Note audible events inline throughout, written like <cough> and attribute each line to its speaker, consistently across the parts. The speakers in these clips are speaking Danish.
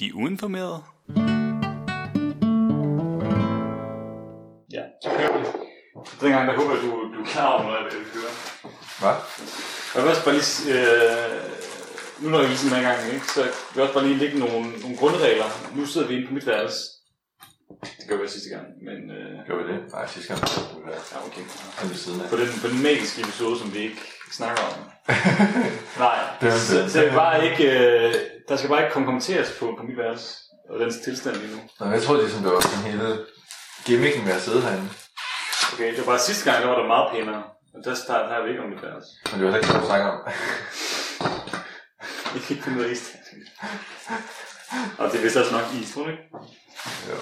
Speaker 1: De uinformerede.
Speaker 2: Ja, så kører vi. Dengang, der håber jeg, du, du er klar over, når jeg vil køre.
Speaker 3: Hvad?
Speaker 2: Jeg vil også bare lige... s- Øh, nu når vi ligesom er i gang, ikke, så vil jeg også bare lige lægge nogle, nogle grundregler. Nu sidder vi inde på mit værelse. Det gør vi også sidste gang, men... Øh,
Speaker 3: Gør vi det? Nej, sidste gang vi det
Speaker 2: ja, okay.
Speaker 3: her ved siden af.
Speaker 2: På den, på den magiske episode, som vi ikke snakker <laughs> om. Nej,
Speaker 3: Det er
Speaker 2: så,
Speaker 3: det.
Speaker 2: så jeg vil bare ikke, øh, der skal bare ikke komme kommenteres på, på mit værelse og dens tilstand lige nu.
Speaker 3: Nå, jeg tror ligesom, det var sådan hele gimmicken med at sidde herinde.
Speaker 2: Okay, det var bare sidste gang, der var der meget pænere. Og der starter vi ikke om mit værelse.
Speaker 3: Men det var heller ikke, hvad du snakker om. <laughs>
Speaker 2: Jeg kan ikke finde ud af isterning. Og det er vist også nok is, tror du ikke?
Speaker 3: jo.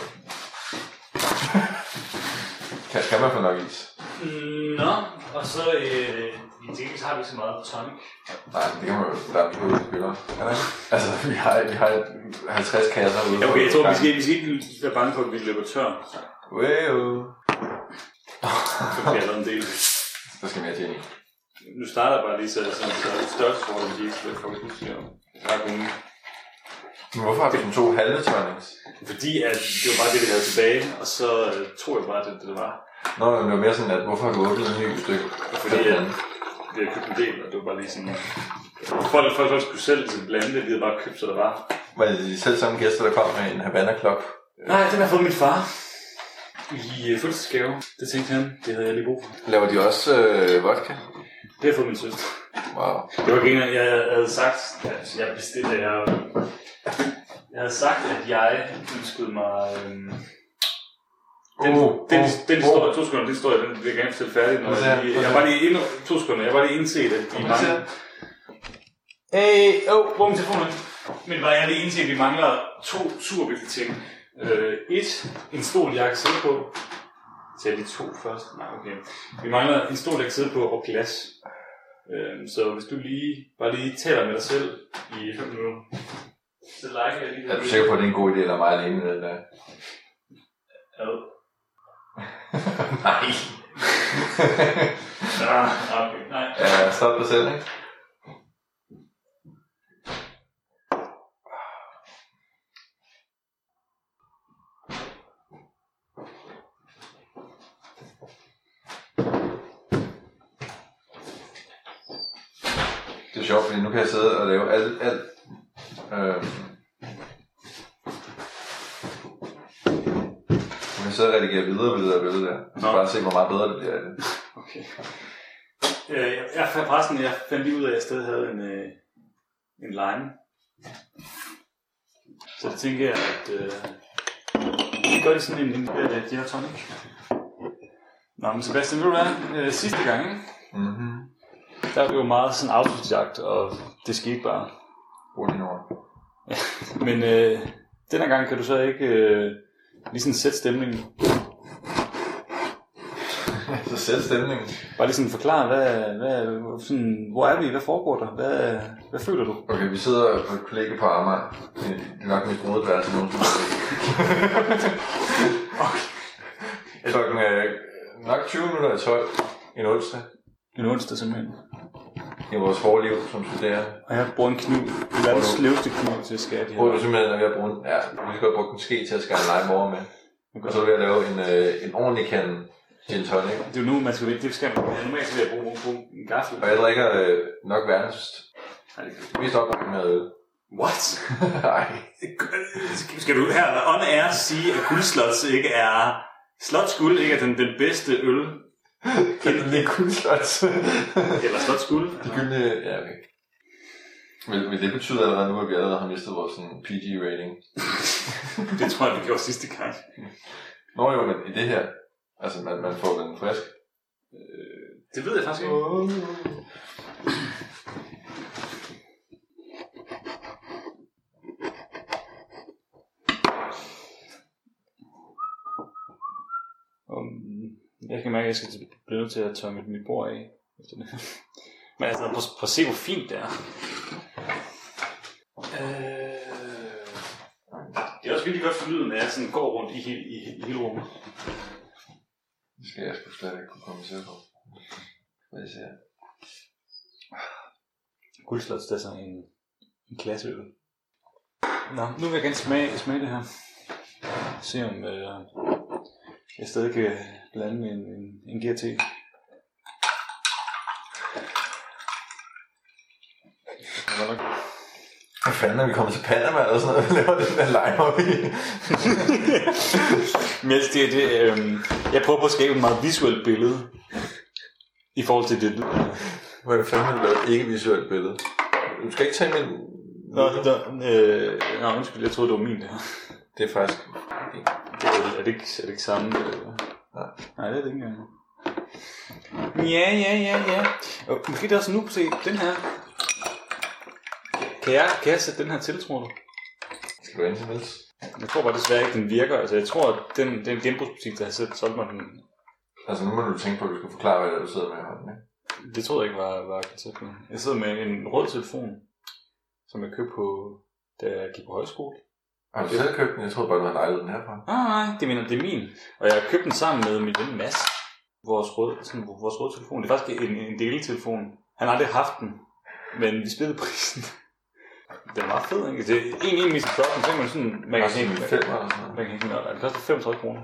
Speaker 3: kan, kan man få nok is?
Speaker 4: Mm, Nå, og så øh, i dels har vi ikke så meget på tonic.
Speaker 3: Nej, det kan man jo. Der er en ude spiller. Er der ikke? Altså, vi har, vi har 50 kasser ude.
Speaker 2: Ja, okay, jeg tror, vi skal, vi skal ikke være bange for, at vi løber tør.
Speaker 3: Wow.
Speaker 2: Så bliver jeg lavet en del.
Speaker 3: Der skal mere til i.
Speaker 2: Nu starter jeg bare lige så sådan, så størrelsesforholdet, de ikke skal få udstyr. Der er kun
Speaker 3: Men hvorfor har vi sådan to halve tørnings?
Speaker 2: Fordi at det var bare det, vi havde tilbage, og så øh, tror jeg bare, at det, det var.
Speaker 3: Nå, men det var mere sådan, at hvorfor har du åbnet en ny stykke?
Speaker 2: Fordi at vi havde købt en del, og det var bare lige sådan... Folk, folk, folk skulle selv ligesom blande det, vi havde bare købt, så der var.
Speaker 3: Var det de selv samme gæster, der kom med en Havana-klok?
Speaker 2: Nej, den har fået min far. I øh, fødselsgave. Det tænkte han, det havde jeg lige brug for.
Speaker 3: Laver de også øh, vodka?
Speaker 2: Det har fået min søster.
Speaker 3: Wow.
Speaker 2: Det var ikke engang, jeg havde sagt, at jeg bestilte, jeg... Jeg havde sagt, at jeg ønskede mig... Øhm, den,
Speaker 3: Uh,
Speaker 2: den,
Speaker 3: uh,
Speaker 2: den,
Speaker 3: uh.
Speaker 2: står, to sekunder, den står jeg, den vil jeg gerne fortælle færdig. Når
Speaker 3: Hvad siger
Speaker 2: jeg,
Speaker 3: jeg?
Speaker 2: lige,
Speaker 3: Hvad
Speaker 2: jeg
Speaker 3: siger
Speaker 2: var lige endnu, to sekunder, jeg var lige indset, at de mangler... Hey, åh, oh, hvor er min telefon hen? Men var jeg lige indset, at vi mangler to super vigtige ting. Øh, et, en stol, jeg kan sidde på. Tag de to først. Nej, okay. Vi mangler en stol, jeg kan sidde på, og glas. Øh, så hvis du lige, bare lige taler med dig selv i 5 minutter. Så like jeg lige.
Speaker 3: Er du sikker på, at det er en god idé, eller mig alene med den der?
Speaker 2: Ad.
Speaker 3: Nej. <laughs>
Speaker 2: Ah, okay. Nej.
Speaker 3: ja, stop dig selv, ikke? Det er sjovt, fordi nu kan jeg sidde og lave alt, alt. Øh, nu kan jeg sidde og redigere videre og videre og videre der. Og så
Speaker 2: Nå.
Speaker 3: bare se, hvor meget bedre det bliver af det.
Speaker 2: Okay. Øh, jeg, jeg, forresten, jeg fandt lige ud af, at jeg stadig havde en, øh, en line. Så det tænker jeg, at øh, vi gør det sådan en, en øh, gin og tonic. Nå, men Sebastian, ved du hvad? Øh, sidste gang, ikke?
Speaker 3: Mhm.
Speaker 2: der var det jo meget sådan autodidakt, og det skete bare.
Speaker 3: Brug dine ord.
Speaker 2: Men øh, denne gang kan du så ikke øh, lige sådan sætte stemningen.
Speaker 3: Så sæt Altså, stemningen.
Speaker 2: Bare lige sådan forklare, hvad, hvad, sådan, hvor er vi? Hvad foregår der? Hvad, hvad føler du?
Speaker 3: Okay, vi sidder på et kollega på Amager. Det er nok mit brudeværelse nogensinde. Klokken er nok 20 minutter i 12 en onsdag
Speaker 2: En onsdag simpelthen.
Speaker 3: i vores hårde liv som studerende.
Speaker 2: Og jeg bruger en kniv. Verdens sløveste kniv til at skære det her.
Speaker 3: Prøver du simpelthen at ved at bruge en, ja, vi skal bruge en ske til at skære en lime med. Og så vil jeg lave en, øh, en ordentlig kande gin tonic.
Speaker 2: Det er jo nu, man skal vælge. Det skal man. Ja, normalt skal jeg bruge, bruge en gaffel.
Speaker 3: Og jeg drikker øh, nok verdens
Speaker 2: Nej, det kan
Speaker 3: mest opbakning med <laughs> øl.
Speaker 2: What?
Speaker 3: Nej.
Speaker 2: Skal du her on air sige, at guldslots ikke er... Slots guld ikke er den, den bedste <laughs> øl?
Speaker 3: Kan du lide kunstløjt?
Speaker 2: Eller slots guld?
Speaker 3: De gyldne... Ja, okay. Men, men det betyder allerede nu, at vi allerede har mistet vores sådan, PG-rating.
Speaker 2: Det tror jeg, vi gjorde sidste gang.
Speaker 3: Nå jo, men i det her, altså man, man får den frisk.
Speaker 2: Det ved jeg faktisk ikke. Um, jeg kan mærke, at jeg skal til- blive nødt til at tørre mit, mit bord af. Efter det. <laughs> Men altså, prøv, prøv at se, hvor fint det er. Øh, det er også virkelig godt for lyden, når jeg sådan går rundt i, hele, i, i hele rummet.
Speaker 3: Det skal jeg sgu slet ikke kunne komme til på. Hvad siger jeg?
Speaker 2: Guldslots, det er sådan en, en klasseøl. Nå, nu vil jeg gerne smage, smage det her. Se om øh, jeg stadig kan blande med en, en, en GRT. Det var nok-
Speaker 3: Hvad fanden er vi kommet til Panama eller sådan noget? <laughs> Laver den der lime op i?
Speaker 2: <laughs> Men altså, det, det, øh, jeg prøver på at skabe et meget visuelt billede i forhold til det.
Speaker 3: Hvor er det fandme lavet et ikke-visuelt billede? Du skal ikke tage min...
Speaker 2: Nå, nå, øh, nå undskyld, jeg troede, det var min det her.
Speaker 3: Det er faktisk...
Speaker 2: Det Øh, er, er, det ikke, er det ikke samme? øh?
Speaker 3: Nej.
Speaker 2: Nej, det er det ikke engang. Ja, ja, ja, ja. Og måske det er også nu, se, den her. Kan jeg, kan jeg sætte den her til, tror du?
Speaker 3: Skal du ind til Niels?
Speaker 2: Jeg tror bare desværre ikke, den virker. Altså, jeg tror, at den, den genbrugsbutik, der har sat, solgt mig den,
Speaker 3: Altså, nu må du tænke på, at du skal forklare, hvad det er, du sidder med i hånden, ikke?
Speaker 2: det troede jeg ikke var, var konceptet. Jeg sidder med en rød telefon, som jeg købte på, da jeg gik på højskole.
Speaker 3: Har du selv købt den? Jeg troede bare, du havde lejet den herfra.
Speaker 2: Nej, nej, det mener, det er min. Og jeg har købt den sammen med min ven Mads. Vores rød, sådan, vores rød telefon. Det er faktisk en, en deletelefon. Han har aldrig haft den, men vi splittede prisen. Den er meget fed, ikke? Det er en, en, mistet klokken, så kan man sådan... Man
Speaker 3: Jeg
Speaker 2: kan
Speaker 3: har sådan en
Speaker 2: hænge-
Speaker 3: femmer eller sådan noget.
Speaker 2: man kan hænge den op. Den koster 35 kroner.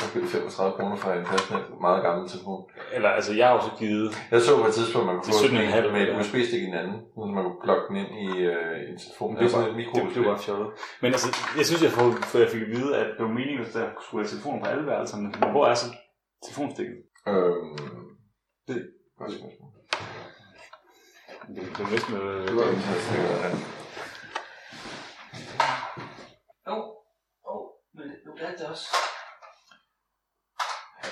Speaker 3: Jeg købte 35 kroner fra en fastnet, meget gammel telefon.
Speaker 2: Eller, altså, jeg har jo så givet...
Speaker 3: Jeg så på et tidspunkt, man kunne
Speaker 2: Det er
Speaker 3: få sådan
Speaker 2: 17,5
Speaker 3: en med et
Speaker 2: eller?
Speaker 3: USB-stik i den anden, sådan så man kunne plukke den ind i øh, en telefon. Det
Speaker 2: var
Speaker 3: er sådan et mikro
Speaker 2: det, det var bare fjollet. Men altså, jeg synes, jeg, får, for jeg fik at vide, at det var meningen, at der skulle være telefoner på alle værelserne. Men hvor er så telefonstikket?
Speaker 3: Øhm, det
Speaker 2: Det-
Speaker 3: godt spørgsmål.
Speaker 2: Det, det er næsten... Øh,
Speaker 3: Det var en slags ting, ja.
Speaker 4: Åh, åh, men nu er det også.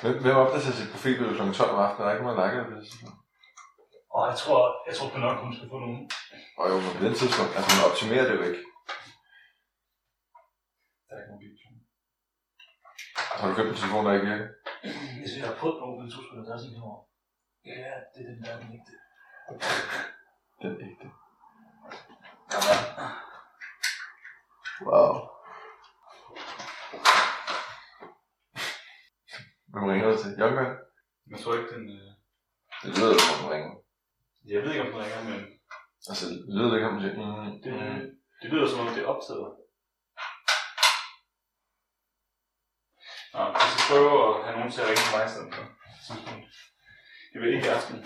Speaker 3: Hvem- Hvem opdaterer sit profilbillede kl. 12 om aftenen? Er der ikke noget lakker på det tidspunkt?
Speaker 4: Og jeg tror, jeg tror på nok, hun skal få nogen.
Speaker 3: Og jo, men på det tidspunkt, altså man optimerer det jo ikke.
Speaker 4: Der er ikke nogen video.
Speaker 3: Altså, Har du købt en telefon, der ikke virker?
Speaker 4: Jeg synes, jeg har fået nogen, men så skulle der også en herovre. Ja, det er den der, den ægte.
Speaker 3: Den ægte.
Speaker 4: Kom her.
Speaker 3: Wow. Hvem ringer du til? Jonker?
Speaker 2: jeg tror ikke, den... Øh,
Speaker 3: Det lyder jo, som om ringer.
Speaker 2: jeg ved ikke, om den ringer, men...
Speaker 3: Altså, det lyder det ikke, om man siger, mm,
Speaker 2: Det,
Speaker 3: mm.
Speaker 2: det lyder som om, det er optaget. Nå, jeg skal prøve at have nogen til at ringe til mig i stedet for. Det vil ikke i aften.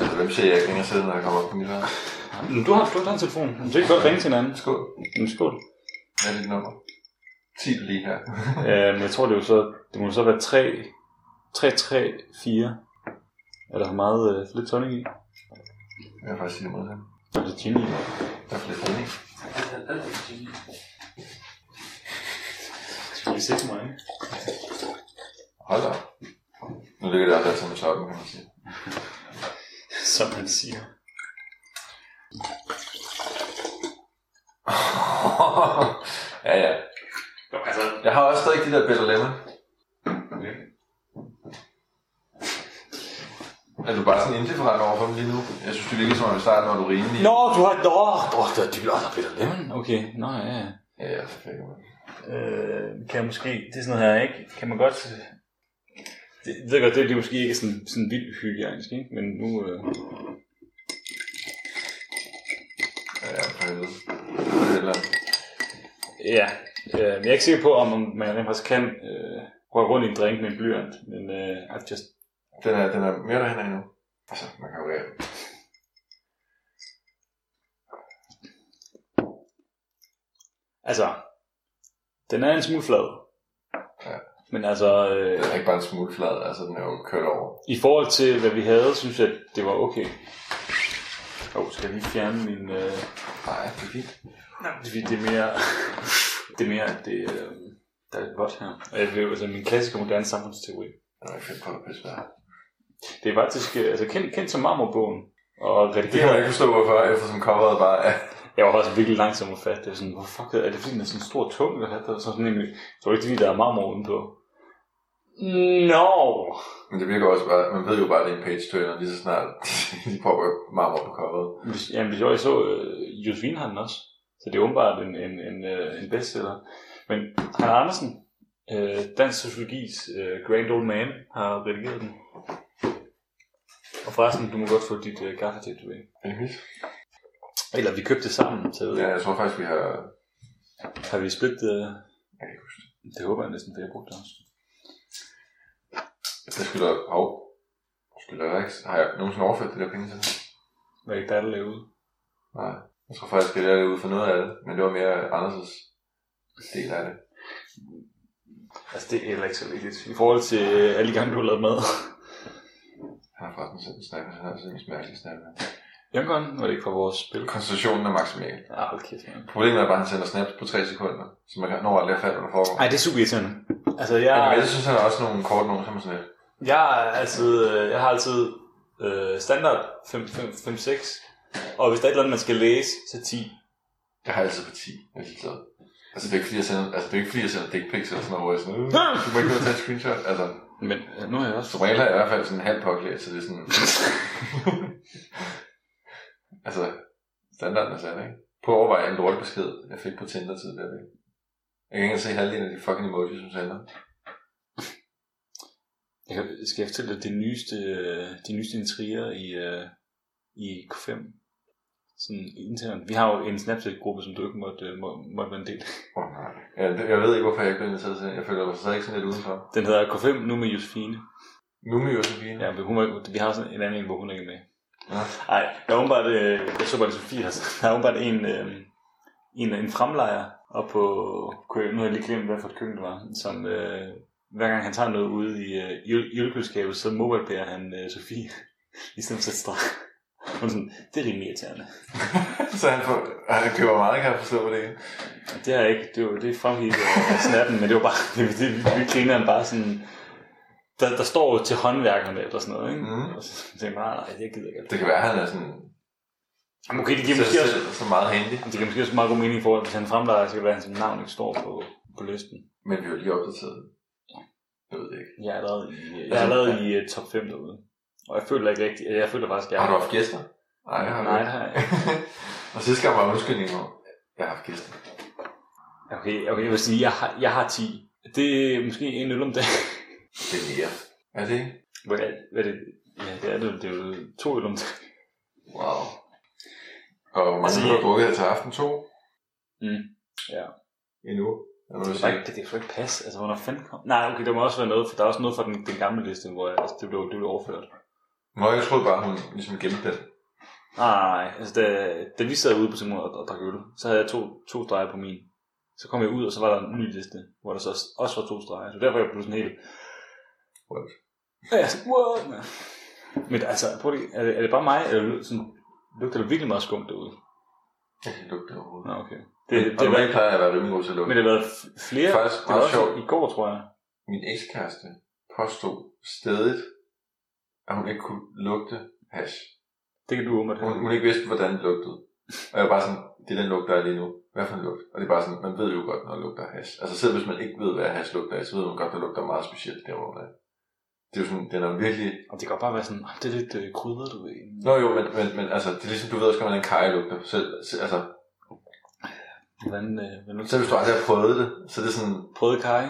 Speaker 3: Altså, hvem siger jeg ikke ringer til, når jeg kommer op på mit værelse?
Speaker 2: Men du har du har en telefon. Du kan godt ringe til hinanden.
Speaker 3: Skål.
Speaker 2: Men skål.
Speaker 3: Hvad er dit nummer? 10 lige her.
Speaker 2: Ja, men Øhm, jeg tror, det, er jo så, det må så være 3, 3, 3, 4. Er der meget øh, for lidt tonic i?
Speaker 3: Jeg vil faktisk sige det modsatte.
Speaker 2: Der er lidt gin i.
Speaker 3: Der er flere stemning.
Speaker 4: Den er ikke geni.
Speaker 2: Skal vi sætte mig?
Speaker 3: Hold da op. Nu ligger det også altid med toppen, kan man sige. <laughs>
Speaker 2: Som man siger.
Speaker 3: ja, ja.
Speaker 2: Jo, altså,
Speaker 3: Jeg har også stadig de der Better Lemon. Er du bare sådan indifferent overfor dem lige nu? Jeg synes, det virker som om, i starten var du rimelig.
Speaker 2: Nå, du har... Nå, oh, der er dyr, der er Peter Lemon. Okay, nå ja, ja.
Speaker 3: Ja, ja, for fanden. mand.
Speaker 2: Øh, kan jeg måske... Det er sådan noget her, ikke? Kan man godt... Det, jeg ved godt, det, det er måske ikke sådan, sådan vildt hygiejnisk, ikke? Men nu... Øh...
Speaker 3: Ja, ja, for helvede. For helvede.
Speaker 2: Ja, øh, men jeg er ikke sikker på, om om man rent faktisk kan øh, røre rundt i en drink med en blyant. Men øh, I've just...
Speaker 3: Den er, den er mere derhen endnu. Altså, man kan jo være.
Speaker 2: Altså, den er en smule flad.
Speaker 3: Ja.
Speaker 2: Men altså, øh,
Speaker 3: Den er ikke bare en smule flad, altså den er jo kørt over.
Speaker 2: i forhold til, hvad vi havde, synes jeg, det var okay. Åh, oh, skal jeg lige fjerne min... Øh...
Speaker 3: Nej, det er fint.
Speaker 2: Nej, det er fordi, det er mere... det er mere, det, øh, der er lidt vådt her. Og jeg vil, altså, min klassiske moderne samfundsteori.
Speaker 3: Den er ikke fedt på at pisse værd.
Speaker 2: Det er faktisk øh, altså, kendt, kendt som marmorbogen. Og
Speaker 3: Det kan jeg
Speaker 2: redigeret.
Speaker 3: ikke forstå, hvorfor, eftersom coveret bare er...
Speaker 2: Jeg var også virkelig langsom at fatte. Det var sådan, hvor fuck er det, fordi den er sådan en stor tung, eller hvad? Der er sådan en, det var ikke fordi, der er marmor udenpå. Nå! No.
Speaker 3: Men det virker også bare... Man ved jo bare, at det er en page turner, lige så snart <laughs> de prøver marmor på coveret.
Speaker 2: Hvis, jamen, hvis jeg, jeg så, øh, Josefine har den også. Så det er åbenbart en, en, en, øh, en bestseller. Men Hanna Andersen, øh, Dansk Sociologis øh, Grand Old Man, har redigeret den. Og forresten, du må godt få dit øh, gaffetat tilbage.
Speaker 3: Er det mit?
Speaker 2: Eller vi købte det sammen, så jeg ved
Speaker 3: Ja,
Speaker 2: ja.
Speaker 3: jeg tror faktisk, vi har...
Speaker 2: Har vi splittet det?
Speaker 3: Jeg kan ikke huske det.
Speaker 2: Det håber jeg næsten, for jeg brugte det også.
Speaker 3: Jeg skylder... Hov. Jeg skylder Rex. Har jeg nogensinde overført det der penge til dig?
Speaker 2: Var ikke der, der lavede?
Speaker 3: Nej. Jeg tror faktisk, det er ud for noget af det. Men det var mere Anders' del af det.
Speaker 2: Altså, det er heller ikke så vigtigt. I forhold til øh, alle de gange, du har lavet mad.
Speaker 3: Han har faktisk sendt en snak, og han har sådan en mærkelig snak.
Speaker 2: Jungon var det ikke fra vores spil.
Speaker 3: Koncentrationen er maksimal.
Speaker 2: Ja, Ah, hold kæft, man.
Speaker 3: Problemet er bare, at han sender snaps på 3 sekunder, så man kan nå aldrig at fatte, hvad der foregår.
Speaker 2: Ej, det er super irriterende. Altså,
Speaker 3: Men
Speaker 2: jeg,
Speaker 3: jeg synes, han har også nogle kort nogen, som er sådan lidt.
Speaker 2: jeg, er altid, øh, jeg har altid øh, standard 5-6. Og hvis der er et eller andet, man skal læse, så 10.
Speaker 3: Jeg har altid på 10, jeg er ligeglad. Altså, det er ikke fordi, jeg sender, altså, det er ikke fordi, jeg sender dick pics eller sådan noget, hvor jeg er sådan, "Øh, du må ikke gå og tage et screenshot. Altså,
Speaker 2: Men øh, nu har jeg også...
Speaker 3: som regel er jeg i hvert fald sådan halv påklædt, så det er sådan...
Speaker 2: <laughs>
Speaker 3: altså, standarden er sat, ikke? Prøv at overveje en lortebesked, jeg fik på Tinder tidligere. ikke? Jeg kan ikke engang se halvdelen af de fucking emojis, som sender.
Speaker 2: Jeg kan- skal jeg fortælle dig de nyeste, øh, de nyeste intriger i, øh, i K5? Sådan internt. Vi har jo en Snapchat-gruppe, som du ikke måtte, øh, må, måtte være en del af.
Speaker 3: Åh, oh, nej. Ja, det- jeg ved ikke, hvorfor jeg ikke blev inviteret til det. Jeg føler mig stadig sådan lidt udenfor.
Speaker 2: Den hedder K5 nu med Josefine.
Speaker 3: Nu med Josefine.
Speaker 2: Ja, men hun var, vi har sådan en anden en, hvor hun ikke er med.
Speaker 3: Nå.
Speaker 2: Nej, der er åbenbart, øh, jeg så bare det Sofie, <laughs> altså, der er åbenbart en, øh, en, en fremlejer op på køen, nu har jeg lige glemt, hvad for et køkken det var, som øh, hver gang han tager noget ude i øh, jul- julekøleskabet, så mobilepærer han øh, Sofie, <laughs> i stedet for at strække. Hun er sådan, det er rimelig irriterende.
Speaker 3: <laughs> Så han, får, han køber meget, kan jeg forstå på det.
Speaker 2: Det er jeg ikke, det, var, det fremgik af snappen, men det var bare, <laughs> det, det, vi griner han bare sådan, der, der står jo til håndværkerne eller sådan noget, ikke?
Speaker 3: Mhm.
Speaker 2: Og så tænker man, nej, nej, det gider jeg ikke.
Speaker 3: Det kan være, at han er sådan...
Speaker 2: Jamen, okay, det
Speaker 3: Det
Speaker 2: giver måske også,
Speaker 3: så meget handy.
Speaker 2: Det giver måske også meget god mening i forhold til, at hvis han fremlejer, så kan det være, at hans navn ikke står på, på listen.
Speaker 3: Men vi er jo lige opdateret. Jeg ved det ikke.
Speaker 2: Jeg er allerede i, jeg er allerede i uh, top 5 derude. Og jeg føler ikke rigtigt, jeg føler faktisk, at jeg
Speaker 3: Har du haft gæster? Nej, det har du
Speaker 2: Nej, det
Speaker 3: ikke.
Speaker 2: har jeg ikke.
Speaker 3: <laughs> Og sidste gang var undskyldningen om, jeg har haft gæster.
Speaker 2: Okay, okay, jeg vil sige, jeg har, jeg har 10. Det er måske en øl om dagen.
Speaker 3: Det er mere. Er det ikke?
Speaker 2: Hvad er, hvad er det? Ja, det er det, jo. det er jo to øl om dagen.
Speaker 3: Wow. Og hvor mange
Speaker 2: Altså,
Speaker 3: har
Speaker 2: jeg-
Speaker 3: du drukket her til aften? To?
Speaker 2: Mm. Ja.
Speaker 3: Endnu? Er du
Speaker 2: Det, det, det kan ikke passe. Altså, hvornår fanden kom? Nej, okay, der må også være noget, for der er også noget fra den, den gamle liste, hvor jeg, altså, det, blev, det blev overført.
Speaker 3: Nå, jeg troede bare, hun ligesom gemte den.
Speaker 2: Nej, altså da, da vi sad ude på Simon og, og drak øl, så havde jeg to, to streger på min. Så kom jeg ud, og så var der en ny liste, hvor der så også, også var to streger. Så derfor jeg blev sådan helt...
Speaker 3: What?
Speaker 2: Ja, jeg er sådan, what? Ja. Men altså, prøv lige, er det, er det bare mig, eller lyder- sådan, lugter det virkelig meget skumt derude?
Speaker 3: Jeg kan ikke lugte det overhovedet.
Speaker 2: Nå, okay.
Speaker 3: Det,
Speaker 2: Det, det,
Speaker 3: og
Speaker 2: det,
Speaker 3: normalt
Speaker 2: var,
Speaker 3: plejer jeg at være rimelig god til at lugte.
Speaker 2: men det har været flere...
Speaker 3: Faktisk
Speaker 2: det var
Speaker 3: meget
Speaker 2: også
Speaker 3: sjovt.
Speaker 2: i går, tror jeg.
Speaker 3: Min ekskæreste påstod stedigt, at hun ikke kunne lugte hash.
Speaker 2: Det kan du åbenbart
Speaker 3: Hun,
Speaker 2: have.
Speaker 3: hun ikke vidste, hvordan det lugtede. Og jeg var bare sådan, det er den lugt, der er lige nu. Hvad for en lugt? Og det er bare sådan, man ved jo godt, når det lugter af hash. Altså selv hvis man ikke ved, hvad hash lugter af, så ved man godt, det lugter meget specielt der, hvor man er. Det er jo sådan, den er virkelig...
Speaker 2: Og det kan godt bare være sådan, "Ah, det er lidt øh, krydret, du ved.
Speaker 3: Nå jo, men, men, men altså, det er ligesom, du ved også, hvordan en kaj lugter. Selv, se- altså,
Speaker 2: Hvordan, øh, hvordan lugter
Speaker 3: selv hvis du aldrig har prøvet det, så er det sådan...
Speaker 2: Prøvede kaj?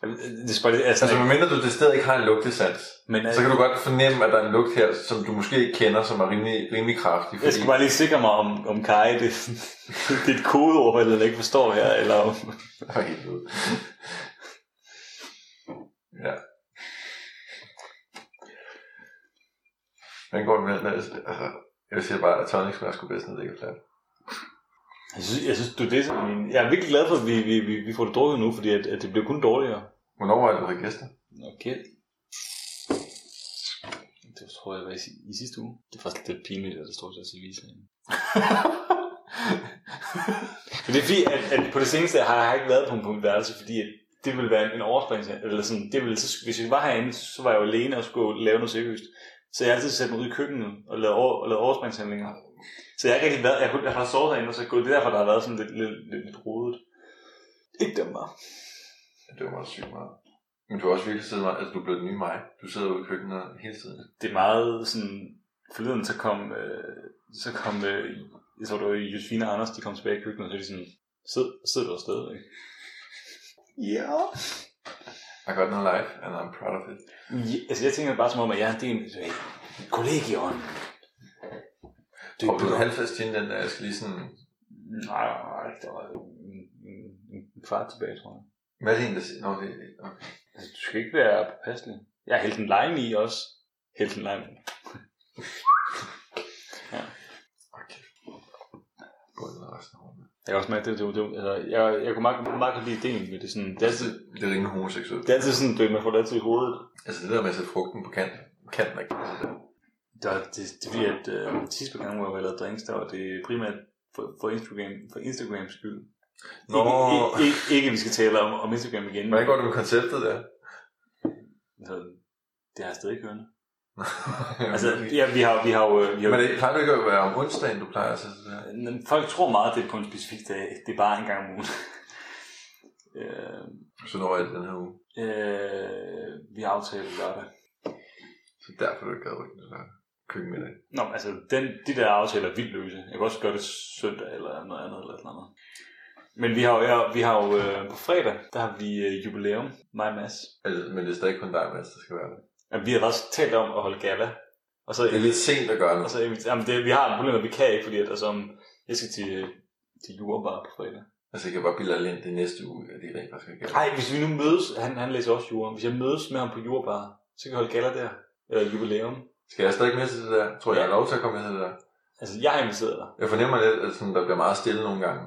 Speaker 2: Jeg ved- Det skal bare lige... Altså,
Speaker 3: Altså, medmindre du det stadig ikke har en lugtesans,
Speaker 2: men,
Speaker 3: så kan du godt fornemme, at der er en lugt her, som du måske ikke kender, som er rimelig, rimelig kraftig.
Speaker 2: Jeg skal bare lige sikre mig, om, om Kai, det, <laughs> det er et kodeord, eller jeg ikke forstår her, eller om...
Speaker 3: For helvede. ja. Hvordan går det med den? Altså, jeg siger bare, at tonic smager sgu bedst, når det ikke er flat.
Speaker 2: Jeg synes, jeg synes du, det er sådan en... Jeg er virkelig glad for, at vi, vi, vi, vi får det drukket nu, fordi at, at det bliver kun dårligere.
Speaker 3: Hvornår var det, du havde gæster?
Speaker 2: Okay. Det tror jeg var i, si- i sidste uge. Det er faktisk lidt pinligt, at der står til at se visningen. <laughs> Men det er fordi, at, at på det seneste har jeg ikke været på, på mit værelse, fordi at det ville være en, en overspring. Eller sådan, det ville, så, sk- hvis jeg var herinde, så var jeg jo alene og skulle lave noget seriøst. Så jeg har altid sat mig ud i køkkenet og lavet, over, og lavet overspringshandlinger. Så jeg har ikke rigtig været, jeg, kunne- jeg har sovet herinde, og så er jeg gået. Det er derfor, der har været sådan lidt, lidt, lidt, lidt rodet. Ikke dem bare.
Speaker 3: Ja, det var meget sygt meget. Men du har også virkelig siddet meget, altså du blev den nye mig. Du sidder ude i køkkenet hele tiden.
Speaker 2: det er meget sådan, forleden så kom, øh, så kom, øh, jeg tror det var Josefine og Anders, de kom tilbage i køkkenet, og så er de sådan, sid, sidder du stadigvæk? Ja.
Speaker 3: I got no life, and I'm proud of it.
Speaker 2: ja. Altså jeg tænker bare som om, at jeg er en del af kollegion. Det,
Speaker 3: Tror du, at halvfast gin, den er, skal lige sådan...
Speaker 2: Nej, nej, der var en, en, en kvart tilbage, tror jeg.
Speaker 3: Hvad er det en, der siger? Nå, det, okay.
Speaker 2: Altså, du skal ikke være påpasselig. Jeg har hældt en lime i også. Hældt en lime.
Speaker 3: okay. Både den resten af rummet.
Speaker 2: Jeg kan også mærke, det, det, det altså, jeg, jeg kunne meget, meget godt lide ideen med det. Sådan, det, er altid,
Speaker 3: Det er rimelig homoseksuelt.
Speaker 2: det er altid sådan, du, ved, man får det altid i hovedet.
Speaker 3: Altså det der med at sætte frugten på kanten. Kanten er ikke altså, der.
Speaker 2: Der, det, det er fordi, at øh, sidste gang, hvor jeg lavede drinks, der var det primært for, for, Instagram, for Instagrams skyld.
Speaker 3: Nå,
Speaker 2: Ikke, ikke, ikke, ikke, at vi skal tale om, om Instagram igen.
Speaker 3: hvordan går det med konceptet der?
Speaker 2: Altså, det har jeg stadig kørende. <laughs>
Speaker 3: <laughs>
Speaker 2: Altså, ja, vi har, vi har jo... øh, Vi har,
Speaker 3: Men det plejer du ikke at være om onsdagen, du plejer at sætte det der?
Speaker 2: Men Folk tror meget, at det er på en specifik dag. Det er bare en gang om ugen. <laughs> øh,
Speaker 3: Så når jeg den her uge.
Speaker 2: øh, vi har aftalt lørdag.
Speaker 3: Så derfor er du ikke gad rykke den der køkkenmiddag.
Speaker 2: Nå, men altså, den, de der aftaler er vildt løse. Jeg kan også gøre det søndag eller noget andet eller et eller andet. Men vi har jo, jeg, vi har jo øh, på fredag, der har vi øh, jubilæum, mig og Mads.
Speaker 3: Altså, men det er stadig kun dig, Mads, der skal være der.
Speaker 2: At vi har faktisk talt om at holde gala. Og så,
Speaker 3: Det er lidt sent at gøre nu.
Speaker 2: og så inviter- jamen, det, vi har en problem, at vi kan ikke, fordi at, altså, om- jeg skal til, øh, til jura bare på fredag.
Speaker 3: Altså, jeg kan bare bilde alle ind det næste uge, at det rent faktisk ikke er.
Speaker 2: Nej, hvis vi nu mødes, han, han læser også jura. Hvis jeg mødes med ham på jurabar, så kan vi holde gala der. Eller jubilæum.
Speaker 3: Skal jeg stadig med til det der? Tror jeg, jeg har lov til at komme med til det der?
Speaker 2: Altså, jeg har inviteret dig.
Speaker 3: Jeg fornemmer lidt, at sådan, der bliver meget stille nogle
Speaker 2: <laughs>
Speaker 3: gange.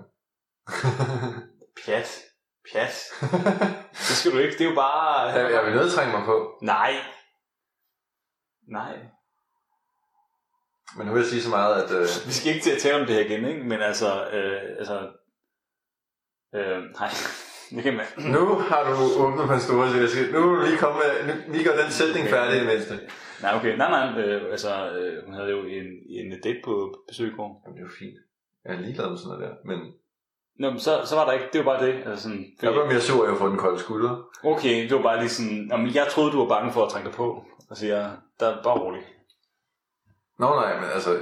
Speaker 2: Pjat. Pjat. Det skal du ikke. Det er jo bare...
Speaker 3: jeg, jeg vil nødt til at trænge mig på.
Speaker 2: Nej. Nej.
Speaker 3: Men nu vil jeg sige så meget, at... Øh,
Speaker 2: Vi skal ikke til at tale om det her igen, ikke? Men altså... Øh, altså øh, nej. <laughs> Det kan man.
Speaker 3: nu har du åbnet Pandoras æske. Nu er du lige kommet med... Nu, lige gør den sætning færdig i det mindste.
Speaker 2: Nej, okay. Nej, nej. Øh, altså, øh, hun havde jo en, en date på besøg i går.
Speaker 3: Jamen, det er jo fint. Jeg er ligeglad med sådan noget der. Men
Speaker 2: Nå, men så, så var der ikke... Det var bare det. Altså, sådan,
Speaker 3: jeg var mere sur, at jeg får den kolde skulder.
Speaker 2: Okay, det var bare lige sådan, jamen, jeg troede, du var bange for at trænge dig på. Og siger, jeg, der er bare rolig.
Speaker 3: Nå nej, men altså,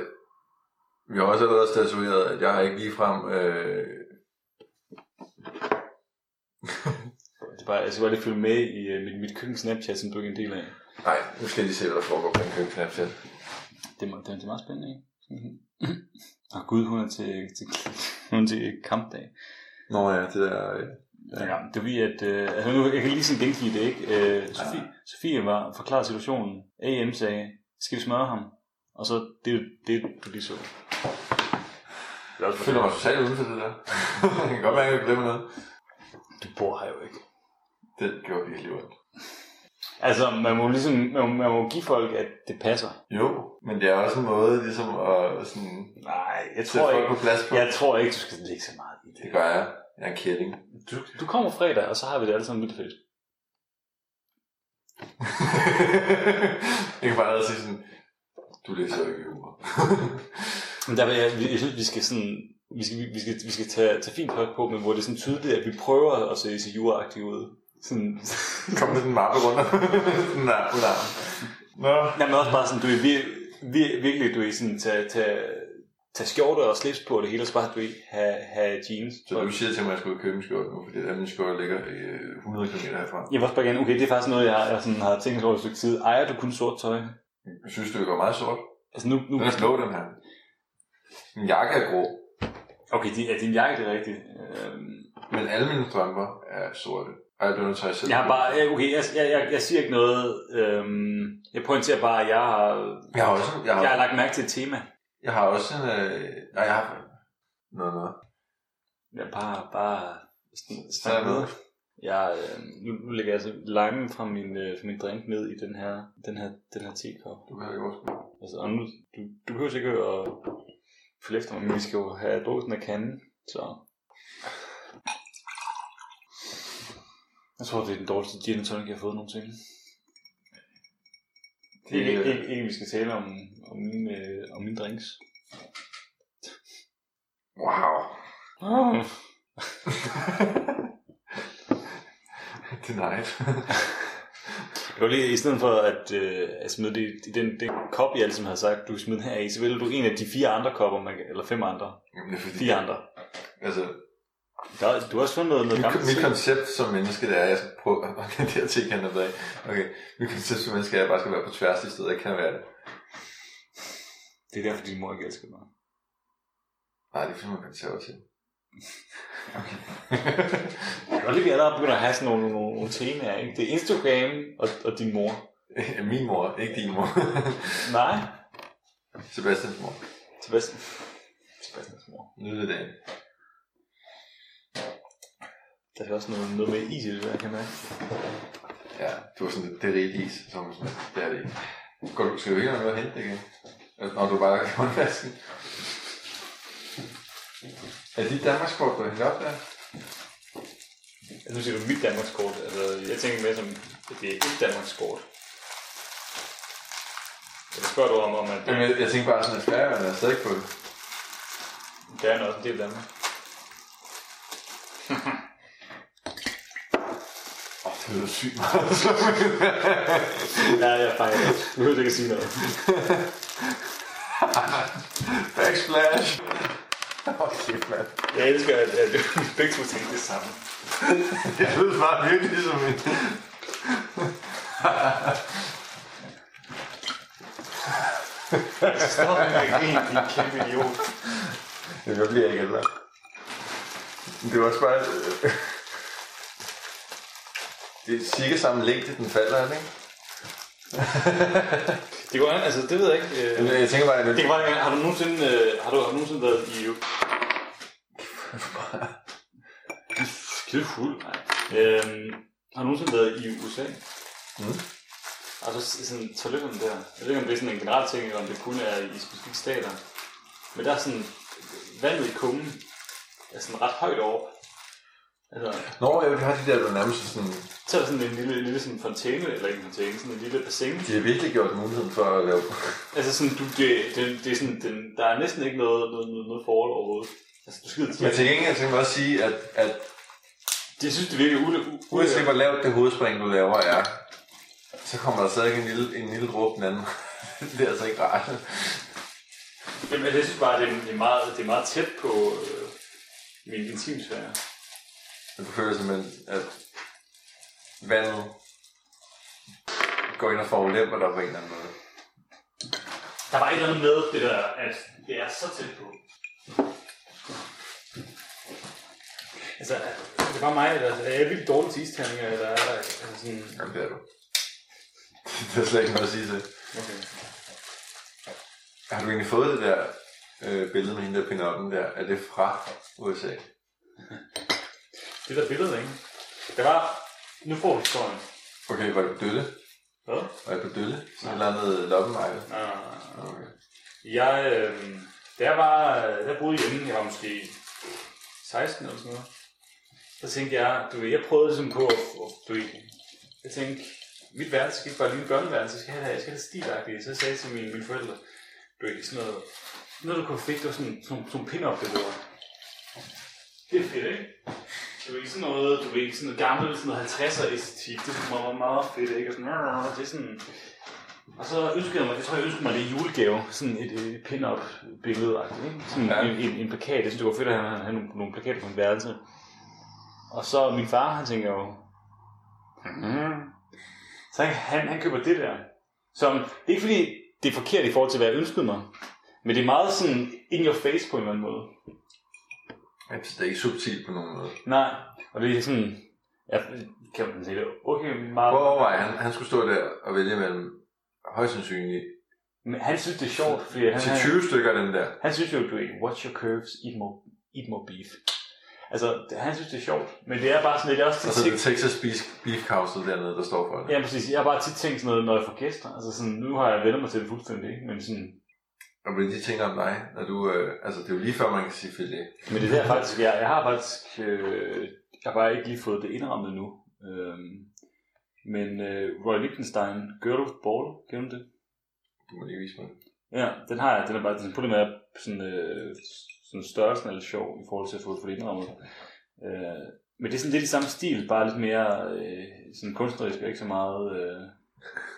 Speaker 3: vi har også allerede statueret, at jeg ikke ligefrem... Øh,
Speaker 2: Det er bare, altså, jeg skal bare lige følge med i øh, mit, mit køkken Snapchat, som du ikke er en del af.
Speaker 3: nej, nu skal jeg lige se, hvad der foregår på en køkkensnapchat.
Speaker 2: Det er, meget- det er, det er meget spændende, ikke? Og gud, hun er til, til, hun er til kampdag.
Speaker 3: Nå ja, det der... Øh,
Speaker 2: Ja. ja det er fordi, at... Øh, altså nu, jeg kan lige sådan gengive det, ikke? Øh, Sofie, Sofie var forklaret situationen. AM sagde, skal vi smøre ham? Og så, det er jo det, du lige så. Det er
Speaker 3: jeg
Speaker 2: også
Speaker 3: føler mig totalt uden for det der. <laughs> jeg kan godt mærke, at jeg glemmer noget.
Speaker 2: Du bor her jo ikke.
Speaker 3: Det gjorde virkelig ondt.
Speaker 2: Altså, man må ligesom, man må, man må give folk, at det passer.
Speaker 3: Jo, men det er også en måde ligesom at sådan,
Speaker 2: Nej, jeg
Speaker 3: sætte
Speaker 2: tror
Speaker 3: folk
Speaker 2: ikke.
Speaker 3: på plads på.
Speaker 2: Jeg tror ikke, du skal lægge så meget i
Speaker 3: Det
Speaker 2: det.
Speaker 3: gør jeg. Jeg er en kælling. <laughs>
Speaker 2: Du, du kommer fredag, og så har vi det alle sammen vildt fedt.
Speaker 3: jeg kan bare allerede sige sådan, du læser jo ikke humor. <laughs>
Speaker 2: Men der vil jeg, jeg synes, vi skal sådan... Vi skal, vi skal, vi skal tage, tage fint tøj på, men hvor det er sådan tydeligt, at vi prøver at se så juraagtige ud. Sådan,
Speaker 3: Kom med sådan en mappe rundt. <laughs> Nej, nej. Nå.
Speaker 2: Nej, men også bare sådan, du er vir, vir, virkelig, du er sådan, tage, tage, tage skjorte og slips på og det hele, og så bare, du er, have, have jeans.
Speaker 3: Så du siger til mig, at jeg skulle købe en skjorte nu, fordi den skjorte ligger øh, 100 km herfra.
Speaker 2: Jeg vil også bare gerne, okay, det er faktisk noget, jeg, har- jeg sådan, har tænkt over et stykke tid. Ejer du kun sort tøj?
Speaker 3: Jeg synes, det går meget sort.
Speaker 2: Altså nu, nu
Speaker 3: Den er blå, den her. Min jakke er grå,
Speaker 2: Okay, det, er din jakke det er rigtigt? Øhm,
Speaker 3: men alle mine strømper er sorte. Og jeg bliver nødt til at selv.
Speaker 2: Jeg har bare, øh, ja, okay, jeg, jeg, jeg, jeg siger ikke noget. Øhm, jeg pointerer bare, at jeg har,
Speaker 3: Jeg har også, jeg har,
Speaker 2: jeg har lagt mærke til et tema.
Speaker 3: jeg har også en... Øh, nej, jeg har... Nå, nå.
Speaker 2: Jeg bare, bare sn-
Speaker 3: Tag
Speaker 2: snak
Speaker 3: med.
Speaker 2: med. Jeg, øh, nu, nu lægger jeg altså limen fra min, øh, fra min drink ned i den her, den her, den her tekop.
Speaker 3: Du kan ikke også.
Speaker 2: Altså, og nu, du, du behøver ikke at følge efter mig, men vi skal jo have drukket den af kanden, så... Jeg tror, det er den dårligste gin and tonic, jeg har fået nogensinde. Det, ikke,
Speaker 3: øh,
Speaker 2: ikke, ikke, vi skal tale om, om, mine, øh, om mine drinks.
Speaker 3: Wow. <laughs>
Speaker 2: Oh.
Speaker 3: det er nice. <laughs>
Speaker 2: Jeg kan godt lide, i stedet for at, øh, at smide det i den, den kop, jeg altid har sagt, du smider den her i, så vælger du en af de fire andre kopper, man, kan- eller fem andre.
Speaker 3: Jamen, det er fordi,
Speaker 2: Fire andre.
Speaker 3: altså,
Speaker 2: Der, er- du har også fundet noget, noget
Speaker 3: Mit,
Speaker 2: gammelt.
Speaker 3: mit koncept som menneske, det er, at jeg skal prøve <laughs> at orientere til kan af. Okay, mit koncept som menneske er, at jeg bare skal være på tværs i stedet, jeg kan være det.
Speaker 2: Det er derfor, din mor ikke elsker mig.
Speaker 3: Nej, det er fordi, man er konservativ. <laughs>
Speaker 2: Jeg kan godt lide, at vi allerede begynder at have sådan nogle, nogle, nogle temaer, ikke? Det er Instagram og, og din mor.
Speaker 3: Min mor, ikke din mor. <laughs>
Speaker 2: Nej,
Speaker 3: Sebastians mor.
Speaker 2: Sebastian. Sebastians mor.
Speaker 3: Nyd det dagen.
Speaker 2: Der er også noget, noget med is i det der, kan man
Speaker 3: Ja, du var sådan, lidt, det er rigtig is. Så var man sådan, det er det ikke. Går du, skal du ikke have noget at hente igen? Altså, når du bare kan håndvasken. Er det Danmarks kort, du har hængt op der?
Speaker 2: Nu siger du mit Danmarkskort. Altså, jeg tænker mere som, at det er et Danmarkskort. Eller spørger du om, om at
Speaker 3: Jamen, jeg, jeg tænkte bare sådan, at færgerne er stadig på det.
Speaker 2: det er noget, det er Danmark?
Speaker 3: Åh, oh, det lyder sygt meget.
Speaker 2: Ja, jeg fejler det. Nu ved jeg ikke at sige noget.
Speaker 3: Backsplash! Åh, oh, shit, mand.
Speaker 2: Jeg elsker, at, at begge to tænker det samme.
Speaker 3: Det lyder bare virkelig som en...
Speaker 2: Stop med at grine, din kæmpe idiot.
Speaker 3: Jamen, jeg bliver ikke ældre. Men Det var også bare... øh, det er cirka samme længde, den falder, er det ikke?
Speaker 2: Det går an, altså det ved jeg ikke. øh,
Speaker 3: Men Jeg tænker bare, at
Speaker 2: Det kan bare har du nogensinde, øh, har du, har du nogensinde været i EU? Du er <laughs> skide fuld, nej. Øhm, har du nogensinde været i USA?
Speaker 3: Mm.
Speaker 2: Og så Altså, s- sådan toiletterne der. Jeg ved ikke, om det er sådan en generel ting, eller om det kun er i specifikke stater. Men der er sådan, vandet i kummen er sådan ret højt over. Altså,
Speaker 3: Nå, jeg vil have de der, der nærmest er sådan...
Speaker 2: så er der sådan en lille, lille sådan fontæne, eller ikke en fontæne, sådan en lille bassin.
Speaker 3: De har virkelig gjort muligheden for at lave...
Speaker 2: Altså sådan, du, det, det, det er sådan, den, der er næsten ikke noget, noget, noget, noget forhold overhovedet. Altså, du skider
Speaker 3: Men til gengæld, jeg tænker bare at sige, at, at
Speaker 2: De synes, det virker ude. U-
Speaker 3: uanset hvor lavt det hovedspring, du laver, er, så kommer der stadig en lille, en lille dråbe den anden. <laughs> det er altså ikke rart.
Speaker 2: Jamen, altså, jeg synes bare, det er, det er, meget, det er meget tæt på øh, min intimsfære.
Speaker 3: Men du føler simpelthen, at vandet går ind og forulemper dig på en eller anden måde.
Speaker 2: Der var et eller andet med det der, at det er så tæt på. Altså, det var mig, eller altså, er jeg virkelig dårlig til isterninger, eller er der altså sådan...
Speaker 3: Jamen, det er du. <laughs> det er slet ikke noget at sige til.
Speaker 2: Okay.
Speaker 3: Har du egentlig fået det der øh, billede med hende der pinoppen der? Er det fra USA?
Speaker 2: Det der billede, ikke? Det var... Nu får du historien.
Speaker 3: Okay, var det på Dølle?
Speaker 2: Hvad?
Speaker 3: Var det på Dølle? Sådan et eller andet loppemarked?
Speaker 2: Uh,
Speaker 3: Okay.
Speaker 2: Jeg, øh, da jeg var, da jeg boede hjemme, jeg var måske 16 eller sådan noget, så tænkte jeg, du ved, jeg prøvede ligesom på at, at du ved, jeg tænkte, mit værelse skal ikke bare lige en børneværelse, jeg skal have, jeg skal have stilagtigt. Så jeg sagde til mine, mine forældre, du ved, sådan noget, noget du kunne fik, det var sådan nogle sådan, pin-up billeder. Det er fedt, ikke? Du er ikke sådan noget, du er ikke sådan noget gammelt, sådan noget 50'er æstetik, det er meget, meget fedt, ikke? Og sådan, "Rrr", det er sådan, og så ønskede jeg mig, jeg tror, jeg ønskede mig det i julegave. Sådan et, et pin-up billede, ikke? Sådan
Speaker 3: Ja.
Speaker 2: ja. en, en, en, plakat. Jeg synes, det var fedt, at han havde nogle, nogle plakater på en værelse. Og så min far, han tænker jo... Mm. Så han, han, han køber det der. Som, det er ikke fordi, det er forkert i forhold til, hvad jeg ønskede mig. Men det er meget sådan in your face på en eller anden måde.
Speaker 3: Jamen, det er ikke subtilt på nogen måde.
Speaker 2: Nej, og det er sådan... Jeg kan man sige det okay meget.
Speaker 3: Prøv at overveje, han, han skulle stå der og vælge mellem højst sandsynligt
Speaker 2: Men han synes, det er sjovt, fordi han,
Speaker 3: til
Speaker 2: han,
Speaker 3: 20 stykker af dem der.
Speaker 2: Han synes jo, du er watch your curves, eat more, eat more beef. Altså, det- han synes, det er sjovt, men det er bare sådan lidt, jeg har
Speaker 3: Og
Speaker 2: også
Speaker 3: så er
Speaker 2: tit
Speaker 3: det
Speaker 2: tænkt,
Speaker 3: Texas Beef, Beef Council dernede, der står for det.
Speaker 2: ja, præcis, jeg har bare tit tænkt sådan noget, når jeg får gæster, altså sådan, nu har jeg vendt mig til det fuldstændig, ikke? men sådan,
Speaker 3: Og hvad de tænker om dig, når du... Øh, altså, det er jo lige før, man kan sige filet.
Speaker 2: men det er der faktisk, jeg, jeg har faktisk, øh, jeg har bare ikke lige fået det indrammet nu, øhm, men øh, Roy Lichtenstein, Girl with Ball, kender du det?
Speaker 3: Du må lige vise mig. det.
Speaker 2: Ja, den har jeg. Den er bare den på det med sådan, øh, sådan størrelsen er lidt sjov i forhold til at få det for det indrammet. Øh, men det er sådan lidt i samme stil, bare lidt mere øh, sådan kunstnerisk og ikke så meget... Øh, <laughs>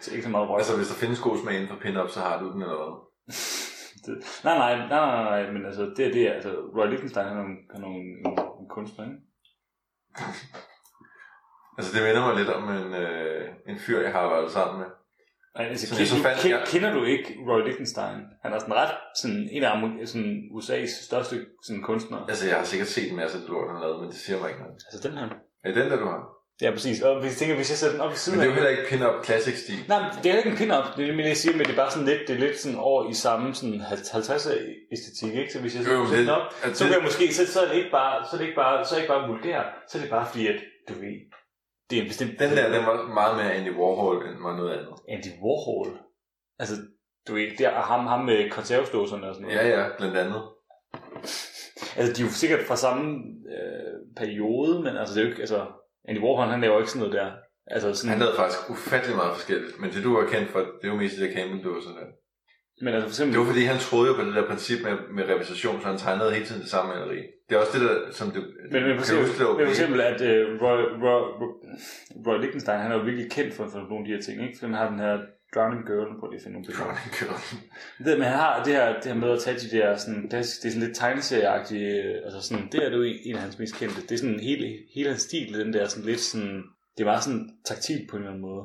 Speaker 2: så ikke så meget røg.
Speaker 3: Altså, hvis der findes god smag inden for pin-up, så har du den eller hvad?
Speaker 2: <laughs> det, nej, nej, nej, nej, nej, men altså, det, er- det er, altså, Roy Lichtenstein, han er nogle, han er nogle, en, en kunstner, ikke?
Speaker 3: Altså, det minder mig lidt om en, øh, en fyr, jeg har arbejdet sammen med,
Speaker 2: Nej, altså,
Speaker 3: Så
Speaker 2: så,
Speaker 3: jeg så
Speaker 2: kender,
Speaker 3: fandt-
Speaker 2: fandt, kender,
Speaker 3: jeg-
Speaker 2: kender du ikke Roy Lichtenstein? Han er sådan ret sådan en af amer- sådan USA's største sådan kunstnere.
Speaker 3: Altså, jeg har sikkert set en masse lort, han lavede, men det siger mig ikke noget.
Speaker 2: Altså den her.
Speaker 3: Er det den, der du har?
Speaker 2: Ja, præcis. Og hvis jeg tænker, hvis jeg sætter den op ved
Speaker 3: Men
Speaker 2: siden
Speaker 3: det
Speaker 2: af...
Speaker 3: er jo heller ikke pin-up classic-stil.
Speaker 2: Nej, men det er heller ikke en pin-up. Det er nemlig det, jeg siger, men det er bare sådan lidt, det er lidt sådan over i samme sådan 50 æstetik, ikke? Så hvis jeg
Speaker 3: Jo,
Speaker 2: sætter
Speaker 3: det-
Speaker 2: den op,
Speaker 3: at
Speaker 2: så
Speaker 3: det-
Speaker 2: kan jeg måske, så, så er det ikke bare, så er det ikke bare, så er det ikke bare vulgær, så er det bare fordi, at du ved, det er en bestemt...
Speaker 3: Den der, den var meget mere Andy Warhol, end var noget andet.
Speaker 2: Andy Warhol. Altså, du ved, det er ham, ham med konservesdåserne og sådan noget.
Speaker 3: Ja, ja, blandt andet.
Speaker 2: Altså, de er jo sikkert fra samme øh, periode, men altså, det er jo ikke, altså, Andy Warhol, han laver ikke sådan noget der. Altså, sådan,
Speaker 3: Han lavede faktisk ufattelig meget forskelligt, men det du var kendt for, det var mest det der Campbell-dåser der.
Speaker 2: men altså, for eksempel,
Speaker 3: Det var fordi, han troede jo på det der princip med, med repræsentation, så han tegnede hele tiden det samme maleri. Det er også det der, som det...
Speaker 2: men, men, for
Speaker 3: kan du huske,
Speaker 2: eksempel,
Speaker 3: det
Speaker 2: men
Speaker 3: var
Speaker 2: for
Speaker 3: okay?
Speaker 2: eksempel at øh, Roy, Roy, Roy, Roy Lichtenstein, han er jo virkelig kendt for, for nogle af de her ting, ikke? For han har den her Drowning Girl, på lige at finde nogle billeder.
Speaker 3: Drowning <laughs> Girl.
Speaker 2: Det, men han har det her, det her med at tage de der, sådan, det, er, det er sådan lidt tegneserieagtige, øh, altså sådan, det er det jo en, en af hans mest kendte. Det er sådan hele, hele hans stil, den der sådan lidt sådan, det er meget sådan taktilt på en eller anden måde.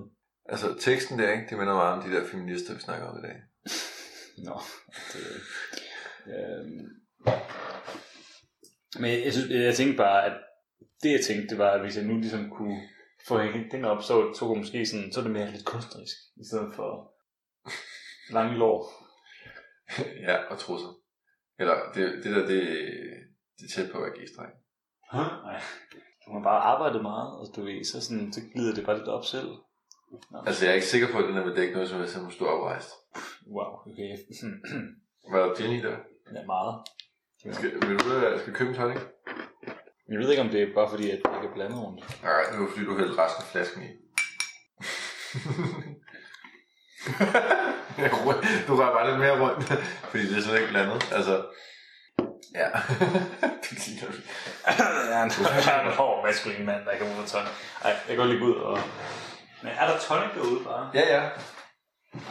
Speaker 3: Altså, teksten der, ikke? Det minder meget om de der feminister, vi snakker om i
Speaker 2: <laughs>
Speaker 3: dag.
Speaker 2: Nå, det ved jeg ikke. Øhm. Men jeg, synes, jeg tænkte bare, at det jeg tænkte, det var, at hvis jeg nu ligesom kunne få hængt den op, så, så kunne måske sådan, så er det mere lidt kunstnerisk, i stedet for lange lår.
Speaker 3: ja, og trusser. Eller, det, det der, det, det er tæt på at være g-streng.
Speaker 2: Huh? Nej. Du har bare arbejdet meget, og du ved, så, sådan, så glider det bare lidt op selv.
Speaker 3: Altså, jeg er ikke sikker på, at den der med, det er ikke noget, som jeg simpelthen stod oprejst.
Speaker 2: Wow, okay. <clears throat>
Speaker 3: Var der gin i der?
Speaker 2: ja, meget.
Speaker 3: Skal, vil du, øh, skal vi købe en tonic?
Speaker 2: Jeg ved ikke, om det er bare fordi, at jeg kan blande rundt.
Speaker 3: Nej, det var fordi, du hældte resten af flasken <laughs> i. Jeg ru- du rører bare lidt mere rundt, fordi det er slet ikke blandet. Altså, ja. <laughs> det ligner det.
Speaker 2: Ja, han er en hård maskulin mand, der kan bruge tonic. Ej, jeg kan godt lige gå ud og... Men er der tonic derude bare?
Speaker 3: Ja, ja.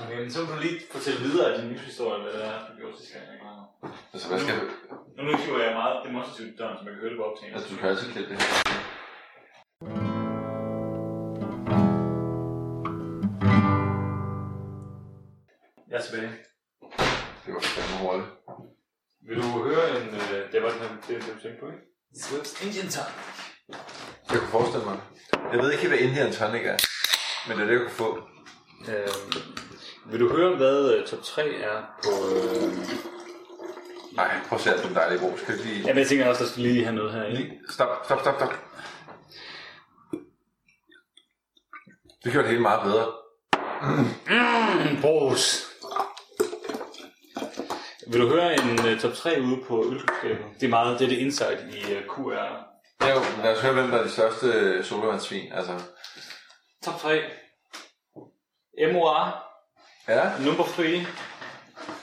Speaker 2: Okay, men så må du lige fortælle videre af din livshistorie, hvad det er, du gjorde sidste gang. jeg var her.
Speaker 3: Altså, hvad skal du?
Speaker 2: Nu nu kigger jeg meget demonstrativt i døren, så man kan høre det på optagelsen.
Speaker 3: Altså, du kan altid klippe det her.
Speaker 2: Jeg er tilbage.
Speaker 3: Det var fandme hurtigt.
Speaker 2: Vil du høre en... Øh, det var den her, det, du tænkte på, ikke? Swift's Indian Time.
Speaker 3: Jeg kunne forestille mig. Jeg ved ikke helt, hvad Indian Tonic er, men det er det, jeg kunne få.
Speaker 2: Øhm, vil du høre, hvad øh, top 3 er på... Øh...
Speaker 3: Nej, prøv at se alt den dejlige brug. Skal vi lige...
Speaker 2: Jamen, jeg tænker også, der skal lige have noget her, ikke?
Speaker 3: Lige- Stop, stop, stop, stop. Det gjorde det hele meget bedre.
Speaker 2: Mm, Brugs. Vil du høre en uh, top 3 ude på ølkundskabet? Det er meget, det er det insight i uh, QR.
Speaker 3: Ja, jo, men lad os høre, hvem der er de største øh, sodavandsvin. Altså,
Speaker 2: Top 3. MOR,
Speaker 3: ja.
Speaker 2: number 3.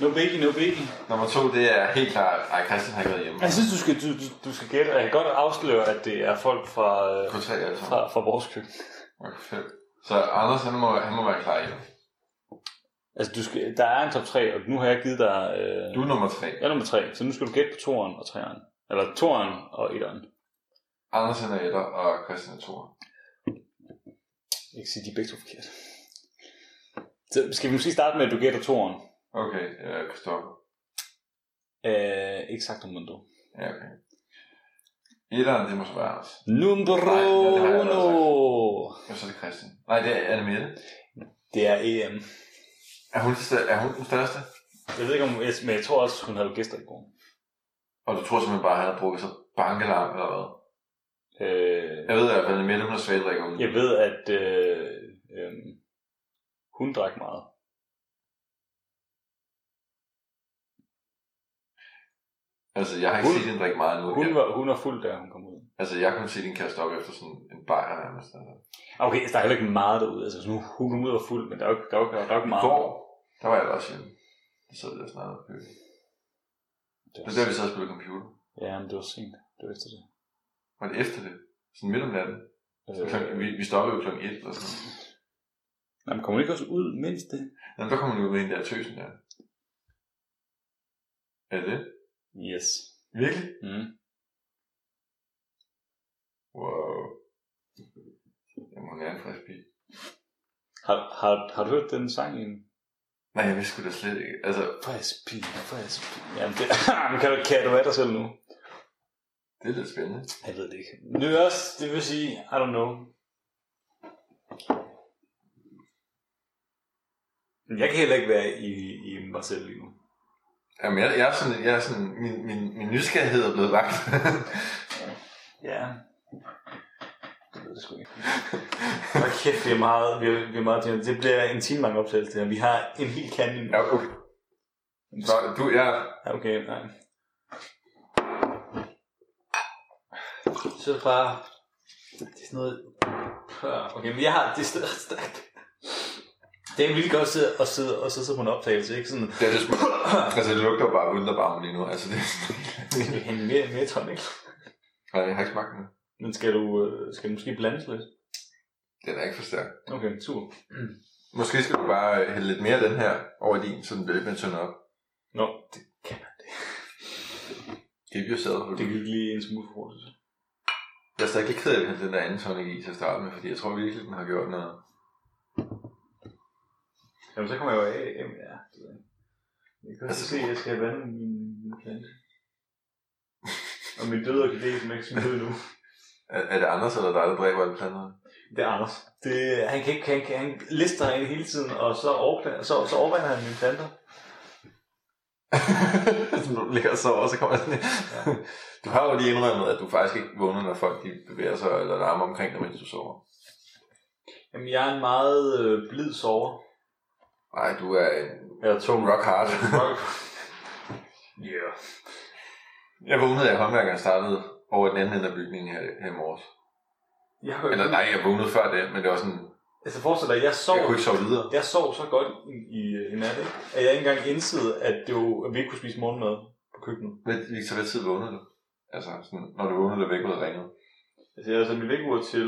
Speaker 2: No biggie, no biggie.
Speaker 3: Nummer to, det er helt klart, ej, Christian har ikke været hjemme.
Speaker 2: Jeg synes, du skal, du, du, du skal gætte, og jeg kan godt afsløre, at det er folk fra, øh,
Speaker 3: K3 altså.
Speaker 2: fra, fra vores køkken.
Speaker 3: Okay, fedt. Så Anders, han må, han må være klar hjemme.
Speaker 2: Altså, du skal, der er en top 3, og nu har jeg givet dig... Øh,
Speaker 3: Du er nummer tre.
Speaker 2: jeg er nummer 3, så nu skal du gætte på toeren og treeren. Eller toeren og etteren.
Speaker 3: Anders han er etter, og Christian er toer.
Speaker 2: Jeg kan sige, de er begge to forkert. Så skal vi måske starte med, at du gætter toeren.
Speaker 3: Okay, øh, Christoffer.
Speaker 2: Øh, ikke sagt om mundo.
Speaker 3: Ja, okay. Etteren, det må så være Anders.
Speaker 2: Numero
Speaker 3: Nej, ja, det har jeg allerede
Speaker 2: uno.
Speaker 3: Og så er det Christian. Nej, det er Anne Mette.
Speaker 2: Det er E EM.
Speaker 3: Er hun, den stør- er hun den største?
Speaker 2: Jeg ved ikke, om, jeg- men jeg tror også, hun havde gæster i går.
Speaker 3: Og du tror simpelthen bare, at han har drukket sig bankelarm eller hvad?
Speaker 2: Øh,
Speaker 3: Jeg ved i hvert fald, at Mette, hun er svagdrikker.
Speaker 2: jeg ved, at øh, øh, hun drak meget.
Speaker 3: Altså, jeg har ikke
Speaker 2: Hun-
Speaker 3: set hende drikke meget nu.
Speaker 2: Hun
Speaker 3: Jeg-
Speaker 2: var, hun var fuld, da hun kom ud.
Speaker 3: Altså, jeg kunne se din kaste op efter sådan en bajer nærmest. Altså.
Speaker 2: Ah, Okay, så der er heller ikke meget derude. Altså, nu, hun kom ud og var fuld, men der er jo ikke, der er jo ikke, der er jo ikke
Speaker 3: I
Speaker 2: meget.
Speaker 3: går, der var jeg da også hjemme. Der sad vi og snakkede om køkken. Det var der, vi sad og spillede computer.
Speaker 2: Ja, men det var sent. Det var efter det.
Speaker 3: Var det efter det? Sådan midt om natten. Så klokken, vi,
Speaker 2: Øh,
Speaker 3: vi stoppede jo klokken 1 eller sådan noget.
Speaker 2: nej, men kom Øh, hun ikke også ud mindst det?
Speaker 3: Jamen, der kom man jo med hende der tøsen der. Er det det?
Speaker 2: Yes.
Speaker 3: Virkelig?
Speaker 2: Mm.
Speaker 3: Wow. Jamen, hun er en frisk pige.
Speaker 1: Har, har, har du hørt den sang i
Speaker 3: Nej, jeg vidste sgu da slet ikke. Altså,
Speaker 1: Fræspil, fræspil. Jamen, det, <laughs> Jamen, kan, du, kan du være dig selv nu?
Speaker 3: det er lidt spændende.
Speaker 1: Jeg ved det ikke. Det er også, det vil sige, I don't know. Men Jeg kan heller ikke være i, i mig selv lige nu.
Speaker 3: Jamen, jeg, jeg er sådan, jeg er sådan min, min, min nysgerrighed er blevet vagt.
Speaker 1: Ja. Det ved jeg sgu <laughs> ikke. Hvor kæft, vi er meget, vi er, vi er meget tænkt. Det bliver en time lang optagelse det her. Vi har en hel kande. nu.
Speaker 3: <laughs> ja, okay. Nå, du, jeg,
Speaker 1: Ja, Okay, nej. Så er det bare... Det er sådan noget... Ja, Okay, men jeg har... Det er stadig stærkt. Det er vildt godt at sidde og, sidde, og så sidde på en optagelse, ikke? Sådan...
Speaker 3: det er det sm- <coughs> Altså, det lugter jo bare wunderbarm lige nu. Altså, det er sådan... <laughs>
Speaker 1: Hænge mere, mere tonic.
Speaker 3: Nej, jeg har ikke smagt den.
Speaker 1: Men skal du, øh, skal du måske blandes lidt?
Speaker 3: Den er ikke for stærk.
Speaker 1: Okay, super.
Speaker 3: Måske skal du bare øh, hælde lidt mere af den her over i din, så den bliver lidt mere tynd op.
Speaker 1: Nå, det kan man.
Speaker 3: Keep yourself.
Speaker 1: Det gik lige en smule for hurtigt.
Speaker 3: Jeg er stadig lidt ked af, at vi hældte den der anden tonic i til at starte med, fordi jeg tror virkelig, den har gjort noget.
Speaker 1: Jamen, så kommer jeg jo af. Jamen, ja. det ved jeg ikke. Jeg kan også se, at jeg skal vande min, min plante. Og min døde orkidé, som jeg ikke smidt ud nu.
Speaker 3: Er, er det Anders eller dig, der dræber alle planterne? <laughs>
Speaker 1: Det er Anders. Det, han, kan ikke, han, kan- han lister ind hele tiden, og så, overplan, så, så overvander han mine planter.
Speaker 3: Sådan, du ligger og sover, og så kommer sådan ja. Du har jo lige indrømmet, at du faktisk ikke vågner, når folk de bevæger sig eller larmer omkring dig, mens du sover.
Speaker 1: Jamen, jeg er en meget øh, blid sover.
Speaker 3: Nej, du er en
Speaker 1: Eller tung
Speaker 3: rock hard.
Speaker 1: Ja. Yeah.
Speaker 3: Jeg vågnede af håndværkeren startede over den anden ende af bygningen her, her i morges.
Speaker 1: Jeg har
Speaker 3: Eller nej, jeg vågnede før det, men det var sådan,
Speaker 1: Altså, forestil dig, jeg sov,
Speaker 3: jeg kunne ikke sove videre.
Speaker 1: jeg sov så godt i, i, i nat, ikke? at jeg ikke engang indsede, at, det var, at vi ikke kunne spise morgenmad på køkkenet.
Speaker 3: Hvad, Victor, hvad tid vågnede du? Altså, sådan, når du vågnede, der væk ud og ringede.
Speaker 1: Altså, jeg har sat mit vækkeur til,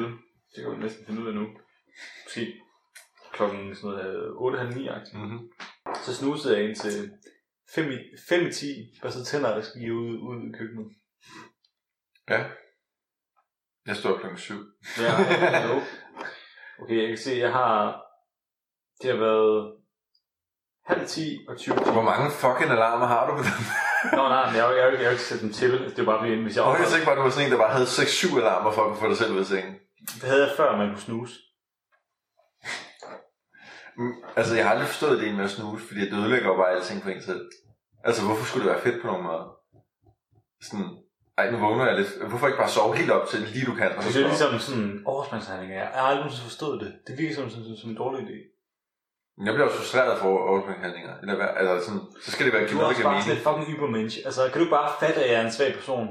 Speaker 1: det kan man næsten finde ud af nu, måske klokken sådan noget øh, 8.30-9
Speaker 3: Mm-hmm.
Speaker 1: Så snusede jeg ind til 5 i, 5 i 10 børste tænder, der skal give ud, ud i køkkenet.
Speaker 3: Ja. Jeg stod op klokken syv.
Speaker 1: Ja, hallo. Okay, jeg kan se, jeg har... Det har været halv 10 og 20
Speaker 3: Hvor
Speaker 1: timer.
Speaker 3: mange fucking alarmer har du <laughs> på den?
Speaker 1: Nå, nej, men jeg, jeg, jeg, jeg, jeg ikke sætte dem til. Det er bare fordi, hvis jeg...
Speaker 3: Og hvis ikke var du var sådan en, der bare havde 6-7 alarmer for at kunne få dig selv ud af sengen.
Speaker 1: Det havde jeg før, man kunne snuse.
Speaker 3: Mm, Altså, jeg har aldrig forstået det med at snuse, fordi det ødelægger jo bare alting på en selv. Altså, hvorfor skulle det være fedt på nogen måde? Sådan, ej, nu vågner jeg lidt. Hvorfor ikke bare sove helt op til lige du kan? Og så
Speaker 1: Det er
Speaker 3: stå op?
Speaker 1: ligesom sådan overspringshandlinger. Jeg har aldrig nogensinde forstået det. Det virker som, som, som en dårlig idé.
Speaker 3: Men Jeg bliver også frustreret for overspringshandlinger. Eller hvad? Altså, sådan, så skal det være
Speaker 1: Du er
Speaker 3: givet,
Speaker 1: også
Speaker 3: ikke
Speaker 1: bare sådan
Speaker 3: mening.
Speaker 1: et fucking hypermensch. Altså, kan du ikke bare fatte, at jeg er en svag person?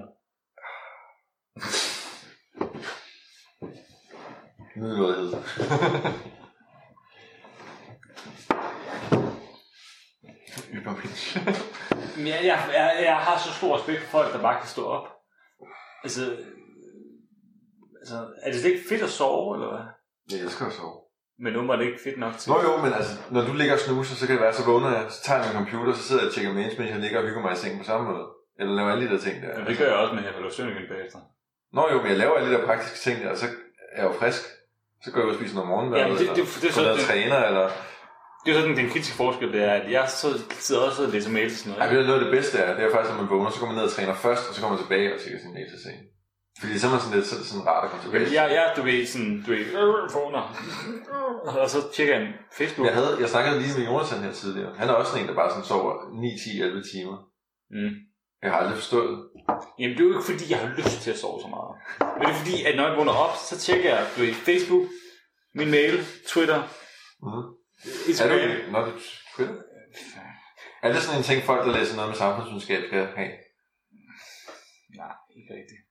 Speaker 3: Middelmådighed. Ybermensch.
Speaker 2: Men jeg, jeg, jeg, jeg har så stor respekt for folk, der bare kan stå op. Altså, øh, altså er det slet ikke fedt at sove, eller hvad?
Speaker 3: Jeg elsker at sove.
Speaker 2: Men nu var det ikke fedt nok til.
Speaker 3: Nå jo, men altså, når du ligger og snuser, så kan det være, så vågner jeg, så tager jeg min computer, så sidder jeg og tjekker mails, mens jeg ligger og hygger mig i sengen på samme måde. Eller laver alle de der ting der.
Speaker 2: Ja, det gør jeg også, men jeg falder søvn igen bagefter.
Speaker 3: Nå jo, men jeg laver alle de der praktiske ting der, og så er jeg jo frisk. Så går jeg ud og spiser noget morgenmad,
Speaker 2: Ja, men det-
Speaker 3: eller
Speaker 2: det- det er så-
Speaker 3: sådan,
Speaker 2: det-
Speaker 3: træner, eller...
Speaker 2: Det er jo sådan, den kritiske forskel, det er, at jeg så, sidder også og læser mails og sådan
Speaker 3: Ej,
Speaker 2: noget.
Speaker 3: ved du, noget af det bedste er, det er faktisk, når man vågner, så går man ned og træner først, og så kommer man tilbage og tjekker sin mail til sengen. Fordi så er man sådan lidt så er det sådan rart at komme tilbage.
Speaker 2: ikke? Jeg, jeg, du ved, sådan, du ved, øh,
Speaker 1: <laughs>
Speaker 2: vågner. Og så tjekker jeg en Facebook.
Speaker 3: Jeg, havde, jeg snakkede lige med Jonas her tidligere. Han er også sådan en, der bare sådan sover 9, 10, 11 timer.
Speaker 2: Mm.
Speaker 3: Jeg har aldrig forstået.
Speaker 2: Jamen, det er jo ikke fordi, jeg har lyst til at sove så meget. Men det er fordi, at når jeg vågner op, så tjekker jeg du ved, Facebook, min mail, Twitter,
Speaker 3: Mm. Er
Speaker 2: Instagram.
Speaker 3: det, når du Twitter? Er det sådan en ting, folk, der læser noget med samfundsvidenskab, skal have?
Speaker 2: Nej, ikke rigtigt.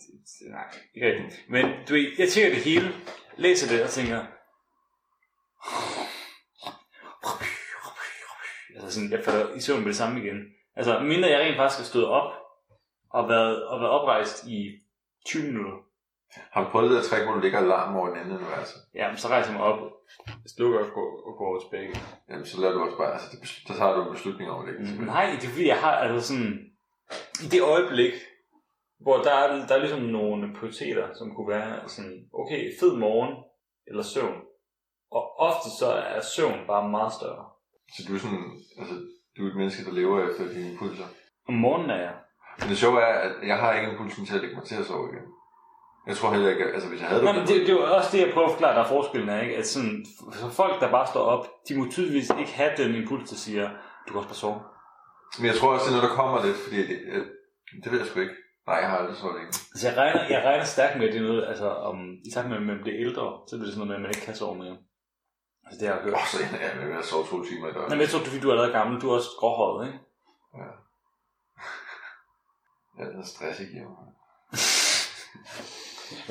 Speaker 2: Det- det- Nej, ikke rigtigt. Men du ved, jeg tjekker det hele, læser det og tænker... Altså sådan, jeg falder i søvn med det samme igen. Altså, mindre jeg rent faktisk har stået op og været, og været oprejst i 20 minutter,
Speaker 3: Har du prøvet det der trick, hvor du ligger og larmer over den anden univers?
Speaker 2: jamen, så rejser jeg mig op, slukker og går, og går over tilbage. igen.
Speaker 3: Jamen, så lader du også bare, altså, det, bes- så tager du en beslutning over det. Ikke?
Speaker 2: Mm, Nej, det er fordi, jeg har altså sådan...
Speaker 1: i det øjeblik, hvor der er, der er ligesom nogle prioriteter, som kunne være sådan, okay, fed morgen eller søvn.
Speaker 2: Og ofte så er søvn bare meget større.
Speaker 3: Så du er sådan, altså, du er et menneske, der lever efter dine impulser.
Speaker 2: Om morgenen er jeg.
Speaker 3: Men det sjove er, at jeg har ikke impulsen til at lægge mig til at sove igen. Jeg tror heller ikke, at- altså hvis jeg havde
Speaker 2: Nå, men det, det er jo også det, jeg prøver at forklare, der er forskellen er, ikke? At sådan, så folk, der bare står op, de må tydeligvis ikke have den impuls, der siger, du kan også bare sove.
Speaker 3: Men jeg tror også, det er noget, der kommer lidt, fordi det, øh, det ved jeg sgu ikke. Nej, jeg har aldrig sovet længe.
Speaker 2: Altså, jeg regner, jeg regner stærkt med, at det er noget, altså, om, i takt med, at man bliver ældre, så bliver det sådan noget med, at man ikke kan sove mere. Altså, det har jeg hørt.
Speaker 3: Åh, så ender jeg med at sove to timer i
Speaker 2: Nej,
Speaker 3: døgnet.
Speaker 2: men jeg tror, du, fordi du er allerede gammel, du er også gråhåret, ikke?
Speaker 3: Ja, den er stress ikke hjemme.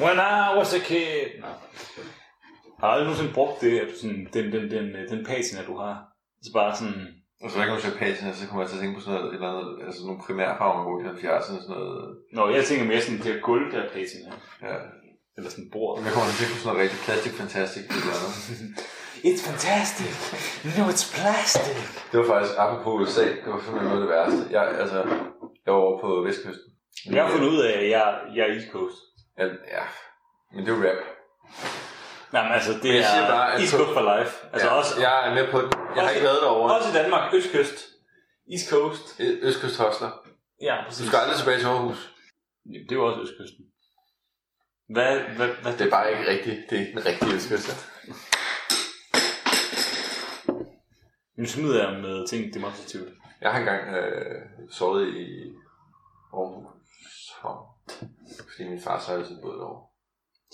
Speaker 2: When I was a kid. Nå. Har du aldrig nogensinde brugt det, at du sådan, den, den, den, øh, den patina, du har? Så bare sådan,
Speaker 3: Og så hver gang jeg ser patina, så kommer jeg til at tænke på sådan noget, et eller andet, altså nogle primærfarver, hvor i 70'erne sådan noget,
Speaker 2: Nå, jeg tænker mere sådan, det er gulv, der er patina.
Speaker 3: ja.
Speaker 2: Eller sådan bord.
Speaker 3: Jeg kommer til at tænke på sådan noget rigtig plastic fantastic, et eller andet.
Speaker 2: It's fantastic. No, it's plastic.
Speaker 3: Det var faktisk, apropos USA, det var simpelthen noget af det værste. Jeg, altså, jeg var over på Vestkysten.
Speaker 2: Jeg har fundet ud af, at jeg, jeg er East Coast.
Speaker 3: Ja, ja. men det er jo rap.
Speaker 2: Nej, men altså, det
Speaker 3: Men jeg siger
Speaker 2: er
Speaker 3: bare, at
Speaker 2: East
Speaker 3: på-
Speaker 2: Coast for life. Altså
Speaker 3: ja,
Speaker 2: også,
Speaker 3: Jeg er med på det. Jeg har
Speaker 2: også-
Speaker 3: ikke været derovre.
Speaker 2: også i Danmark, Østkyst. East Coast.
Speaker 3: Ø- Østkyst Hostler.
Speaker 2: Ja,
Speaker 3: Du
Speaker 2: præcis.
Speaker 3: skal aldrig tilbage til Aarhus.
Speaker 2: Jamen, Det er jo også Østkysten. Hvad, hvad, hvad,
Speaker 3: Det er bare ikke rigtigt. Det er ikke den rigtige Østkyst.
Speaker 2: Nu smider jeg med ting demonstrativt.
Speaker 3: Jeg har engang øh, sovet i Aarhus Havn, fordi min far sejlede sin båd derovre.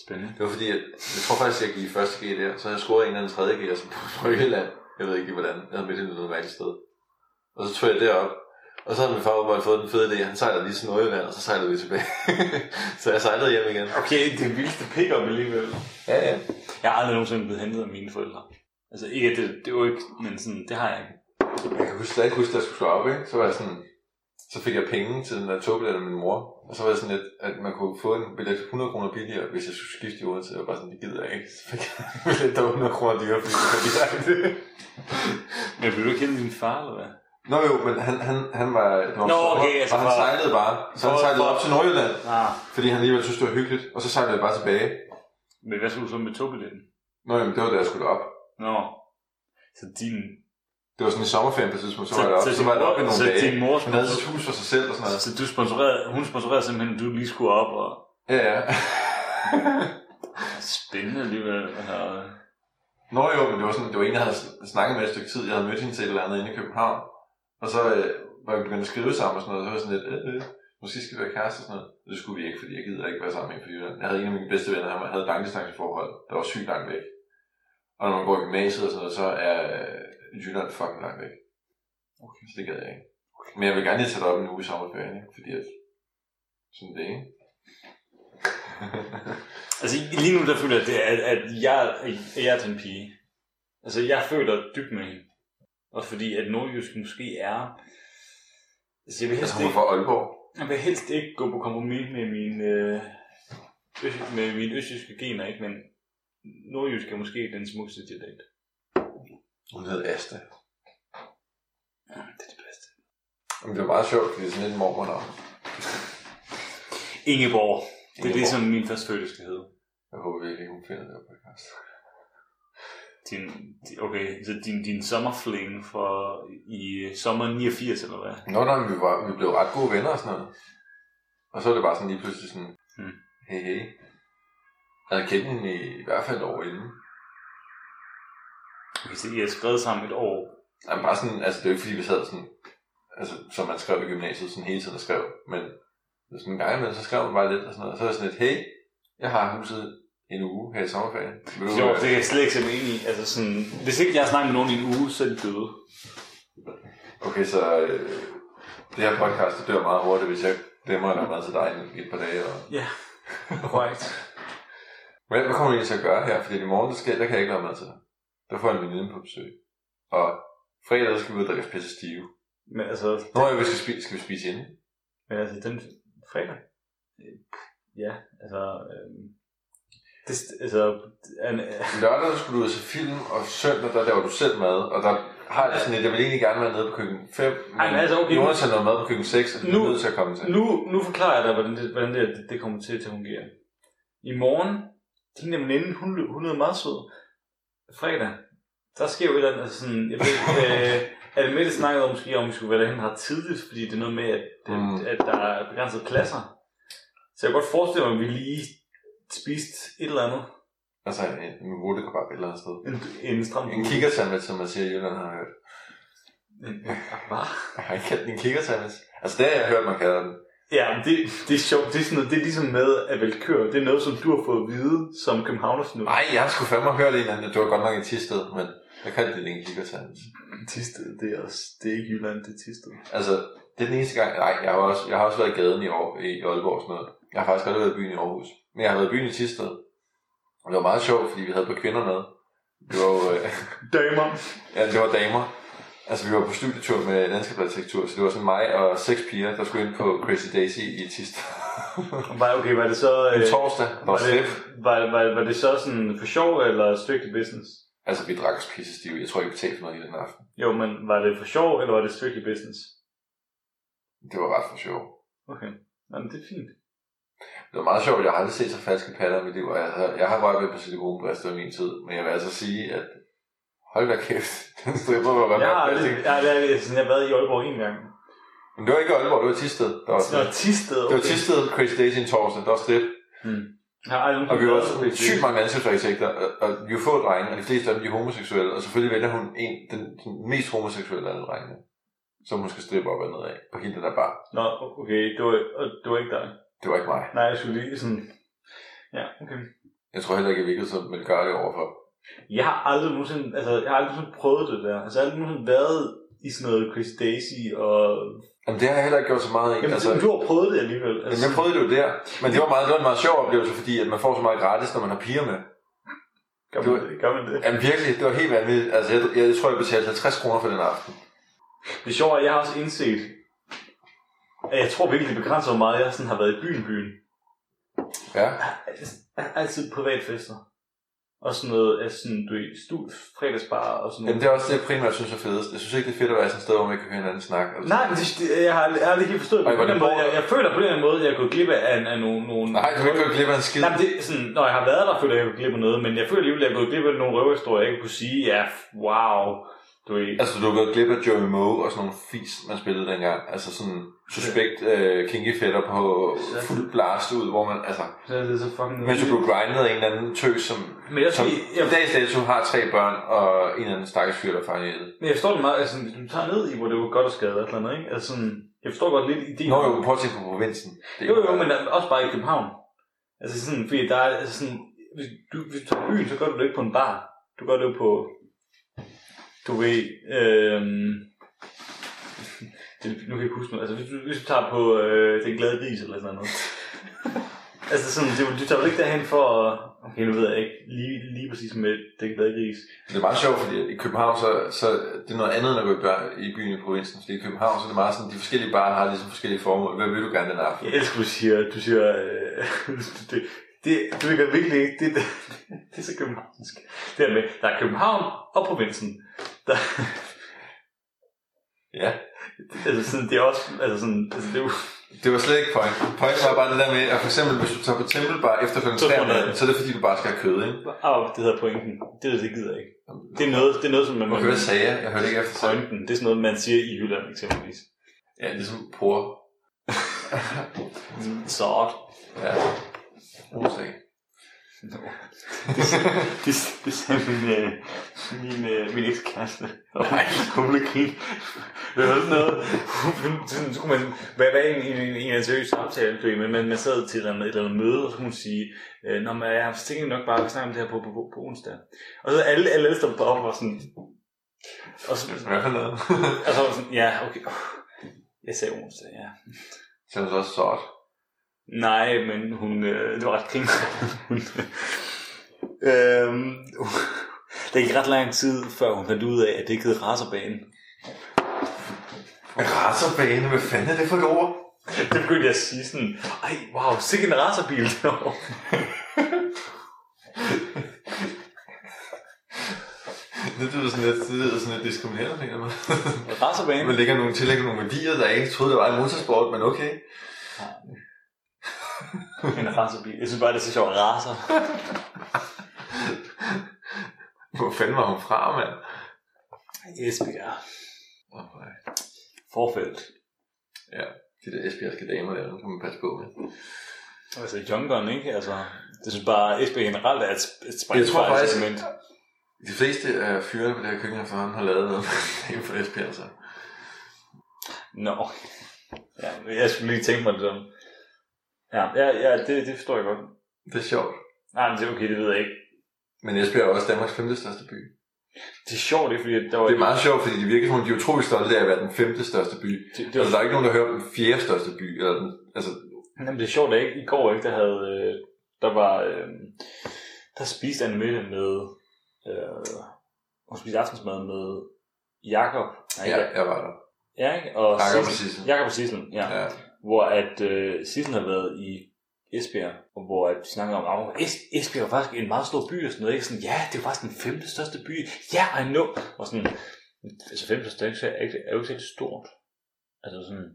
Speaker 2: Spændende.
Speaker 3: Det var fordi, at, jeg tror faktisk, jeg gik i første G der, så havde jeg scoret en eller anden tredje G, altså på Bryggeland. Jeg ved ikke lige hvordan. Jeg havde mødt hende noget mærkeligt sted. Og så tog jeg derop, og så havde min far åbenbart fået den fede idé. Han sejlede lige til Nordjylland, og så sejlede vi tilbage. <laughs> så jeg sejlede hjem igen.
Speaker 2: Okay, det er vildeste pick-up alligevel.
Speaker 3: Ja, ja.
Speaker 2: Jeg har aldrig nogensinde blevet hentet af mine forældre. Altså ikke, at det, det var ikke, men sådan, det har jeg ikke.
Speaker 3: Jeg kan huske, stadig huske, at jeg skulle slå op, ikke? Så var jeg sådan, så fik jeg penge til den der togbillet af min mor. Og så var det sådan lidt, at man kunne få en billet for 100 kroner billigere, hvis jeg skulle skifte i Odense. Jeg var bare sådan, det gider jeg ikke. Så fik jeg <laughs> en billet, der var 100 kroner dyrere, fordi det var direkte.
Speaker 2: Men blev du ikke hentet af din far, eller hvad?
Speaker 3: Nå jo, men han, han, han var... Det var
Speaker 2: Nå,
Speaker 3: for-
Speaker 2: okay, altså
Speaker 3: og han
Speaker 2: for-
Speaker 3: sejlede bare. Så han
Speaker 2: for-
Speaker 3: sejlede
Speaker 2: for-
Speaker 3: op til Nordjylland,
Speaker 2: Ah.
Speaker 3: fordi han alligevel synes, det var hyggeligt. Og så sejlede jeg bare tilbage.
Speaker 2: Men hvad skulle du så med togbilletten?
Speaker 3: Nå jamen, det var da jeg skulle op.
Speaker 2: Nå. Så din...
Speaker 3: Det var sådan i sommerferien på et tidspunkt, så var jeg op. Så var jeg
Speaker 2: din
Speaker 3: op i
Speaker 2: mor-
Speaker 3: nogle
Speaker 2: så
Speaker 3: dage.
Speaker 2: Din mor
Speaker 3: Han havde sit hus for sig selv og sådan noget.
Speaker 2: så du sponsorerede, hun sponsorerede simpelthen, at du lige skulle op og...
Speaker 3: Ja,
Speaker 2: <laughs>
Speaker 3: ja.
Speaker 2: Spændende alligevel. Og...
Speaker 3: Nå jo, men det var sådan, det var en, jeg havde sn- snakket med et stykke tid. Jeg havde mødt hende til et eller andet inde i København. Og så øh, var vi begyndt at skrive sammen og sådan noget. Og så var jeg sådan lidt, øh, øh, måske skal vi være kærester og sådan noget. Det skulle vi ikke, fordi jeg gider ikke være sammen med en fra Jylland. Jeg havde en af mine bedste venner, han var- havde et langdistanceforhold, der var sygt langt væk. Og når man går i gymnasiet og sådan noget, så er øh, Jylland fucking langt væk. Okay. Så det gad jeg ikke. Men jeg vil gerne lige tage det op en uge i sommerferien, ikke? fordi at, sådan det, ikke?
Speaker 2: Altså lige nu, der føler jeg, det, at, at jeg, at jeg er til en pige. Altså jeg føler dybt med hende. Også fordi, at nordjysk måske er... Altså jeg vil helst
Speaker 3: altså, hun
Speaker 2: ikke...
Speaker 3: var fra Aalborg.
Speaker 2: Jeg vil helst ikke gå på kompromis med mine, øh, øst, med mine østjyske gener, ikke? men nordjysk er måske den smukkeste dialekt.
Speaker 3: Hun hed Asta.
Speaker 2: Ja, det er det bedste.
Speaker 3: Men det var meget sjovt, fordi det er sådan lidt en mormor
Speaker 2: Ingeborg. Det er det,
Speaker 3: Ingeborg.
Speaker 2: som min første fødte skal hedde.
Speaker 3: Jeg håber virkelig, hun finder det her podcast.
Speaker 2: Din, di- okay, så din, din sommerfling for i sommeren 89, eller hvad?
Speaker 3: Nå, nej, vi, var, vi blev ret gode venner og sådan noget. Og så var det bare sådan lige pludselig sådan,
Speaker 2: Mm.
Speaker 3: hey, hey. Jeg havde kendt hende i, i hvert fald et år inden.
Speaker 2: Okay, så I har skrevet sammen et år.
Speaker 3: Jamen bare sådan, altså det er jo ikke fordi, vi sad sådan, altså som man skrev i gymnasiet, sådan hele tiden og skrev, men det var sådan en gang imellem, så skrev man bare lidt og sådan noget. Og så var jeg sådan lidt, hey, jeg har huset en uge her i sommerferien. Vil du,
Speaker 2: Jo,
Speaker 3: øh,
Speaker 2: det kan jeg slet ikke se mig ind i. Altså sådan, hvis ikke jeg har snakket med nogen i en uge, så er de døde.
Speaker 3: Okay, så øh, det her podcast, det dør meget hurtigt, hvis jeg glemmer at lave mad til dig i et par dage. Og...
Speaker 2: Ja, korrekt.
Speaker 3: Hvad, hvad kommer du egentlig til at gøre her? Fordi i morgen, der, skal, der kan jeg ikke lave mad til dig. Der får jeg en veninde på besøg. Og fredag, der skal vi ud og drikke os pisse stive.
Speaker 2: Men altså,
Speaker 3: Nå, ja, vi skal, spise, skal vi spise inde.
Speaker 2: Men altså, den fredag? Øh, Ja, altså... Øh,
Speaker 1: øhm,
Speaker 2: det, altså, an,
Speaker 3: Lørdag, der skulle du ud og se film, og søndag, der laver du selv mad. Og der har jeg det sådan lidt, jeg vil egentlig gerne være nede på køkken 5, men
Speaker 2: Ej, men altså, okay, nu-
Speaker 3: Jonas har noget mad på køkken 6, og det er
Speaker 2: Nu-
Speaker 3: vi nødt til at komme til.
Speaker 2: nu, nu forklarer jeg dig, hvordan det, hvordan det, det kommer til at fungere. I morgen, din veninde, hun, hun er meget sød.
Speaker 1: fredag, der sker jo et eller andet, altså sådan, jeg ved, øh, at Mette snakkede om, måske, om vi skulle være derhen ret tidligt, fordi det er noget med, at,
Speaker 3: Mm.
Speaker 1: mm. at der er begrænsede pladser. Så jeg kan godt forestille mig, at vi lige spiste et eller andet.
Speaker 3: Altså en, en rullekebab et eller andet sted.
Speaker 1: En, en stram
Speaker 3: En kikkersandwich, som man siger, i Jylland har hørt.
Speaker 1: Hvad?
Speaker 3: Jeg har ikke kaldt den en kikkersandwich. Altså det har jeg hørt, man kalder den.
Speaker 1: Ja, men det, det er sjovt. Det er, sådan noget, det er ligesom med at velkøre. Det er noget, som du har fået at vide som københavner nu.
Speaker 3: Nej, jeg skulle fandme have hørt en eller anden. Det var godt nok i Tisted, men jeg kaldte det en kikkersandwich.
Speaker 1: Tisted, det er, også, det er ikke Jylland, det er Tisted.
Speaker 3: Altså, det er den eneste gang. Nej, jeg har også, jeg har også været i gaden i, år, i Aalborg og sådan noget. Jeg har faktisk aldrig været i byen i Aarhus. Men jeg har været i byen i Tisted. Og det var meget sjovt, fordi vi havde på kvinder med. Det var jo, øh, <laughs>
Speaker 1: Damer.
Speaker 3: ja, det var damer. Altså, vi var på studietur med landskabsarkitektur, så det var sådan mig og seks piger, der skulle ind på Crazy Daisy i Tisted.
Speaker 1: <laughs> Var, okay, var det så...
Speaker 3: en
Speaker 1: øh,
Speaker 3: torsdag, der
Speaker 1: var,
Speaker 3: var
Speaker 1: det,
Speaker 3: slip.
Speaker 1: var, var, var det så sådan for sjov eller et stykke business?
Speaker 3: Altså, vi drak os pisse stive. Jeg tror ikke, vi betalte for noget i den aften.
Speaker 1: Jo, men var det for sjov eller var det et stykke business?
Speaker 3: Det var ret for sjov.
Speaker 1: Okay, Jamen, det er fint.
Speaker 3: Det var meget sjovt. Jeg har aldrig set så falske patter i mit liv, og jeg har, jeg har rørt ved på silikonbrister i min tid. Men jeg vil altså sige, at hold da kæft, <laughs> den stripper var godt
Speaker 1: Jeg
Speaker 3: nok
Speaker 1: har
Speaker 3: plastik.
Speaker 1: aldrig, jeg, har aldrig- sådan, jeg har været i Aalborg en gang.
Speaker 3: Men det var ikke Aalborg, det var Tisted. Der var
Speaker 1: Nå,
Speaker 3: strip.
Speaker 1: Tisted,
Speaker 3: Det var Tisted, Crazy Days i en torsdag, der var strip.
Speaker 1: Jeg har aldrig
Speaker 3: Og vi var også
Speaker 1: nogensinde været i
Speaker 3: sygt mange landskabsarkitekter, og- og vi var få drenge, og de fleste af dem de er homoseksuelle, og selvfølgelig vælger hun en, den, den mest homoseksuelle af alle drengene, som hun skal strippe op og ned af, på hele den der bar.
Speaker 1: Nå, okay, det var, og det var ikke dig.
Speaker 3: Det var ikke mig.
Speaker 1: Nej, jeg skulle lige sådan... Ja, okay.
Speaker 3: Jeg tror heller ikke, jeg virkede så velgørlig overfor.
Speaker 1: Jeg har aldrig nogensinde, altså, jeg har aldrig nogensinde prøvet det der. Altså, jeg har aldrig nogensinde været i sådan noget Chris Daisy og...
Speaker 3: Jamen det har jeg heller ikke gjort så meget i.
Speaker 1: Jamen, altså, du har prøvet det alligevel. Altså,
Speaker 3: Jamen, jeg prøvede det jo der, men det var, meget, det var en meget sjov oplevelse, fordi at man får så meget gratis, når man har piger med.
Speaker 1: Gør man det? Gør man det?
Speaker 3: Jamen virkelig, det var helt vanvittigt. Altså, jeg, jeg tror, jeg betalte 50 kroner for den aften.
Speaker 1: Det sjove er, at jeg har også indset, at jeg tror virkelig, det begrænser, hvor meget jeg sådan har været i byen, byen. Altså,
Speaker 3: Ja.
Speaker 1: Jeg har altid privatfester. Og sådan noget, altså sådan, du ved, stud, fredagsbar og sådan noget.
Speaker 3: Jamen, det er også det, jeg primært synes er fedest. Jeg synes ikke, det er fedt at være sådan et sted, hvor man ikke kan høre hinanden snakke. Altså,
Speaker 1: Nej, men det, det- jeg har aldrig- jeg har aldrig helt forstået det.
Speaker 3: Ej,
Speaker 1: På
Speaker 3: hvor
Speaker 1: den
Speaker 3: det
Speaker 1: måde,
Speaker 3: bor-
Speaker 1: jeg, jeg, føler på den her måde, at jeg er gået glip af, af, af nogle... nogle
Speaker 3: Nej, du kan ikke gå glip af en skid.
Speaker 1: Nej, men det, er sådan, når jeg har været der, føler jeg, at jeg er gået glip af noget, men jeg føler alligevel, at jeg er gået glip af nogle røverhistorier, jeg ikke kunne sige, ja, f- wow, du ved.
Speaker 3: Altså, du er gået glip af Joey Moe og sådan nogle fis, man spillede dengang. Altså sådan suspekt øh, kinky fætter på fuld blast ud, hvor man, altså...
Speaker 1: Så er det så fucking...
Speaker 3: Mens du blev grindet af en eller anden tøs, som,
Speaker 1: Men jeg,
Speaker 3: som
Speaker 1: tror, jeg,
Speaker 3: i dags dato har tre børn og en eller anden stakkels fyr, der fanger i det.
Speaker 1: Men jeg forstår det meget, altså hvis du tager ned i, hvor det var godt at skade eller et eller andet, ikke? Altså sådan, jeg forstår godt lidt ideen.
Speaker 3: Nå jo, men prøv at tænke på provinsen. Det er
Speaker 1: jo, jo, men også bare i København. Altså sådan, fordi der er altså sådan, hvis du, hvis du tager i byen, så gør du det ikke på en bar. Du gør det jo på, du ved, øhm, <laughs> det, nu kan jeg ikke huske noget. Altså hvis du, hvis du tager på øh, Den Glade Gris eller sådan noget. altså sådan, det, du tager vel ikke derhen for at, okay, nu ved jeg ikke lige, lige præcis med Den Glade Gris.
Speaker 3: Det er meget sjovt, fordi i København, så, så det er noget andet, end at gå i, bør- i byen i provinsen. Fordi i København, så er det meget sådan, de forskellige barer har ligesom forskellige formål. Hvad vil du gerne den aften?
Speaker 1: Jeg elsker, du siger, du siger, øh, <laughs> det, det, du virker virkelig ikke, det, det, det er så københavnsk. Det her med, der er København og provinsen. Der, <laughs>
Speaker 3: Ja.
Speaker 1: altså sådan, det er også, altså sådan, altså det er jo,
Speaker 3: Det var slet ikke point. Point var bare det der med, at for eksempel, hvis du tager på Tempelbar efter kl.
Speaker 1: Så får du
Speaker 3: 3 om natten,
Speaker 1: noget.
Speaker 3: så er det fordi, du bare skal have kød, ikke?
Speaker 1: oh, det hedder pointen. Det, det gider jeg ikke. Det er noget, det er noget som man,
Speaker 3: Okay, hvad sagde jeg? Jeg hørte ikke efter. Point.
Speaker 1: pointen, det er sådan noget, man siger i Jylland eksempelvis.
Speaker 3: Ja, ligesom por.
Speaker 1: Sort.
Speaker 3: Ja. Onsdag.
Speaker 1: Det, det sagde min, øh, min, øh, min ekskæreste. Nej. Hun blev grint. Det var sådan noget. Hun- Sådan, så kunne man være, være i en, en, en, en, en seriøs samtale, du ved, men man, man sad til et eller andet, et eller andet møde, og så kunne hun sige, øh, Nå, men jeg har tænkt nok bare at snakke om det her på, på, på, på onsdag. Og så alle, alle stod bare op og sådan... Og så,
Speaker 3: Hvad for noget? <laughs>
Speaker 1: og så var jeg sådan, ja, okay. Jeg sagde onsdag, ja.
Speaker 3: Så er det også sort.
Speaker 1: Nej, men hun, øh, det var ret kring. <laughs> hun, øhm, <laughs> det gik ret lang tid, før hun fandt ud af, at det ikke hed racerbanen.
Speaker 3: Racerbane, hvad fanden er det for et ord? <laughs>
Speaker 1: Det begyndte jeg at sige sådan, ej, wow, sikke en racerbil derovre.
Speaker 3: Det lyder sådan lidt, det lyder sådan lidt diskriminerende, tænker jeg. Man
Speaker 1: <laughs> Racerbanen?
Speaker 3: lægger nogle, tillægger nogle værdier, der ikke troede, der var i motorsport, men okay.
Speaker 1: En racerbil. Jeg synes bare, det er så sjovt, racer.
Speaker 3: Hvor fanden var hun fra, mand?
Speaker 1: Esbjerg.
Speaker 3: Åh, nej.
Speaker 1: Forfældt.
Speaker 3: De der esbjergske damer der, dem kan man passe på med.
Speaker 1: Altså Young Gun, ikke? Altså, det synes bare, Esbjerg generelt er et, et
Speaker 3: Jeg tror faktisk-
Speaker 1: spejlsegment.
Speaker 3: De fleste af fyrene på det her køkken efterhånden har lavet noget <laughs> inden for Esbjerg, så.
Speaker 1: Nå. Ja, jeg skulle lige tænke mig det sådan. Ja, ja, ja det, det forstår jeg godt.
Speaker 3: Det er sjovt.
Speaker 1: Nej, men det er okay, det ved jeg ikke.
Speaker 3: Men Esbjerg er også Danmarks femte største by.
Speaker 1: Det er sjovt, det er fordi, at der var...
Speaker 3: Det er meget sjovt, fordi de virker som om, de er utrolig stolte af at være den femte største by.
Speaker 1: Det, det,
Speaker 3: Altså,
Speaker 1: var,
Speaker 3: der er ikke nogen, der hører om den fjerde største by. Eller den, altså,
Speaker 1: Jamen, det er sjovt, at ikke i går ikke, der havde... øh, Der var... øh, Der spiste Anne Mette med... Øh, hun spiste aftensmad med Jakob. Nej,
Speaker 3: ja,
Speaker 1: ikke
Speaker 3: jeg var der.
Speaker 1: Ja, ikke? Og
Speaker 3: Jakob og
Speaker 1: Sissel-
Speaker 3: Sissel.
Speaker 1: Jakob og Sissel, ja.
Speaker 3: Ja.
Speaker 1: Hvor at øh, Sissel har været i Esbjerg, og hvor at de snakker om, at es- Esbjerg er faktisk en meget stor by og sådan noget. Ikke? Sådan, ja, det er faktisk den femte største by. Ja, I know. Og sådan, altså femte største er ikke så- er ikke- er jo ikke særlig stort. Altså sådan,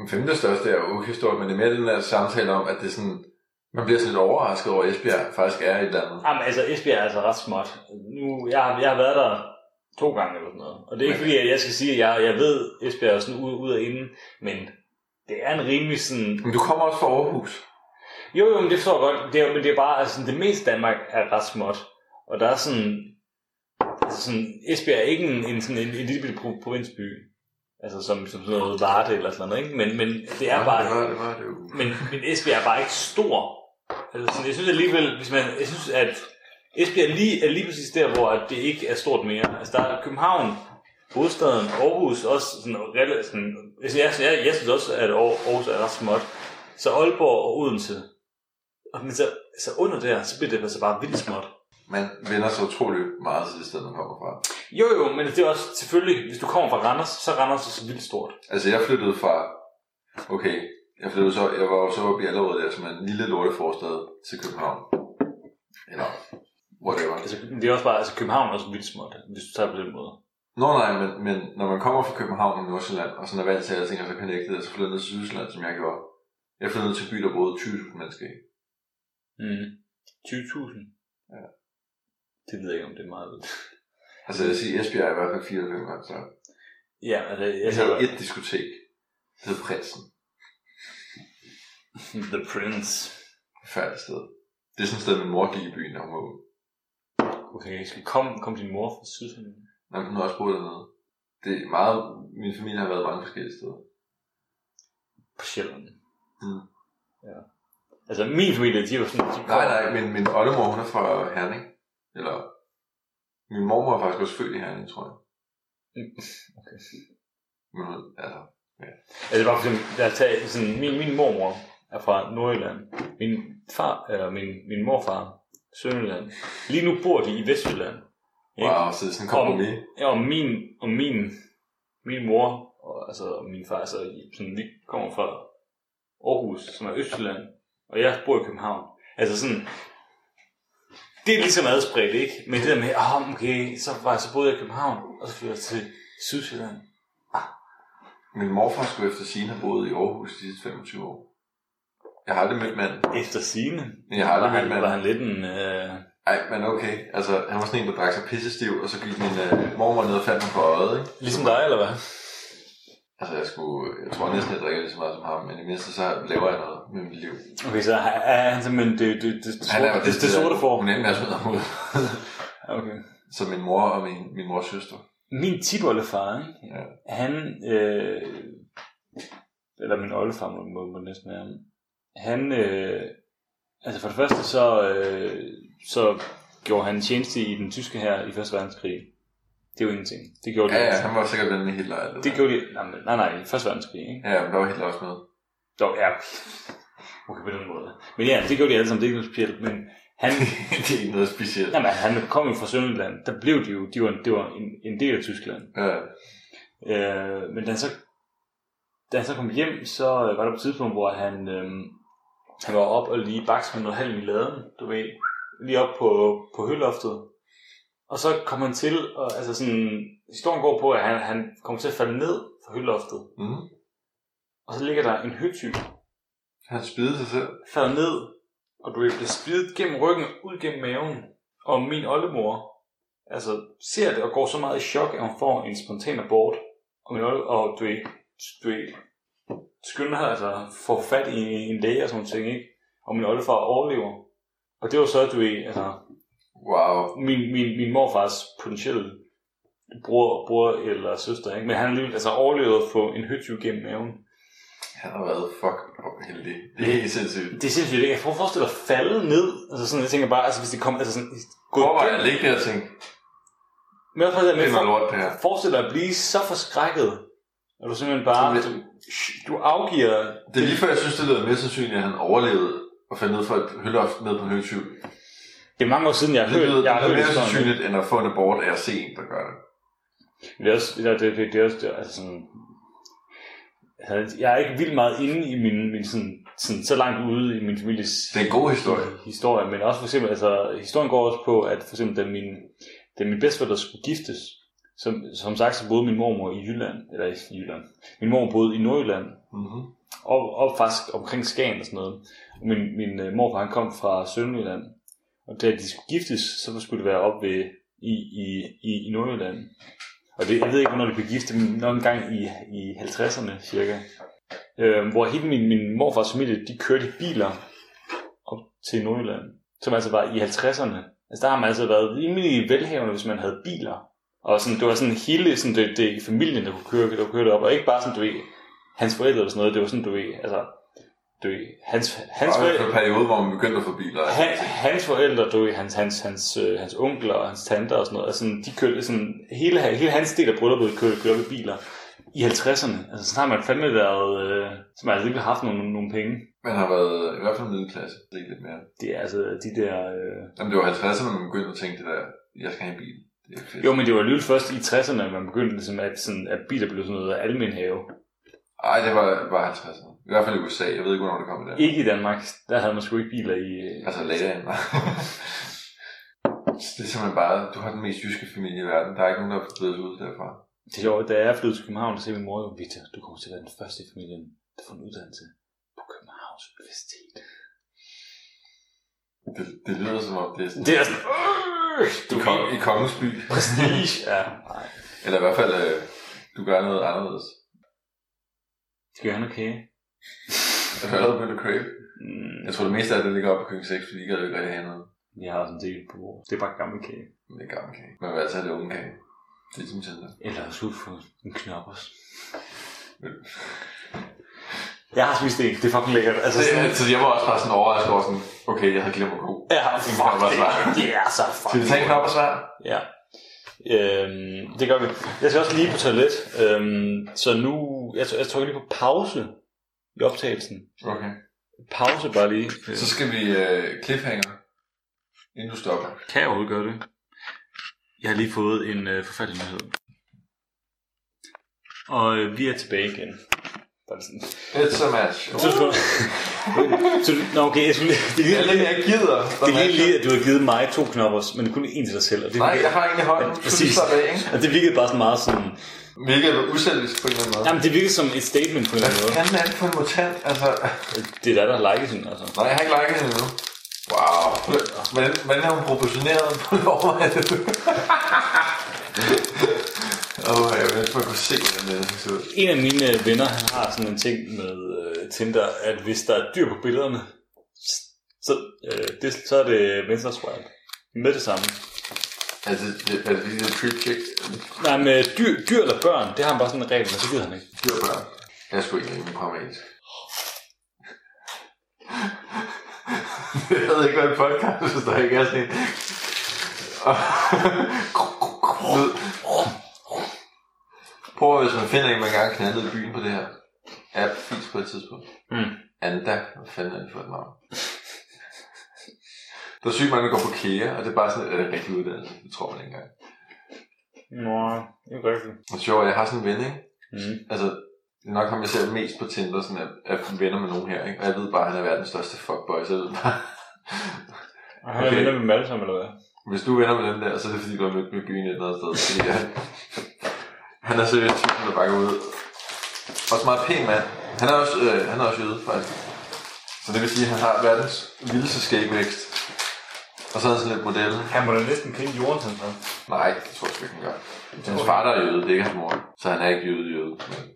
Speaker 3: Den femte største er jo okay stort, men det er mere den der samtale om, at det er sådan... Man bliver sådan lidt overrasket over, at Esbjerg faktisk er et eller andet.
Speaker 1: Jamen, altså, Esbjerg er altså ret småt. Nu, jeg, har, jeg har været der to gange eller sådan noget. Og det er ikke fordi, at jeg skal sige, at jeg, jeg ved Esbjerg sådan ud, ud og inden, men det er en rimelig sådan...
Speaker 3: Men du kommer også fra Aarhus.
Speaker 1: Jo, jo, men det forstår jeg godt. Det er, men det er bare, altså, det meste af Danmark er ret småt. Og der er sådan... Altså sådan, Esbjerg er ikke en, en, sådan en, en lille bitte pro- provinsby. Altså som, som sådan noget Varde eller sådan noget, ikke? Men, men det er bare...
Speaker 3: Det var det, var, det jo.
Speaker 1: Men, men Esbjerg er bare ikke stor. Altså, sådan, jeg synes alligevel, hvis man, jeg synes, at Esbjerg lige, er lige præcis der, hvor at det ikke er stort mere. Altså, der er København, hovedstaden, Aarhus, også sådan, rela- sådan altså, jeg, jeg, jeg, synes også, at Aar- Aarhus er ret småt. Så Aalborg og Odense. Og, men så, så under der, så bliver det altså bare vildt småt.
Speaker 3: Man vender sig utrolig meget til det sted, man kommer fra.
Speaker 1: Jo jo, men det er også selvfølgelig, hvis du kommer fra Randers, så er Randers så vildt stort.
Speaker 3: Altså, jeg flyttede fra... Okay, jeg flyttede så... Jeg var jo så oppe i Allerød der, som er en lille lorteforstad til København. Eller... Whatever.
Speaker 1: Altså, det er også bare, altså København er også vildt småt, hvis du tager på den måde.
Speaker 3: Nå nej, men, men når man kommer fra København og Nordsjælland, og sådan er vant til alting, og så connectet, og så flyttede ned til Sydsjælland, som jeg gjorde. Jeg flyttede ned til en by, der boede 20.000 mennesker i.
Speaker 1: Mm. 20.000?
Speaker 3: Ja.
Speaker 1: Det ved jeg ikke, om det er meget lidt.
Speaker 3: Altså, jeg siger, Esbjerg er i hvert fald 94 gange så.
Speaker 1: <laughs> Ja, altså, jeg
Speaker 3: Jeg havde et diskotek. Det hed Prinsen.
Speaker 1: The Prince.
Speaker 3: Færdigt sted. Det er sådan et sted, min mor gik i byen, når hun var ung.
Speaker 1: Okay, skal kom, kom din mor fra Sydsjælland?
Speaker 3: Nej, men hun har også boet dernede. Det er meget... Min familie har været mange forskellige steder.
Speaker 1: På Sjælland.
Speaker 3: Mm.
Speaker 1: Ja. Altså, min familie, de var sådan... De
Speaker 3: Nej, nej, men min oldemor, hun er fra Herning. Eller, min mormor er faktisk også født i Herning, tror jeg.
Speaker 1: Okay.
Speaker 3: Men hun, altså,
Speaker 1: Altså, bare for eksempel, lad os tage sådan, min, min mormor er fra Nordjylland. Min far, eller min, min morfar, Sønderjylland. Lige nu bor de i Vestjylland. Ikke?
Speaker 3: wow, så det er sådan en kompromis.
Speaker 1: Ja, og min, og min, min mor og, altså, og min far, altså, i- sådan, vi kommer fra Aarhus, som er Østjylland, og jeg bor i København. Altså sådan, det er ligesom adspredt, ikke? Men det der med, ah, oh, okay, så, var, så boede jeg i København, og så flyttede jeg til Sydsjælland.
Speaker 3: Min morfar skulle efter sine have boet i Aarhus de sidste 25 år. Jeg har aldrig mødt manden.
Speaker 1: Efter sine
Speaker 3: Jeg har
Speaker 1: var
Speaker 3: aldrig
Speaker 1: han,
Speaker 3: mødt
Speaker 1: var
Speaker 3: manden.
Speaker 1: han lidt en... Øh,
Speaker 3: Ej, men okay. Altså, han var sådan en, der drak sig pissestiv, og så gik min øh, mormor ned og fandt ham på øjet, ikke?
Speaker 1: ligesom dig, eller hvad?
Speaker 3: Altså, jeg, skulle, jeg tror næsten, jeg drikker lige så meget som ham, men i det mindste så laver jeg noget med mit liv.
Speaker 1: Okay, så er er han simpelthen det, det, det, det,
Speaker 3: Han er jo
Speaker 1: sorte- det, det sorte for.
Speaker 3: Hun endte med at smide ham ud.
Speaker 1: Okay.
Speaker 3: så min mor og min, min mors søster.
Speaker 1: min tipoldefar, ikke?
Speaker 3: Ja.
Speaker 1: han, øh, eller min oldefar må, må, må det næsten være, han, øh, altså for det første så, øh, så gjorde han tjeneste i den tyske her i første verdenskrig. Det er jo ingenting. Det gjorde de.
Speaker 3: Ja, ja,
Speaker 1: altid.
Speaker 3: han var sikkert ven med Hitler. og alt
Speaker 1: Det
Speaker 3: der.
Speaker 1: gjorde de, nej, men- nej, nej, i første verdenskrig, ikke?
Speaker 3: Ja, men der var Hitler også med.
Speaker 1: Dog, ja, okay på den måde. Men ja, det gjorde de alle sammen, det er ikke noget specielt, men han, <laughs>
Speaker 3: det er ikke noget specielt.
Speaker 1: jamen, han kom jo fra Sønderland, der blev de jo, de var, det var en, en del af Tyskland.
Speaker 3: Ja,
Speaker 1: Øh, men da han, så, da han så kom hjem, så øh, var der på et tidspunkt, hvor han, øh, han var op og lige bakse med noget halm i laden, du ved, lige op på, på høloftet. Og så kom han til, og, altså sådan, historien går på, at han, han kom til at falde ned fra høloftet.
Speaker 3: mm.
Speaker 1: Og så ligger der en høtyv,
Speaker 3: Han spidede sig selv.
Speaker 1: falder ned, og du ved, bliver spidet gennem ryggen, ud gennem maven. Og min oldemor altså, ser det og går så meget i chok, at hun får en spontan abort, og, og du ikke, du ikke skynder sig altså, få fat i en læge og sådan nogle ting, ikke? Og min oldefar overlever. Og det var så, at du ikke, altså,
Speaker 3: Wow.
Speaker 1: min, min, min morfars potentielle bror, bror eller søster, ikke? Men han alligevel, altså overlevede at få en høtyv gennem maven.
Speaker 3: Han har været fuck heldig. Det er helt sindssygt.
Speaker 1: Det er sindssygt, ikke? Jeg prøver at forestille dig at falde ned. Altså sådan, jeg tænker bare, altså hvis det kom, altså sådan, gå
Speaker 3: Hvor var jeg ligge der og tænke,
Speaker 1: Men jeg forestiller
Speaker 3: det
Speaker 1: mig,
Speaker 3: er noget lort det her.
Speaker 1: for, forestil dig at blive så forskrækket, at du simpelthen bare,
Speaker 3: Men-
Speaker 1: du, du afgiver,
Speaker 3: Det er lige før, jeg synes, det lyder mere sandsynligt, at han overlevede og faldt ned fra et høloft ned på en højtyv.
Speaker 1: det er mange år siden, jeg har
Speaker 3: Det lyder
Speaker 1: hørt, jeg har
Speaker 3: det
Speaker 1: hørt
Speaker 3: er mere
Speaker 1: historien.
Speaker 3: sandsynligt, end at få en abort af at se en, der gør det.
Speaker 1: Det er også, det, det, det, det er også, det, er- altså sådan, altså, jeg er ikke vildt meget inde i min, min sådan, sådan, så langt ude i min families
Speaker 3: Det er en god historie.
Speaker 1: historie, men også for eksempel, altså, historien går også på, at for eksempel, da min, da min bedsteforældre skulle giftes, som, som sagt, så boede min mormor i Jylland, eller i Jylland, min mor boede i Nordjylland,
Speaker 3: Mm-hmm.
Speaker 1: op, op faktisk omkring Skagen og sådan noget. Og min, min øh, morfar, han kom fra Sønderjylland. Og da de skulle giftes, så skulle det være op ved, i, i, i, i Nordjylland. Og det, jeg ved ikke, hvornår de blev gift, men nok en gang i, i 50'erne cirka. Øh, hvor hele min, min morfars familie, de kørte i biler op til Nordjylland. Som altså var i 50'erne. Altså der har man altså været rimelig velhavende, hvis man havde biler. Og sådan, det var sådan hele sådan, det, det, familien, der kunne køre, der kunne køre det op. Og ikke bare sådan, du ved, hans forældre eller sådan noget, det var sådan, du ved, altså, du ved, hans, hans,
Speaker 3: Og det var
Speaker 1: forældre,
Speaker 3: en periode, hvor man begyndte at få biler.
Speaker 1: han, hans forældre, du ved, hans, hans, hans, øh, hans onkler og hans tanter og sådan noget, altså, de kørte sådan, hele, hele hans del af brylluppet kørte, kørte op i biler i 50'erne. Altså, sådan har man fandme været, øh, så man har virkelig haft nogle, nogle penge.
Speaker 3: Man har været i hvert fald middelklasse. Det er ikke lidt mere.
Speaker 1: Det er altså de der... Øh...
Speaker 3: Jamen, det var 50'erne, man begyndte at tænke det der, jeg skal have en bil. Det er fedt.
Speaker 1: Jo, men det var alligevel først i 60'erne, at man begyndte ligesom, at, sådan, at biler blev sådan noget almen have.
Speaker 3: Ej, det var, var 50'erne. I hvert fald i USA. Jeg ved ikke, hvornår det kom der.
Speaker 1: Ikke i Danmark, der havde man sgu ikke biler i... øh,
Speaker 3: Altså later end mig. <laughs> det er simpelthen bare, du har den mest jyske familie i verden. Der er ikke nogen, der er blevet ud derfra.
Speaker 1: Det er sjovt, da jeg flyttede til København, så sagde min mor jo, Victor, du kommer til at være den første i familien, der får en uddannelse på Københavns Universitet.
Speaker 3: Det, det lyder som om, det er sådan,
Speaker 1: Det er sådan, øh, du
Speaker 3: du
Speaker 1: kom
Speaker 3: kom, i Kongens by.
Speaker 1: prestige. <laughs> Ja, nej.
Speaker 3: Eller i hvert fald, øh, du gør noget anderledes.
Speaker 1: Skal jeg have noget kage?
Speaker 3: Jeg har lavet Mølle Crave.
Speaker 1: Mm,
Speaker 3: Jeg tror, det meste af det ligger oppe på køkken 6, fordi jeg ikke rigtig have noget.
Speaker 1: vi har sådan en del på bordet. Det er bare gammel kage.
Speaker 3: Men det er gammel kage. Man vil altså have det unge kage. Det er ligesom Tinder.
Speaker 1: Eller også ud for en knoppers.
Speaker 3: Men-
Speaker 1: Jeg har spist en, det er fucking lækkert. Altså,
Speaker 3: Så,
Speaker 1: sådan,
Speaker 3: Øh, så jeg var også bare sådan overrasket over sådan, okay, jeg havde glemt at gå.
Speaker 1: ja,
Speaker 3: en
Speaker 1: fuck
Speaker 3: knap og
Speaker 1: det.
Speaker 3: svar.
Speaker 1: Det er så
Speaker 3: Skal vi
Speaker 1: fucking
Speaker 3: tage en knap og svar?
Speaker 1: Ja. Øhm, det gør vi. Jeg skal også lige på toilet. Øhm, så nu, jeg, tr- jeg trykker lige på pause i optagelsen.
Speaker 3: Okay.
Speaker 1: Pause bare lige.
Speaker 3: Så skal vi øh, cliffhanger, inden du stopper.
Speaker 1: kan jeg overhovedet gøre det? Jeg har lige fået en øh, forfærdelig nyhed. Og øh, vi er tilbage igen. Der er sådan.
Speaker 3: It's a match.
Speaker 1: Så du, <laughs> så du, nå okay, jeg skulle, det er
Speaker 3: Det er
Speaker 1: lige,
Speaker 3: det, jeg gider.
Speaker 1: det er lige, lige, at du har givet mig to knopper, men kun en til dig selv. Og det,
Speaker 3: Nej,
Speaker 1: virkede-
Speaker 3: jeg har en i hånden.
Speaker 1: Ja,
Speaker 3: Ja,
Speaker 1: præcis.
Speaker 3: præcis. Så af, ikke?
Speaker 1: og det virkede bare sådan meget sådan...
Speaker 3: Hvilket er uselvisk på en eller anden måde.
Speaker 1: Jamen, det virkede som et statement på en eller anden måde.
Speaker 3: Fanden er det for en mutant? Altså,
Speaker 1: Det er der, der har liket den, altså.
Speaker 3: nej, jeg har ikke liket hende endnu. Wow. Hvordan, hvordan har hun proportioneret <laughs> på loven af det? Åh, jeg ved ikke, for at kunne se, hvordan det ser ud.
Speaker 1: En af mine øh, venner, han har sådan en ting med øh, Tinder, at hvis der er dyr på billederne, så, øh, det, så er det venstre swipe. Med det samme.
Speaker 3: Altså, det, er det fordi, det er creep chick?
Speaker 1: Nej, med dyr, dyr eller børn, det har han bare sådan en regel, men så gider han ikke.
Speaker 3: Dyr børn. Jeg er sgu ikke rimelig pragmatisk. jeg ved ikke, hvad en podcast, hvis der ikke er sådan en... Lyd. Prøv at, hvis man finder en, man engang knaldede i byen på det her. Er fisk på et tidspunkt.
Speaker 1: Mm.
Speaker 3: Anda, hvad fanden er det for et navn? Der er sygt mange, der går på kære, og det er bare sådan, er det rigtig uddannelse? Det tror man ikke engang.
Speaker 1: Nå, ikke rigtigt.
Speaker 3: Og sjovt, jeg har sådan en ven, ikke?
Speaker 1: Mm.
Speaker 3: altså, det er nok ham, jeg ser mest på Tinder, sådan at, at venner med nogen her, ikke? Og jeg ved bare, at han er verdens største fuckboy, så jeg ved bare, <laughs>
Speaker 1: Og han er
Speaker 3: Okay.
Speaker 1: venner med dem alle sammen, eller hvad?
Speaker 3: hvis du er venner med dem der, så er det fordi, du har mødt dem i byen et eller andet sted, fordi han, <laughs> han er seriøst typen, der bare går ud. Også meget pæn mand. Han er også, øh, han er også jøde, faktisk. Så det vil sige, at han har verdens vildeste skægvækst. Og så er han sådan lidt model.
Speaker 1: Han må da næsten kende jorden, han så.
Speaker 3: Nej, det tror jeg sgu ikke, han gør. Hans far der er jøde, det er ikke hans mor. Så han er ikke jøde jøde. Men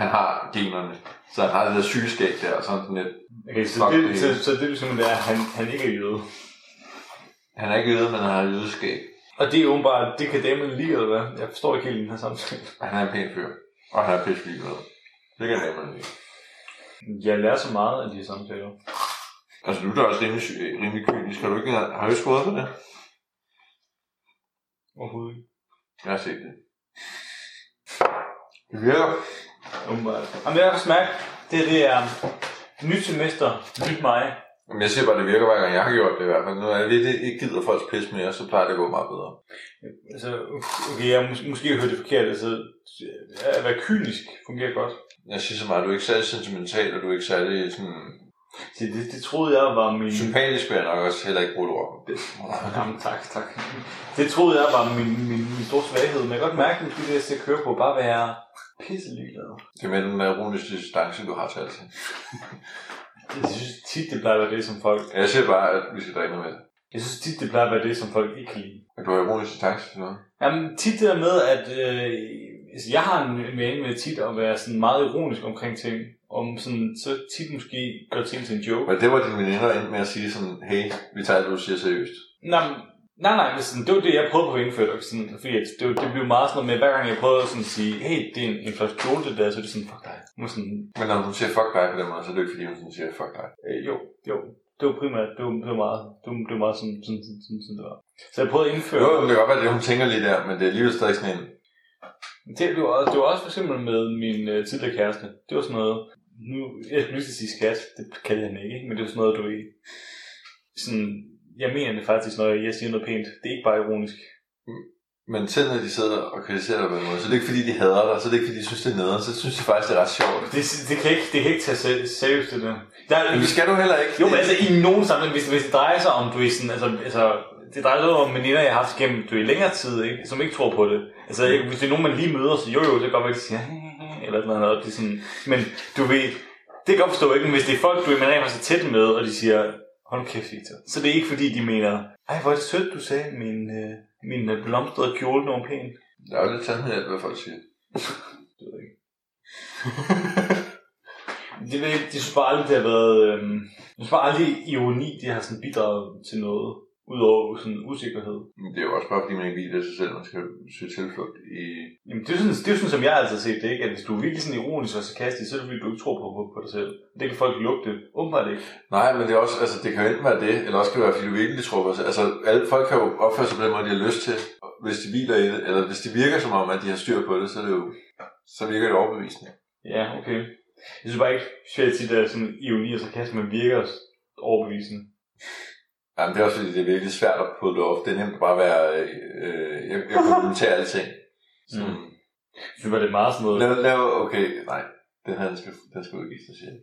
Speaker 3: han har generne. Så han har det der sygeskæg der, og sådan lidt.
Speaker 1: Okay, så
Speaker 3: Fuck
Speaker 1: det,
Speaker 3: det.
Speaker 1: så, så det, som det er, at han, han ikke er jøde.
Speaker 3: Han er ikke jøde, men han har jødeskæg.
Speaker 1: Og det er åbenbart, det kan damen lide, eller hvad? Jeg forstår ikke helt den her samtale.
Speaker 3: Han er en pæn fyr. Og han er pisse ligeglad. Det kan jeg nemlig ikke.
Speaker 1: Jeg lærer så meget af de her samtaler.
Speaker 3: Altså, du er da også rimelig, sy- rimelig kynisk. Har du ikke, engang- har du ikke skåret på det?
Speaker 1: Overhovedet ikke.
Speaker 3: Jeg har set det. Det virker.
Speaker 1: Åbenbart. Jamen, jeg kan smærke, det her, det er um, nyt semester, nyt mig.
Speaker 3: Men jeg siger bare, det virker hver gang, jeg har gjort det i hvert fald. Nu er jeg lidt ikke gider folks pis mere, så plejer det at gå meget bedre.
Speaker 1: Altså, okay, jeg mås- måske har hørt det forkert, altså, at være kynisk fungerer godt.
Speaker 3: Jeg siger så meget, du er ikke særlig sentimental, og du er ikke særlig sådan...
Speaker 1: Så det, det troede jeg var min...
Speaker 3: Sympatisk vil jeg nok også heller ikke bruge det ord.
Speaker 1: Jamen, tak, tak. Det troede jeg var min, min, min store svaghed, men jeg kan godt mærke, at det, jeg skal køre på, bare være pisseligeglad.
Speaker 3: Det er med den der ironiske distance, du har til alting.
Speaker 1: Jeg synes tit, det plejer at være det, som folk...
Speaker 3: Jeg siger bare, at vi skal drikke noget med det.
Speaker 1: Jeg synes tit, det plejer at være det, som folk ikke kan lide.
Speaker 3: At du har ironisk distance til noget.
Speaker 1: Jamen, tit det der med, at øh, altså, jeg har en vane med tit at være sådan meget ironisk omkring ting. Om sådan, så tit måske gør ting til en joke.
Speaker 3: Men det var dine veninder endte med at sige sådan, hey, vi tager det, du siger seriøst.
Speaker 1: Nej, men- nej, nej, men sådan, det var det, jeg prøvede på at indføre. og Sådan, fordi at det, var- det blev meget sådan noget med, hver gang jeg prøvede at sådan sige, hey, det er en, en flot kjole, det der, så er det sådan, fuck dig. Nu er sådan,
Speaker 3: Men når hun siger fuck dig på den måde, så er det jo ikke fordi, hun sådan siger fuck dig.
Speaker 1: Øh, jo, jo. Det var primært, det var, det var meget, det var, det var meget sådan, sådan, sådan, sådan, sådan, det var. Så jeg prøvede at indføre...
Speaker 3: Jo, jo, det kan godt være, det hun tænker lige der, men det er alligevel stadig sådan en,
Speaker 1: Det, det, var, også- det var også for eksempel med min øh, tidligere kæreste. Det var sådan noget... Nu, jeg skulle lige til at sige skat, det kaldte han ikke, ikke? men det var sådan noget, du ved... Sådan, jeg mener det faktisk, når jeg siger noget pænt. Det er ikke bare ironisk.
Speaker 3: men selv når de sidder og kritiserer dig på en måde, så er det ikke fordi, de hader dig, så er det ikke fordi, de synes, det er nederen, så synes de faktisk, det er ret sjovt.
Speaker 1: Det, det, kan, ikke, det kan ikke tage se- seriøst, det der. der er,
Speaker 3: Men det skal du heller ikke.
Speaker 1: jo, men altså i nogen sammenhæng, hvis, hvis det drejer sig om, du ved, sådan, altså, altså, det drejer sig om veninder, jeg har haft gennem du ved, længere tid, ikke? som ikke tror på det. Altså, jeg, hvis det er nogen, man lige møder, så jo jo, det kan godt være, at de siger, eller sådan noget, og det er sådan, men du ved, det kan jeg godt forstå, ikke? Men hvis det er folk, du ved, man rent faktisk er tæt med, og de siger, hold nu kæft, Victor. Så det er ikke fordi, de mener, ej, hvor er det sødt, du sagde, min, øh, min øh, blomstrede kjole, den var pæn.
Speaker 3: Der er jo lidt sandhed i alt, hvad folk siger.
Speaker 1: Det ved jeg ikke. det ved jeg ikke. Jeg synes bare aldrig, det har været... Øhm, jeg synes bare aldrig, ironi det har sådan bidraget til noget. Udover sådan usikkerhed.
Speaker 3: Men det er jo også bare, fordi man ikke hviler sig selv, man skal søge tilflugt i...
Speaker 1: Jamen, det er jo sådan, det er jo sådan som jeg altid har set det, ikke? At hvis du er virkelig sådan ironisk og sarkastisk, så er det fordi, du ikke tror på, på, på dig selv. Det kan folk lugte. Åbenbart ikke.
Speaker 3: Nej, men det er også, altså, det kan jo enten være det, eller også kan det være, fordi du virkelig tror på sig. Altså, alle, folk kan jo opføre sig på den måde, de har lyst til, hvis de hviler i det, eller hvis det virker som om, at de har styr på det, så, er det jo, så virker det overbevisende.
Speaker 1: Ja, okay. Jeg synes bare ikke, svært tit, at sådan ironi og sarkasme virker overbevisende.
Speaker 3: Jamen, det er også fordi, det er virkelig svært at putte off. Det er nemt bare at være, øh, øh, jeg, jeg kommenterer alting. Så,
Speaker 1: Mm. Jeg synes bare, det er meget sådan noget...
Speaker 3: lav, lav, okay, nej, den her, den skal, den skal udgives, så siger jeg.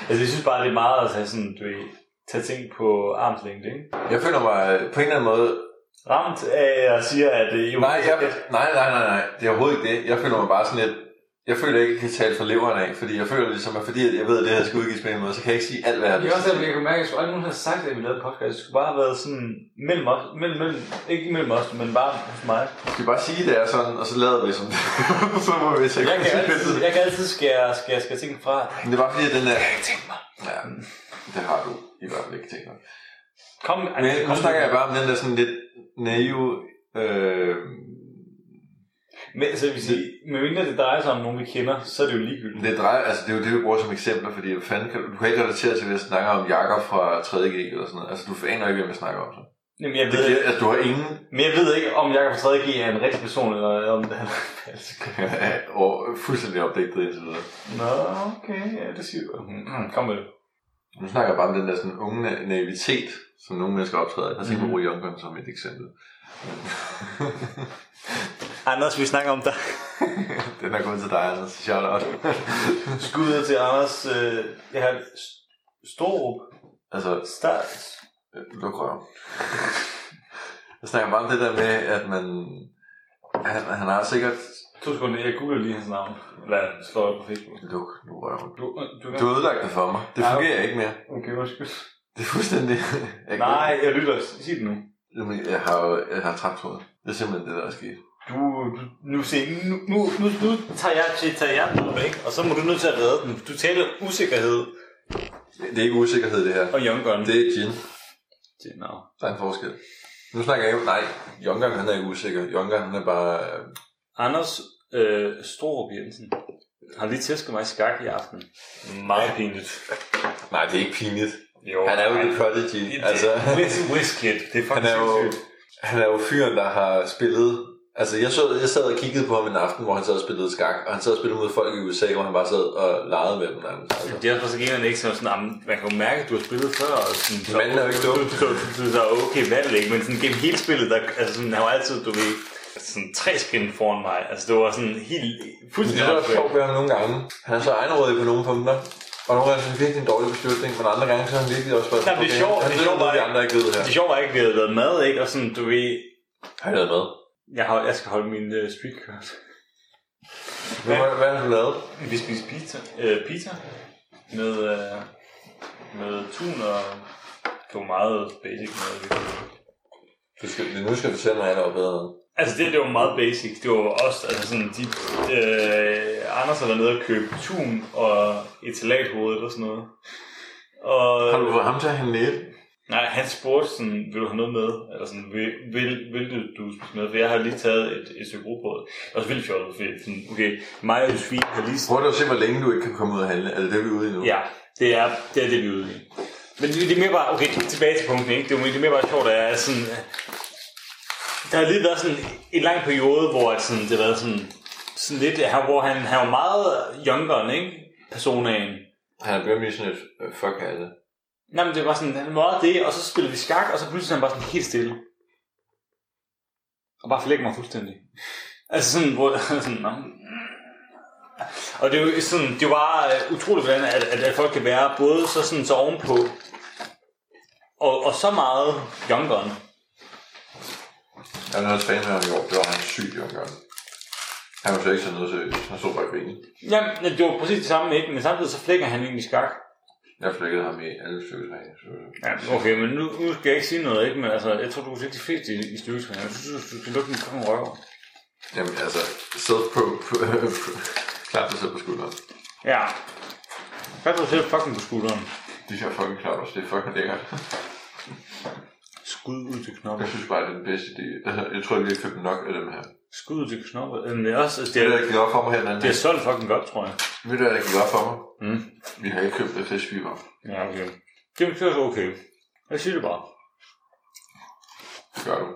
Speaker 1: Altså, jeg synes bare, det er meget at tage sådan, du ved, tage ting på armslængde, ikke?
Speaker 3: Jeg føler mig øh, på en eller anden måde
Speaker 1: ramt af og siger, at øh, jo,
Speaker 3: Nej, jeg, nej, nej, nej, nej. Det er overhovedet ikke det. Jeg føler mig bare sådan lidt... Jeg føler ikke, at jeg kan tale for leveren af, fordi jeg føler ligesom, at fordi at jeg ved, at det her skal udgives på en måde, så kan jeg ikke sige alt, hvad jeg har
Speaker 1: jeg
Speaker 3: lyst
Speaker 1: også,
Speaker 3: til.
Speaker 1: at jeg kunne mærke, at jeg skulle aldrig nogen havde sagt, at vi lavede podcast. Det skulle bare have været sådan mellem os, mellem, mellem, ikke mellem os, men bare hos mig.
Speaker 3: Skal vi bare sige, det er sådan, og så lader vi som det. <laughs> så må vi tage
Speaker 1: Jeg kan altid,
Speaker 3: konsekvensen.
Speaker 1: jeg kan altid skære, skære, skære ting fra.
Speaker 3: Men det er bare fordi, at den er... Ja, det har du i hvert fald ikke tænkt mig.
Speaker 1: Kom, altså,
Speaker 3: Men nu
Speaker 1: kom,
Speaker 3: snakker jeg bare om den der sådan lidt naive... Øh,
Speaker 1: Men, altså, hvis I, med mindre det drejer sig om nogen, vi kender, så er det jo ligegyldigt.
Speaker 3: det, drejer, altså, det er jo det, vi bruger som eksempler, fordi hvad fanden kan, du kan ikke relatere til, hvad jeg snakker om Jakob fra 3.G eller sådan noget. Altså, du aner ikke, hvem jeg snakker om. Så.
Speaker 1: Jamen, jeg
Speaker 3: Det,
Speaker 1: ved,
Speaker 3: giver-
Speaker 1: ikke,
Speaker 3: altså, du har ingen
Speaker 1: men jeg ved ikke, om Jakob fra 3.G er en rigtig person, eller om det er en
Speaker 3: <laughs>
Speaker 1: falsk.
Speaker 3: og Altså, fuldstændig opdaget indtil videre.
Speaker 1: Nå, okay, ja, det siger du. Mm, Kom med det.
Speaker 3: Nu snakker jeg bare om den der sådan unge na- naivitet, som nogle mennesker optræder. Jeg tænker på
Speaker 1: Mhm.
Speaker 3: Rui Junker som et eksempel. <laughs>
Speaker 1: Anders, vi snakker om dig.
Speaker 3: den er gået til dig, Anders. Shout
Speaker 1: <laughs>
Speaker 3: out.
Speaker 1: Skud ud til Anders. Øh, jeg har Storup.
Speaker 3: altså,
Speaker 1: Start.
Speaker 3: øh, luk røven. <laughs> Jeg snakker bare om det der med, at man... Han, han har sikkert...
Speaker 1: To sekunder, jeg googler lige hans navn. Eller slår op på Facebook.
Speaker 3: Luk nu røven.
Speaker 1: Du, du,
Speaker 2: øh,
Speaker 3: Du har ødelagt det for mig. Det
Speaker 1: Ja,
Speaker 3: fungerer ikke mere.
Speaker 1: Okay, undskyld.
Speaker 3: Det Det er fuldstændig...
Speaker 1: <laughs>
Speaker 3: Jeg kan-
Speaker 1: Nej, jeg lytter. Sig det nu.
Speaker 3: Jamen, Jeg har jo jeg har tabt hovedet. Det er simpelthen det, der er sket.
Speaker 1: Du, du nu, se, nu, nu, nu, nu tager jeg til tager jeg den væk, og så må du nødt til at redde den. Du taler usikkerhed
Speaker 3: Det er ikke usikkerhed, det her.
Speaker 1: og Young Gun.
Speaker 3: Det er gin.
Speaker 1: det no.
Speaker 3: Der er en forskel. Nu snakker jeg jo... Nej, Jonker, han er ikke usikker. Jonker, han er bare... øh,
Speaker 1: Anders øh, Storup Jensen har lige tæsket mig i skak i aften. Meget pinligt.
Speaker 3: Nej, det er ikke pinligt.
Speaker 1: Jo,
Speaker 3: Han er jo lidt prodigy. Altså,
Speaker 1: Wizkid, det er
Speaker 3: han
Speaker 1: faktisk
Speaker 3: er jo...
Speaker 1: sindssygt.
Speaker 3: Han er jo fyren, der har spillet... Altså, jeg, så, jeg sad og kiggede på ham en aften, hvor han sad og spillede skak, og han sad og spillede mod folk i USA, hvor han bare sad og legede med dem. nærmest. Altså.
Speaker 1: Det er også så gælder ikke som sådan, at man kan jo mærke, at du har spillet før, og sådan, så,
Speaker 3: Manden er jo ikke dum.
Speaker 1: <laughs> så, så, så, så, okay, hvad er det ikke, men sådan gennem hele spillet, der, altså sådan, han var altid, du ved, sådan tre skin foran mig, altså det var sådan helt,
Speaker 3: Det
Speaker 1: fuldstændig
Speaker 3: er også
Speaker 1: åndssvagt.
Speaker 3: sjovt ved ham nogle gange. Han er så egenrådig på nogle punkter. Og nogle gange er det virkelig en dårlig beslutning, men andre gange så er han virkelig også bare...
Speaker 1: Jamen, det er sjovt,
Speaker 3: Han
Speaker 1: det er
Speaker 3: ved
Speaker 1: sjovt,
Speaker 3: noget, de
Speaker 1: bare-
Speaker 3: andre ikke ved her.
Speaker 1: Det sjove var ikke, at vi havde været mad, ikke, og sådan, du ved,
Speaker 3: Har jeg lavet med?
Speaker 1: jeg, har, jeg skal holde min uh, street card.
Speaker 3: Hvad, hvad har du lavet?
Speaker 1: Vi spiste pizza, øh, pizza med, øh, med tun og det var meget basic mad. vi fik.
Speaker 3: Du skal, nu skal du sende mig allerede bedre.
Speaker 1: Altså det, det var meget basic. Det var også altså sådan, de, øh, Anders har været nede og købe tun og et salathoved eller sådan noget. Og,
Speaker 3: Har du fået ham til at handle et?
Speaker 1: Nej, han spurgte sådan, vil du have noget med? Eller sådan, vil, vil, vil du, du spise med? For jeg har lige taget et, et stykke rugbrød. Det var også vildt fjollet, fordi sådan, okay, mig og Josefine har lige
Speaker 3: Prøv da at se, hvor længe du ikke kan komme ud og handle. Er det det, vi er ude i nu?
Speaker 1: Ja, det er det, er det vi er ude i. Men det, det er mere bare, okay, tilbage til punkten, ikke? Det er, jo- det er mere bare sjovt, at jeg er sådan... øh, Der har lige været sådan en lang periode, hvor at sådan, det har været sådan, sådan lidt, her, hvor han, han var meget youngeren, ikke? Personaen.
Speaker 3: Han er blevet mere sådan et øh, fuck alle.
Speaker 1: Nej, men det var sådan, han var det, og så spillede vi skak, og så pludselig var han bare sådan helt stille. Og bare forlægge mig fuldstændig. Altså sådan, hvor <laughs> sådan, nå. Og det er jo sådan, det var utroligt, hvordan at, at, at folk kan være både så sådan så ovenpå, og, og så meget young gun.
Speaker 3: Jeg har noget træne med ham i år. Det var han syg i omgang. Han var så ikke sådan noget seriøst. Han stod bare i grinen.
Speaker 1: Jamen, det var præcis det samme, ikke? Men samtidig så flækker han egentlig skak.
Speaker 3: Jeg flækkede ham i alle styrketræninger. så-
Speaker 1: Ja, okay, men nu, nu skal jeg ikke sige noget, ikke? Men altså, jeg tror, du er rigtig fedt i, i styrketræning. Jeg synes, du skal lukke din fucking røv.
Speaker 3: Jamen altså, selv på... <laughs> Klap dig selv på skulderen.
Speaker 1: Ja. Hvad du selv fucking på skulderen?
Speaker 3: De her fucking klappers, det er fucking lækkert.
Speaker 1: Skud ud til
Speaker 3: Jeg
Speaker 1: knoppen.
Speaker 3: synes bare, det er den bedste idé. Altså, jeg tror, vi har købt nok af dem her.
Speaker 1: Skud ud til knoppen. Jamen, det er også... Altså, det,
Speaker 3: Det er
Speaker 1: er,
Speaker 3: der ikke op for mig her den anden.
Speaker 1: det er solgt fucking godt, tror jeg.
Speaker 3: Ved du, hvad der gik op for mig?
Speaker 1: Mm.
Speaker 3: Vi har ikke købt det fisk, vi var.
Speaker 1: Ja, okay. Det er så okay. Jeg siger det bare.
Speaker 3: Det gør du.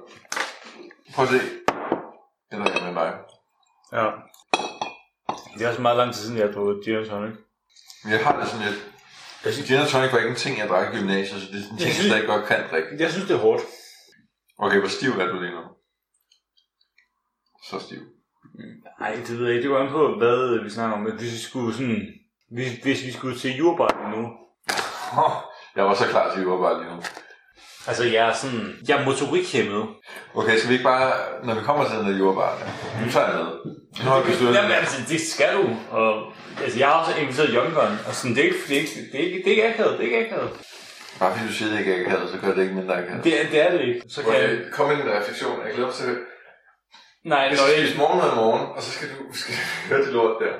Speaker 3: Prøv at se. Eller jeg med mig.
Speaker 1: Ja. Det er også meget lang tid siden, jeg har drukket gin og tonic.
Speaker 3: Men jeg har det sådan lidt... Jeg synes, gin og tonic var ikke en ting, jeg drak i gymnasiet, så det er sådan en ting,
Speaker 1: Jeg
Speaker 3: jeg
Speaker 1: synes-
Speaker 3: stadig godt kan drikke.
Speaker 1: Jeg synes, det er hårdt.
Speaker 3: Okay, hvor stiv er du lige nu? Så stiv.
Speaker 1: Nej, det ved jeg ikke. Det var an på, hvad øh, vi snakker om. Men Hvis vi skulle sådan... Hvis, hvis vi skulle til jordbejde nu...
Speaker 3: Jeg var så klar til, at vi var bare lige nu.
Speaker 1: Altså, jeg er sådan... Jeg er motorikhæmmet.
Speaker 3: Okay, skal vi ikke bare, når vi kommer til den der jordbar, nu tager jeg med. Nu har vi besluttet.
Speaker 1: Jamen, altså, det skal du. Og, altså, jeg har også inviteret Young Gun, og sådan, det er ikke, det er ikke, det er ikke, det er ikke akavet, det er ikke akavet.
Speaker 3: Bare fordi du siger, at jeg ikke er akavet, så gør det ikke mindre akavet.
Speaker 1: Det, er- det er det ikke. Så kan jeg,
Speaker 3: Okay, kom med den refleksion. Jeg glæder mig til det.
Speaker 1: nej,
Speaker 3: Jeg
Speaker 1: når
Speaker 3: skal
Speaker 1: jeg,
Speaker 3: spise morgenmad i morgen, og så skal du, skal <laughs> du høre det lort der.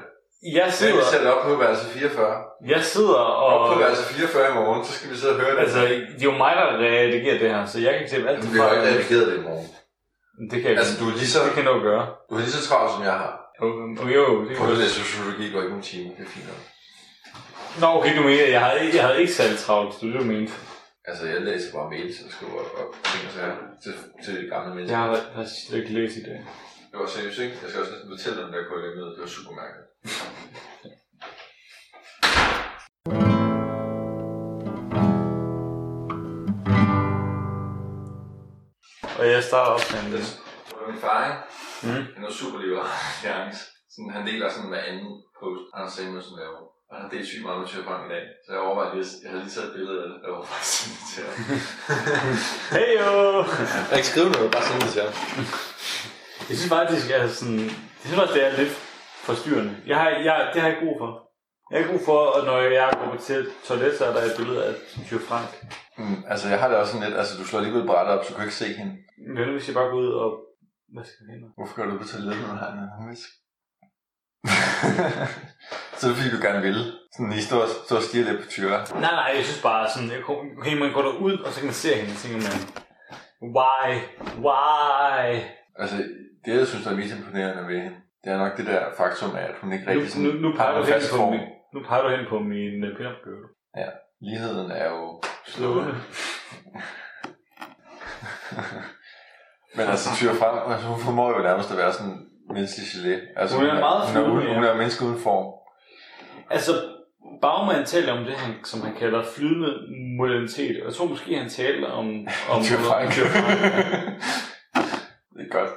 Speaker 1: jeg
Speaker 3: Så vi
Speaker 1: sidder,
Speaker 3: sætter op på værelse 44.
Speaker 1: jeg sidder
Speaker 3: Op på
Speaker 1: og...
Speaker 3: værelse 44 i morgen, så skal vi sidde og høre det.
Speaker 1: Altså, det er jo mig, der redigerer det her, så jeg kan klippe alt
Speaker 3: Jamen,
Speaker 1: det
Speaker 3: vi har
Speaker 1: fra.
Speaker 3: ikke redigeret det i morgen.
Speaker 1: Det kan jeg
Speaker 3: Altså,
Speaker 1: ikke.
Speaker 3: du er lige så,
Speaker 1: Det kan du jo gøre.
Speaker 3: du er lige så travlt, som jeg har.
Speaker 1: Okay, jo, jo, det
Speaker 3: På
Speaker 1: kan du.
Speaker 3: det der sociologi går ikke en time. Det er fint nok.
Speaker 1: Nå, okay, du mener, jeg havde, ikke- jeg havde ikke særlig travlt, så det er du mente.
Speaker 3: Altså, jeg læser bare mails og skriver op ting og sager til, til gamle mennesker.
Speaker 1: Jeg har faktisk slet ikke læst i dag.
Speaker 3: Det var seriøst, ikke? Jeg skal også næsten fortælle dig, når jeg går i møde. Det var super mærkeligt.
Speaker 1: Og jeg starter op med
Speaker 3: Det var min far, ikke?
Speaker 1: Mm.
Speaker 3: Han er super liberal <laughs> alliance. Sådan, han deler sådan hver anden post, Anders Samuelsen laver. Og han har delt sygt meget med Tjøfang i dag. Så jeg overvejede lige, at- jeg havde lige taget et billede af det. Jeg var faktisk <laughs> sådan lidt til ham.
Speaker 1: Hey yo!
Speaker 3: Jeg kan ikke skrive noget, bare sådan lidt til ham.
Speaker 1: Jeg synes faktisk, jeg er sådan, jeg synes også, det er lidt forstyrrende. Jeg har, jeg, det har jeg ikke brug for. Jeg har ikke brug for, at når jeg går på til toilet, så er der et billede af Tjø Frank.
Speaker 3: Mm, altså, jeg har det også sådan lidt, altså, du slår alligevel brættet op, så du kan ikke se hende.
Speaker 1: Hvad nu, hvis jeg bare går ud og... Hvad skal jeg hende?
Speaker 3: Hvorfor går du ud på toilettet, når du har en hummus? <laughs> så er det fordi, du gerne vil. Sådan, I står, står og stiger lidt på tyre.
Speaker 1: Nej, nej, jeg synes bare sådan, jeg, kunne- okay, man går derud, og så kan man se hende, og tænker man, why, why?
Speaker 3: Altså, det jeg synes, der er mest imponerende ved hende, det er nok det der faktum af, at hun ikke
Speaker 1: Nu,
Speaker 3: rigtig sådan
Speaker 1: nu, nu peger
Speaker 3: har
Speaker 1: du
Speaker 3: en
Speaker 1: hen
Speaker 3: fast
Speaker 1: på
Speaker 3: form.
Speaker 1: min, nu peger du hen på min uh, pinup-girl.
Speaker 3: Ligheden er jo
Speaker 1: Slående.
Speaker 3: Men altså, Tyre Frank, altså, hun formår jo nærmest at være sådan en menneskelig gelé. Altså,
Speaker 1: Hun er meget
Speaker 3: hun er,
Speaker 1: flydende,
Speaker 3: uden,
Speaker 1: ja.
Speaker 3: hun er menneske uden form.
Speaker 1: Altså, Baumann taler om det, han, som han kalder flydende modernitet. og Jeg tror måske, han taler om... <laughs> om
Speaker 3: Tyre Frank.
Speaker 1: Thyre <laughs> Frank, ja.
Speaker 3: <laughs> det er godt.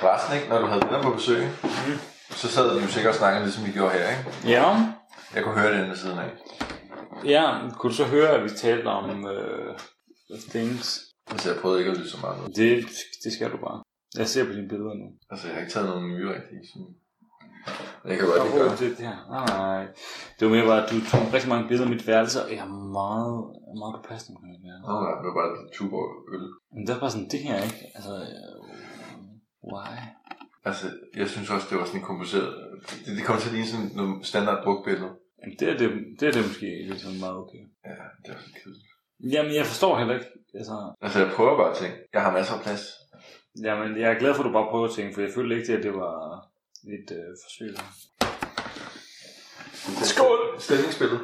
Speaker 3: Forresten, ikke, når du havde venner på besøg, mm. så sad vi jo sikkert og snakkede, ligesom vi gjorde her, ikke?
Speaker 1: ja.
Speaker 3: Jeg kunne høre det inde ved siden af.
Speaker 1: Ja, kunne du så høre, at vi talte om øh, things?
Speaker 3: Altså, jeg prøvede ikke at lytte så meget med.
Speaker 1: Det, det skal du bare. Jeg ser på dine billeder nu.
Speaker 3: Altså, jeg har ikke taget nogen nye rigtige. Sådan. Jeg kan godt lide gøre.
Speaker 1: det, det her. Nej, det var mere bare, at du tog rigtig mange billeder af mit værelse, og jeg er meget, meget påpassende på mit værelse.
Speaker 3: Nå, nej, det var bare et tuber øl.
Speaker 1: Men det er bare sådan, det her, ikke? Altså, øh, why?
Speaker 3: Altså, jeg synes også, det var sådan kompliceret. Det, det kom til at ligne sådan nogle standard brugtbilleder.
Speaker 1: Jamen, det er det, det, er det måske ligesom meget okay.
Speaker 3: Ja, det var sådan kedeligt.
Speaker 1: Jamen, jeg forstår heller ikke. Altså,
Speaker 3: Altså, jeg prøver bare ting. Jeg har masser af plads.
Speaker 1: jamen, jeg er glad for, at du bare prøver ting, for jeg følte ikke, at det var et øh, forsøg. Skål!
Speaker 3: Stemningsspillet.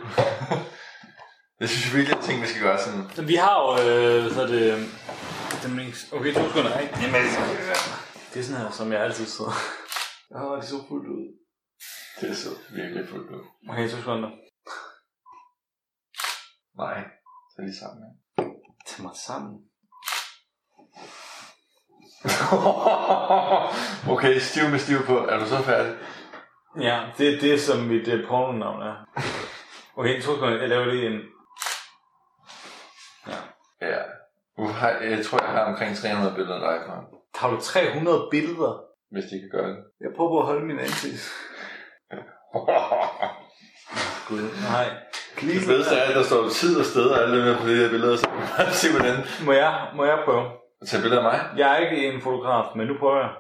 Speaker 3: <laughs> jeg synes virkelig, at ting, vi skal gøre sådan...
Speaker 1: Men Vi har jo, øh, så er det... øh, Den links. Okay, to sekunder. Ej, Jamen, altså, jeg skal- det er sådan her, som jeg altid sidder.
Speaker 3: Åh, oh, det så fuldt ud. Det så virkelig fuldt ud.
Speaker 1: Okay, to sekunder.
Speaker 3: Nej, så er de sammen. Ja. <laughs>
Speaker 1: Tag mig sammen.
Speaker 3: okay, stiv med stiv på. Er du så færdig?
Speaker 1: Ja, det er det, som mit øh, pornonavn er. Okay, to sekunder. Jeg laver lige en...
Speaker 3: Ja. Uh, hej, jeg tror, jeg har omkring 300 billeder af dig, Karen.
Speaker 1: Har du 300 billeder?
Speaker 3: Hvis de kan gøre det. <laughs>
Speaker 1: Jeg prøver på at holde min ansigt. Gud, nej.
Speaker 3: det bedste er, at der står tid og sted og alle dem her på de her billeder, så kan man bare se, hvordan...
Speaker 1: Må jeg, må jeg prøve?
Speaker 3: Tag billeder af mig.
Speaker 1: Jeg er ikke en fotograf, men nu prøver jeg.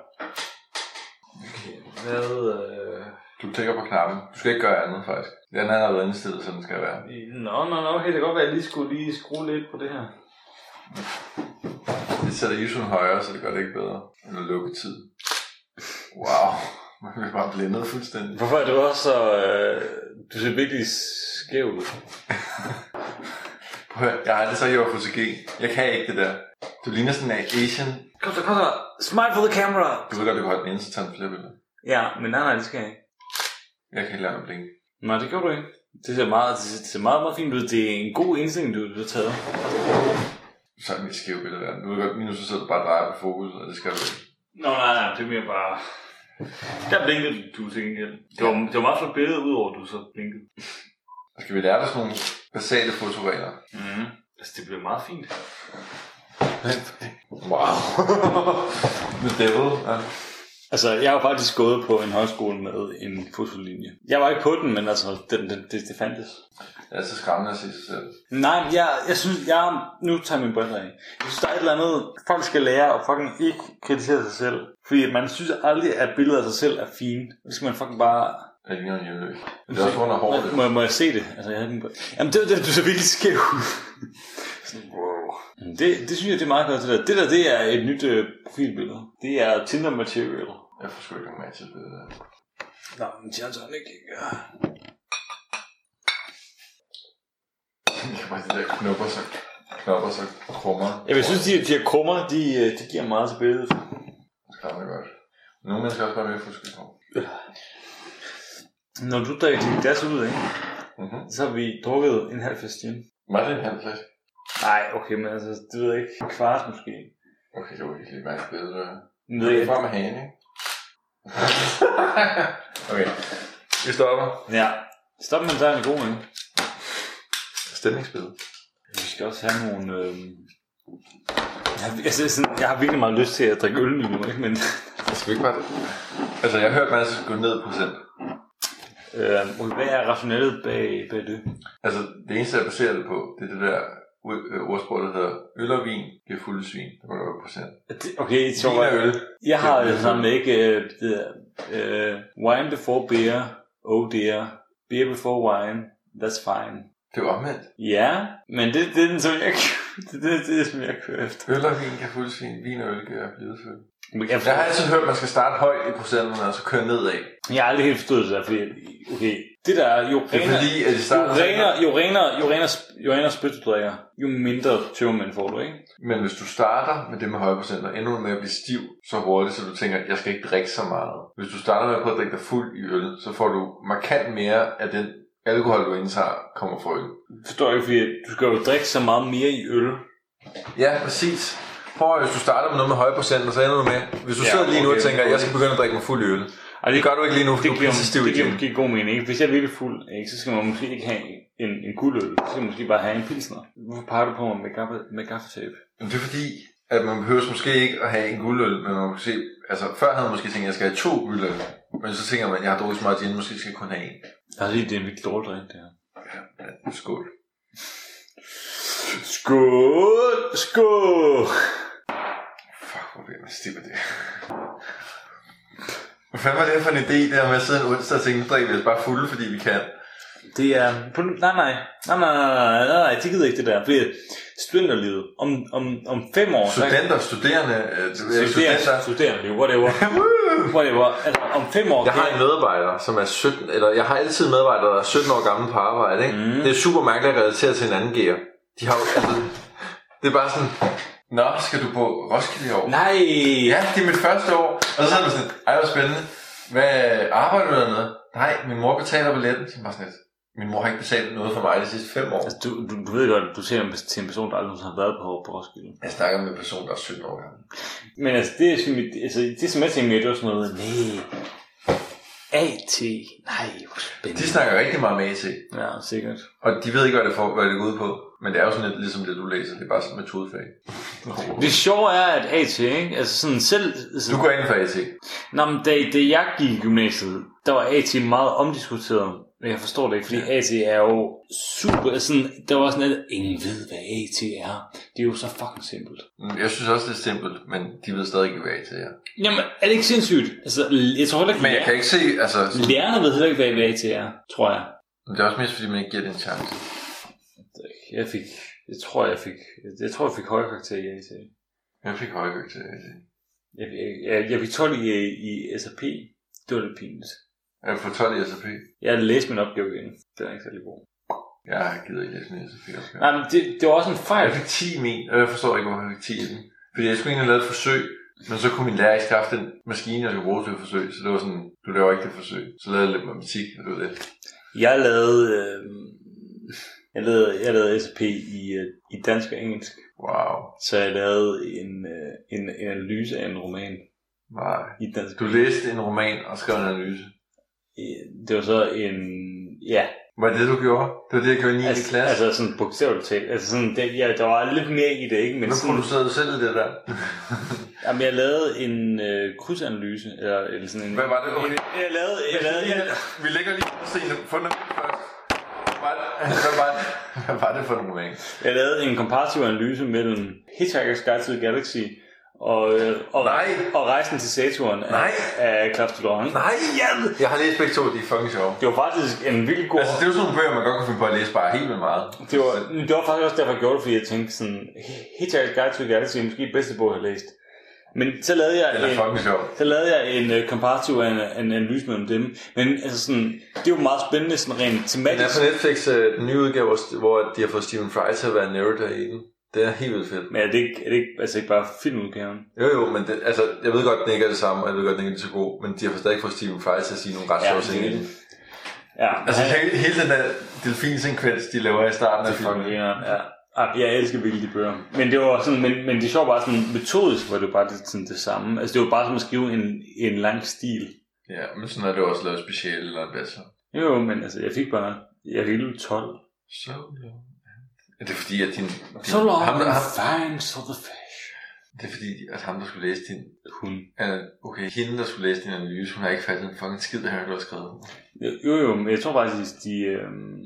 Speaker 1: Okay, hvad... Øh...
Speaker 3: Du klikker på knappen. Du skal ikke gøre andet, faktisk. Den er allerede indstillet, som den skal være.
Speaker 1: Nå, nå, nå, okay, det kan godt være, at jeg lige skulle lige skrue lidt på det her.
Speaker 3: Det sætter ISO'en højere, så det gør det ikke bedre. Eller lukke tid. Wow. <laughs> Man bliver bare blændet fuldstændig.
Speaker 1: Hvorfor er du også så... Øh, du ser virkelig skæv ud.
Speaker 3: Prøv at høre, jeg har aldrig sagt, at jeg var FCG. Jeg kan ikke det der. Du ligner sådan en Asian.
Speaker 1: Kom så, kom så. Smile for the camera.
Speaker 3: Du ved godt, du kan holde den inde, så tager den flere billeder.
Speaker 1: Ja, men nej, nej, det skal jeg ikke.
Speaker 3: Jeg kan ikke lade mig blinke.
Speaker 1: Nej, det gjorde du ikke. Det ser meget, det ser, det ser meget, meget fint ud. Det er en god indstilling, du, du har taget.
Speaker 3: Så er mit skæve billede værd. Du ved godt, minus så sidder du bare og drejer på fokus, og det skal du ikke.
Speaker 1: Nå, nej, nej, det er mere bare... Der blinkede du til gengæld. Det var, det var meget flot billede, udover at du så blinkede.
Speaker 3: Skal vi lære dig sådan nogle basale fotoregler?
Speaker 1: Mm. Altså, det blev meget fint.
Speaker 3: Wow. <laughs> The devil. Ja.
Speaker 1: Altså, jeg har faktisk gået på en højskole med en fotolinje. Jeg var ikke på den, men altså, den, den, det, det fandtes.
Speaker 3: Det er så skræmmende at se sig selv.
Speaker 1: Nej, men jeg, jeg synes, jeg, nu tager jeg mine briller af. Jeg synes, der er et eller andet, folk skal lære at fucking ikke kritisere sig selv. Fordi at man synes aldrig, at billeder af sig selv er fine. Så skal man fucking bare...
Speaker 3: Jeg ligner en hjemløs. Det er også under hårdt.
Speaker 1: Må, må, må jeg se det? Altså, jeg havde mine briller. Jamen, det var det, du så virkelig skæv ud. Sådan, wow. Men Det, det synes jeg, det er meget godt, det der. Det der, det er et nyt øh, profilbillede. Det er Tinder material.
Speaker 3: Jeg får sgu ikke nogen match til det <laughs> der.
Speaker 1: Nå, men Tjern Tonic, ikke?
Speaker 3: Jeg kan bare de der knopper, så knopper, så krummer.
Speaker 1: Jamen, jeg synes, de, de her krummer, de, øh, de giver meget til billedet.
Speaker 3: Det skræmmende godt. Nogle mennesker er også bare ved at få skyld på.
Speaker 1: Når du drikker dit glas ud, ikke?
Speaker 3: Mhm.
Speaker 1: Så har vi drukket en halv flaske gin.
Speaker 3: Var det en halv flaske?
Speaker 1: Nej, okay, men altså, det ved jeg ikke. En kvart måske.
Speaker 3: Okay, det var ikke lige mærkeligt billede, det her.
Speaker 1: Men
Speaker 3: Det
Speaker 1: ved
Speaker 3: er
Speaker 1: jeg.
Speaker 3: bare med hagen,
Speaker 1: <laughs>
Speaker 3: ikke? okay. Vi stopper.
Speaker 1: Ja. Stop med den er god, ikke?
Speaker 3: Stemningsbillede.
Speaker 1: Vi skal også have nogle... Øh... Jeg, har, jeg, synes sådan, jeg har virkelig meget lyst til at drikke øl lige nu, ikke? Men
Speaker 3: Skal vi ikke bare... Altså, jeg har hørt, at man skal gå ned i procent.
Speaker 1: øh, okay, øhm, hvad er rationellet bag, bag det?
Speaker 3: Altså, det eneste, jeg baserer det på, det er det der u- øh, ordsprog, der hedder øl og vin giver fulde svin. Der går der op procent.
Speaker 1: Det- Okay, så
Speaker 3: Vin og øl.
Speaker 1: jeg har altså sammen ikke øh, det der, øh, wine before beer, oh dear, beer before wine, that's fine.
Speaker 3: Det er jo omvendt.
Speaker 1: Ja, men det, det er den, som jeg, <laughs> det, det, det er, som jeg kører efter.
Speaker 3: Øl og vin giver fulde svin. Vin og øl giver blide fulde.
Speaker 1: Men Jeg,
Speaker 3: Jeg har altid hørt, at man skal starte højt i procenterne, og så køre nedad.
Speaker 1: jeg har aldrig helt forstået det der, fordi, okay, det der er jo
Speaker 3: Det er
Speaker 1: renere,
Speaker 3: fordi, at i
Speaker 1: jo
Speaker 3: starten...
Speaker 1: renere, jo renere, jo renere, sp- jo renere spyt du drikker, jo mindre tøvmænd får du, ikke?
Speaker 3: Men hvis du starter med det med høje procenter, ender du med at blive stiv så hurtigt, så du tænker, jeg skal ikke drikke så meget. Hvis du starter med at prøve at drikke dig fuld i øl, så får du markant mere af den alkohol, du indtager, kommer fra øl.
Speaker 1: Forstår jeg ikke, fordi du skal jo drikke så meget mere i øl.
Speaker 3: Ja, præcis. Prøv at hvis du starter med noget med høje procenter, så ender du med, hvis du
Speaker 1: Ja,
Speaker 3: ja, sidder lige nu og
Speaker 1: okay.
Speaker 3: tænker, jeg skal begynde at drikke mig fuld i øl.
Speaker 1: Ej,
Speaker 3: Det gør du ikke lige nu, for
Speaker 1: det
Speaker 3: du
Speaker 1: giver,
Speaker 3: bliver så stiv
Speaker 1: det giver
Speaker 3: igen.
Speaker 1: måske god mening. Ikke? Hvis jeg er virkelig fuld, ikke, så skal man måske ikke have en, en guldøl. Så skal man måske bare have en pilsner. Hvorfor peger du på mig med, gaffe, med gaffetape?
Speaker 3: Men det er fordi, at man behøver måske ikke at have en guldøl, men man kan se, altså før havde man måske tænkt, at jeg skal have to guldøl, men så tænker man, jeg har drukket så meget gin, måske skal jeg kun have en.
Speaker 1: Jeg synes, det er en virkelig dårlig drink, det her.
Speaker 3: Ja, skål.
Speaker 1: Skål! Skål!
Speaker 3: Fuck, hvor bliver man stiv af det. Hvad fanden var det her for en idé, der med at sidde en onsdag og tænke, nu drikker vi os bare fulde, fordi vi kan.
Speaker 1: Det er... Nej, nej. Nej, nej, nej, nej, nej, nej. De gider ikke det der. Fordi studenterlivet. Om, om, om fem år... der-
Speaker 3: Studenter, studerende, øh, det ved jeg ikke, studenter.
Speaker 1: Studerende, studerende,
Speaker 3: <laughs>
Speaker 1: whatever. whatever. Altså, om fem år...
Speaker 3: Jeg har en medarbejder, som er 17, eller jeg har altid medarbejdere, der er 17 år gamle på arbejde, ikke?
Speaker 1: Mm.
Speaker 3: Mm. Det er super mærkeligt at relatere til en anden gear. De har jo, altså, det er bare sådan, Nå, skal du på Roskilde i år?
Speaker 1: Nej!
Speaker 3: Ja, det er mit første år. Og så er man sådan, ej, hvor spændende. Hvad arbejder du dernede? Nej, min mor betaler billetten. Så er man bare sådan lidt, min mor har ikke betalt noget for mig de sidste fem år.
Speaker 1: Altså, du, du, du ved godt, du ser en- til en person, der aldrig nogensinde har været på, på Roskilde.
Speaker 3: Jeg snakker med en person, der er 17 år gammel.
Speaker 1: Men altså, det, er som, altså, det som jeg tænkte mere, det var sådan noget, nej, AT, nej, hvor
Speaker 3: De
Speaker 1: spændende.
Speaker 3: snakker rigtig meget med AT,
Speaker 1: Ja, sikkert.
Speaker 3: og de ved ikke, hvad det, for, hvad det går ud på. Men det er jo sådan lidt ligesom det, du læser. Det er bare sådan et metodefag.
Speaker 1: Det sjove er, at AT, ikke? altså sådan selv, altså,
Speaker 3: Du går ind for E AT.
Speaker 1: Nå, men da, da jeg gik i gymnasiet, der var AT meget omdiskuteret. Men jeg forstår det ikke, fordi AT er jo super... altså Sådan, der var sådan, at ingen ved, hvad AT er. Det er jo så fucking simpelt.
Speaker 3: Mm, Jeg synes også, det er simpelt, men de ved stadig ikke, hvad AT er.
Speaker 1: Jamen, er det ikke sindssygt? Altså, jeg tror heller ikke,
Speaker 3: Men jeg kan ikke se, altså...
Speaker 1: lærer- lærerne ved heller ikke, hvad AT er, tror jeg.
Speaker 3: Det er også mest, fordi man ikke giver det en chance.
Speaker 1: Jeg fik... Jeg tror, jeg fik... Jeg tror, jeg fik høje karakterer i AT.
Speaker 3: Jeg fik E højgøk til AT.
Speaker 1: Jeg, jeg, jeg, jeg fik 12 i, i SAP. Det var lidt pinligt.
Speaker 3: Jeg får 12 i SAP.
Speaker 1: Jeg læste min opgave igen. Den er ikke særlig god.
Speaker 3: Jeg gider ikke læse min SAP. -opgave.
Speaker 1: Nej, men det, det var også en fejl.
Speaker 3: Jeg fik 10 i min, og jeg forstår ikke, hvorfor jeg fik 10 i den. Fordi jeg skulle egentlig have lavet et forsøg, men så kunne min lærer ikke skaffe den maskine, jeg skulle bruge til et forsøg. Så det var sådan, du laver ikke det forsøg. Så lavede jeg lidt matematik, og det var det.
Speaker 1: Jeg lavede, øh, jeg lavede, jeg lavede SAP i, øh, i dansk og engelsk,
Speaker 3: Wow.
Speaker 1: så jeg lavede en, øh, en, en analyse af en roman
Speaker 3: Nej.
Speaker 1: i dansk.
Speaker 3: Du læste en roman og skrev en analyse.
Speaker 1: Øh, Det var så en, ja,
Speaker 3: Var det det, du gjorde? Det var det, jeg gjorde i 9.
Speaker 1: altså,
Speaker 3: klasse. Altså,
Speaker 1: altså sådan bogstaveligt talt. Altså sådan, det, ja, der var lidt mere i det, ikke? Men
Speaker 3: nu
Speaker 1: sådan,
Speaker 3: producerede du selv det der.
Speaker 1: jamen, jeg lavede en øh, krydsanalyse, eller, eller sådan en...
Speaker 3: Hvad var det? Okay.
Speaker 1: Jeg lavede, jeg lavede, jeg,
Speaker 3: Vi lægger lige Stine, fundet først. Hvad var det- Hvad var, det? Hvad var det for en roman?
Speaker 1: jeg lavede en komparativ analyse mellem Hitchhiker's Guide to the Galaxy og, øh, og,
Speaker 3: Nej.
Speaker 1: og Rejsen til Saturn af,
Speaker 3: Nej.
Speaker 1: af Claus Dudon.
Speaker 3: Nej, jeg, jeg har læst begge to, de er fucking sjove.
Speaker 1: Det var faktisk en virkelig god...
Speaker 3: Altså, det er jo sådan nogle bøger, man godt kan finde på at læse bare helt vildt meget. Altså,
Speaker 1: Det var, det var faktisk også derfor, jeg gjorde det, fordi jeg tænkte sådan, Hitchhiker's Guide to the Galaxy er måske den bedste bog, jeg har læst. Men så lavede
Speaker 3: Den
Speaker 1: jeg
Speaker 3: er
Speaker 1: en,
Speaker 3: fucking sjov.
Speaker 1: så lavede jeg en uh, komparativ an, an, analyse mellem dem. Men altså sådan, det er jo meget spændende sådan rent
Speaker 3: Den er
Speaker 1: tematisk.
Speaker 3: på Netflix, øh, den nye udgave, hvor- hvor de har fået Stephen Fry til at være narrator i den. Det er helt vildt fedt.
Speaker 1: Men er det ikke, er det ikke, altså ikke bare filmudgaven?
Speaker 3: Jo jo, men det, altså, jeg ved godt, den ikke er det samme, og jeg ved godt, den ikke er så god, men de har stadig fået Stephen Fry til at sige nogle ret
Speaker 1: Ja,
Speaker 3: sjove
Speaker 1: det
Speaker 3: ting
Speaker 1: er
Speaker 3: i
Speaker 1: det.
Speaker 3: den.
Speaker 1: Ja,
Speaker 3: Altså,
Speaker 1: altså,
Speaker 3: hele, hele den der delfinsekvens, de laver i starten af filmen.
Speaker 1: filmudgaven, ja. Ah, Jeg elsker virkelig de bøger. Men det var sådan, men, men det sjove var sådan, metodisk var det jo bare lidt sådan det samme. Altså det var bare som at skrive en, en lang stil.
Speaker 3: Ja, men sådan er det også lavet specielt eller bedre.
Speaker 1: Jo, men altså, jeg fik bare, jeg fik lidt 12.
Speaker 3: So long. Er det fordi, at din... din
Speaker 1: So long
Speaker 3: Ham,
Speaker 1: ham,
Speaker 3: der-
Speaker 1: and
Speaker 3: ham,
Speaker 1: thanks for the fish.
Speaker 3: det er fordi, at ham, der skulle læse din...
Speaker 1: Hun.
Speaker 3: Uh, okay, hende, der skulle læse din analyse, hun har ikke fattet en fucking skid af, hvad du har skrevet.
Speaker 1: Jo, jo, men jeg tror faktisk, de... Øh, øhm,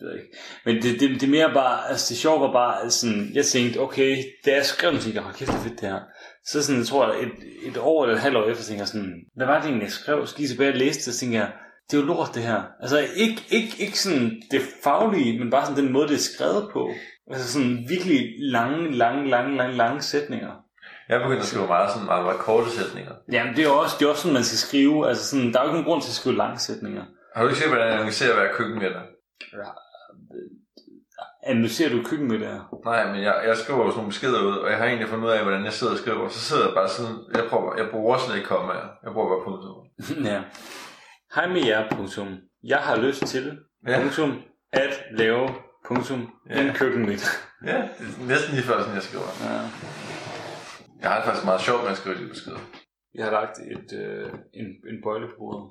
Speaker 1: ved jeg ikke. Men det, det, det mere bare, altså det sjove var bare, at sådan, jeg tænkte, okay, da jeg skrev den, tænkte jeg, hold kæft, det er fedt det her. Så sådan, jeg tror, et, et år eller et halvt år efter, tænkte jeg sådan, hvad var det egentlig, jeg skrev? Så lige tilbage og læste, det, så tænkte jeg, det er jo lort det her. Altså ikke, ikke, ikke sådan det faglige, men bare sådan den måde, det er skrevet på. Altså sådan virkelig lange, lange, lange, lange, lange sætninger.
Speaker 3: Jeg begyndte at skrive meget, sådan meget, meget korte sætninger.
Speaker 1: Jamen det er jo også, det er også sådan, man skal skrive. Altså sådan, der er jo ikke nogen grund til at skrive lange sætninger.
Speaker 3: Har du ikke set, hvordan jeg analyserer at være køkkenmætter?
Speaker 1: Analyserer du køkkenmiddager?
Speaker 3: Nej, men jeg, jeg skriver jo sådan nogle beskeder ud, og jeg har egentlig fundet ud af, hvordan jeg sidder og skriver. Så sidder jeg bare sådan, jeg, prøver, jeg bruger slet ikke kommaer. Jeg bruger bare punktummer.
Speaker 1: ja. Hej med jer, punktum. Jeg har lyst til,
Speaker 3: Ja.
Speaker 1: punktum, at lave, punktum,
Speaker 3: Ja.
Speaker 1: en køkkenmiddag.
Speaker 3: Ja, det er næsten lige før, sådan jeg skriver.
Speaker 1: Ja.
Speaker 3: Jeg har det faktisk meget sjovt med at skrive de beskeder.
Speaker 1: Jeg har lagt et, øh, en, en bøjle på <laughs> bordet.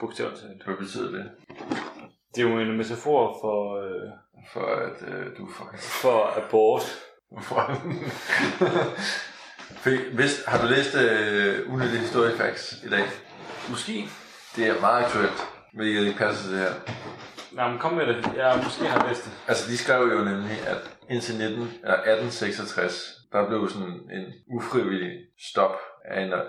Speaker 1: Bogstaveligt.
Speaker 3: Hvad betyder det?
Speaker 1: Det er jo en metafor for, øh,
Speaker 3: For at øh, du er fucking...
Speaker 1: for abort.
Speaker 3: For- Hvis, har du læst øh, Unødig Historiefax i dag?
Speaker 1: Måske.
Speaker 3: Det er meget aktuelt, hvilket ikke passer til det her.
Speaker 1: Nej, men kom med det. Jeg måske har læst det.
Speaker 3: Altså, de skrev jo nemlig, at indtil 19, eller 1866, der blev sådan en ufrivillig stop af en, af,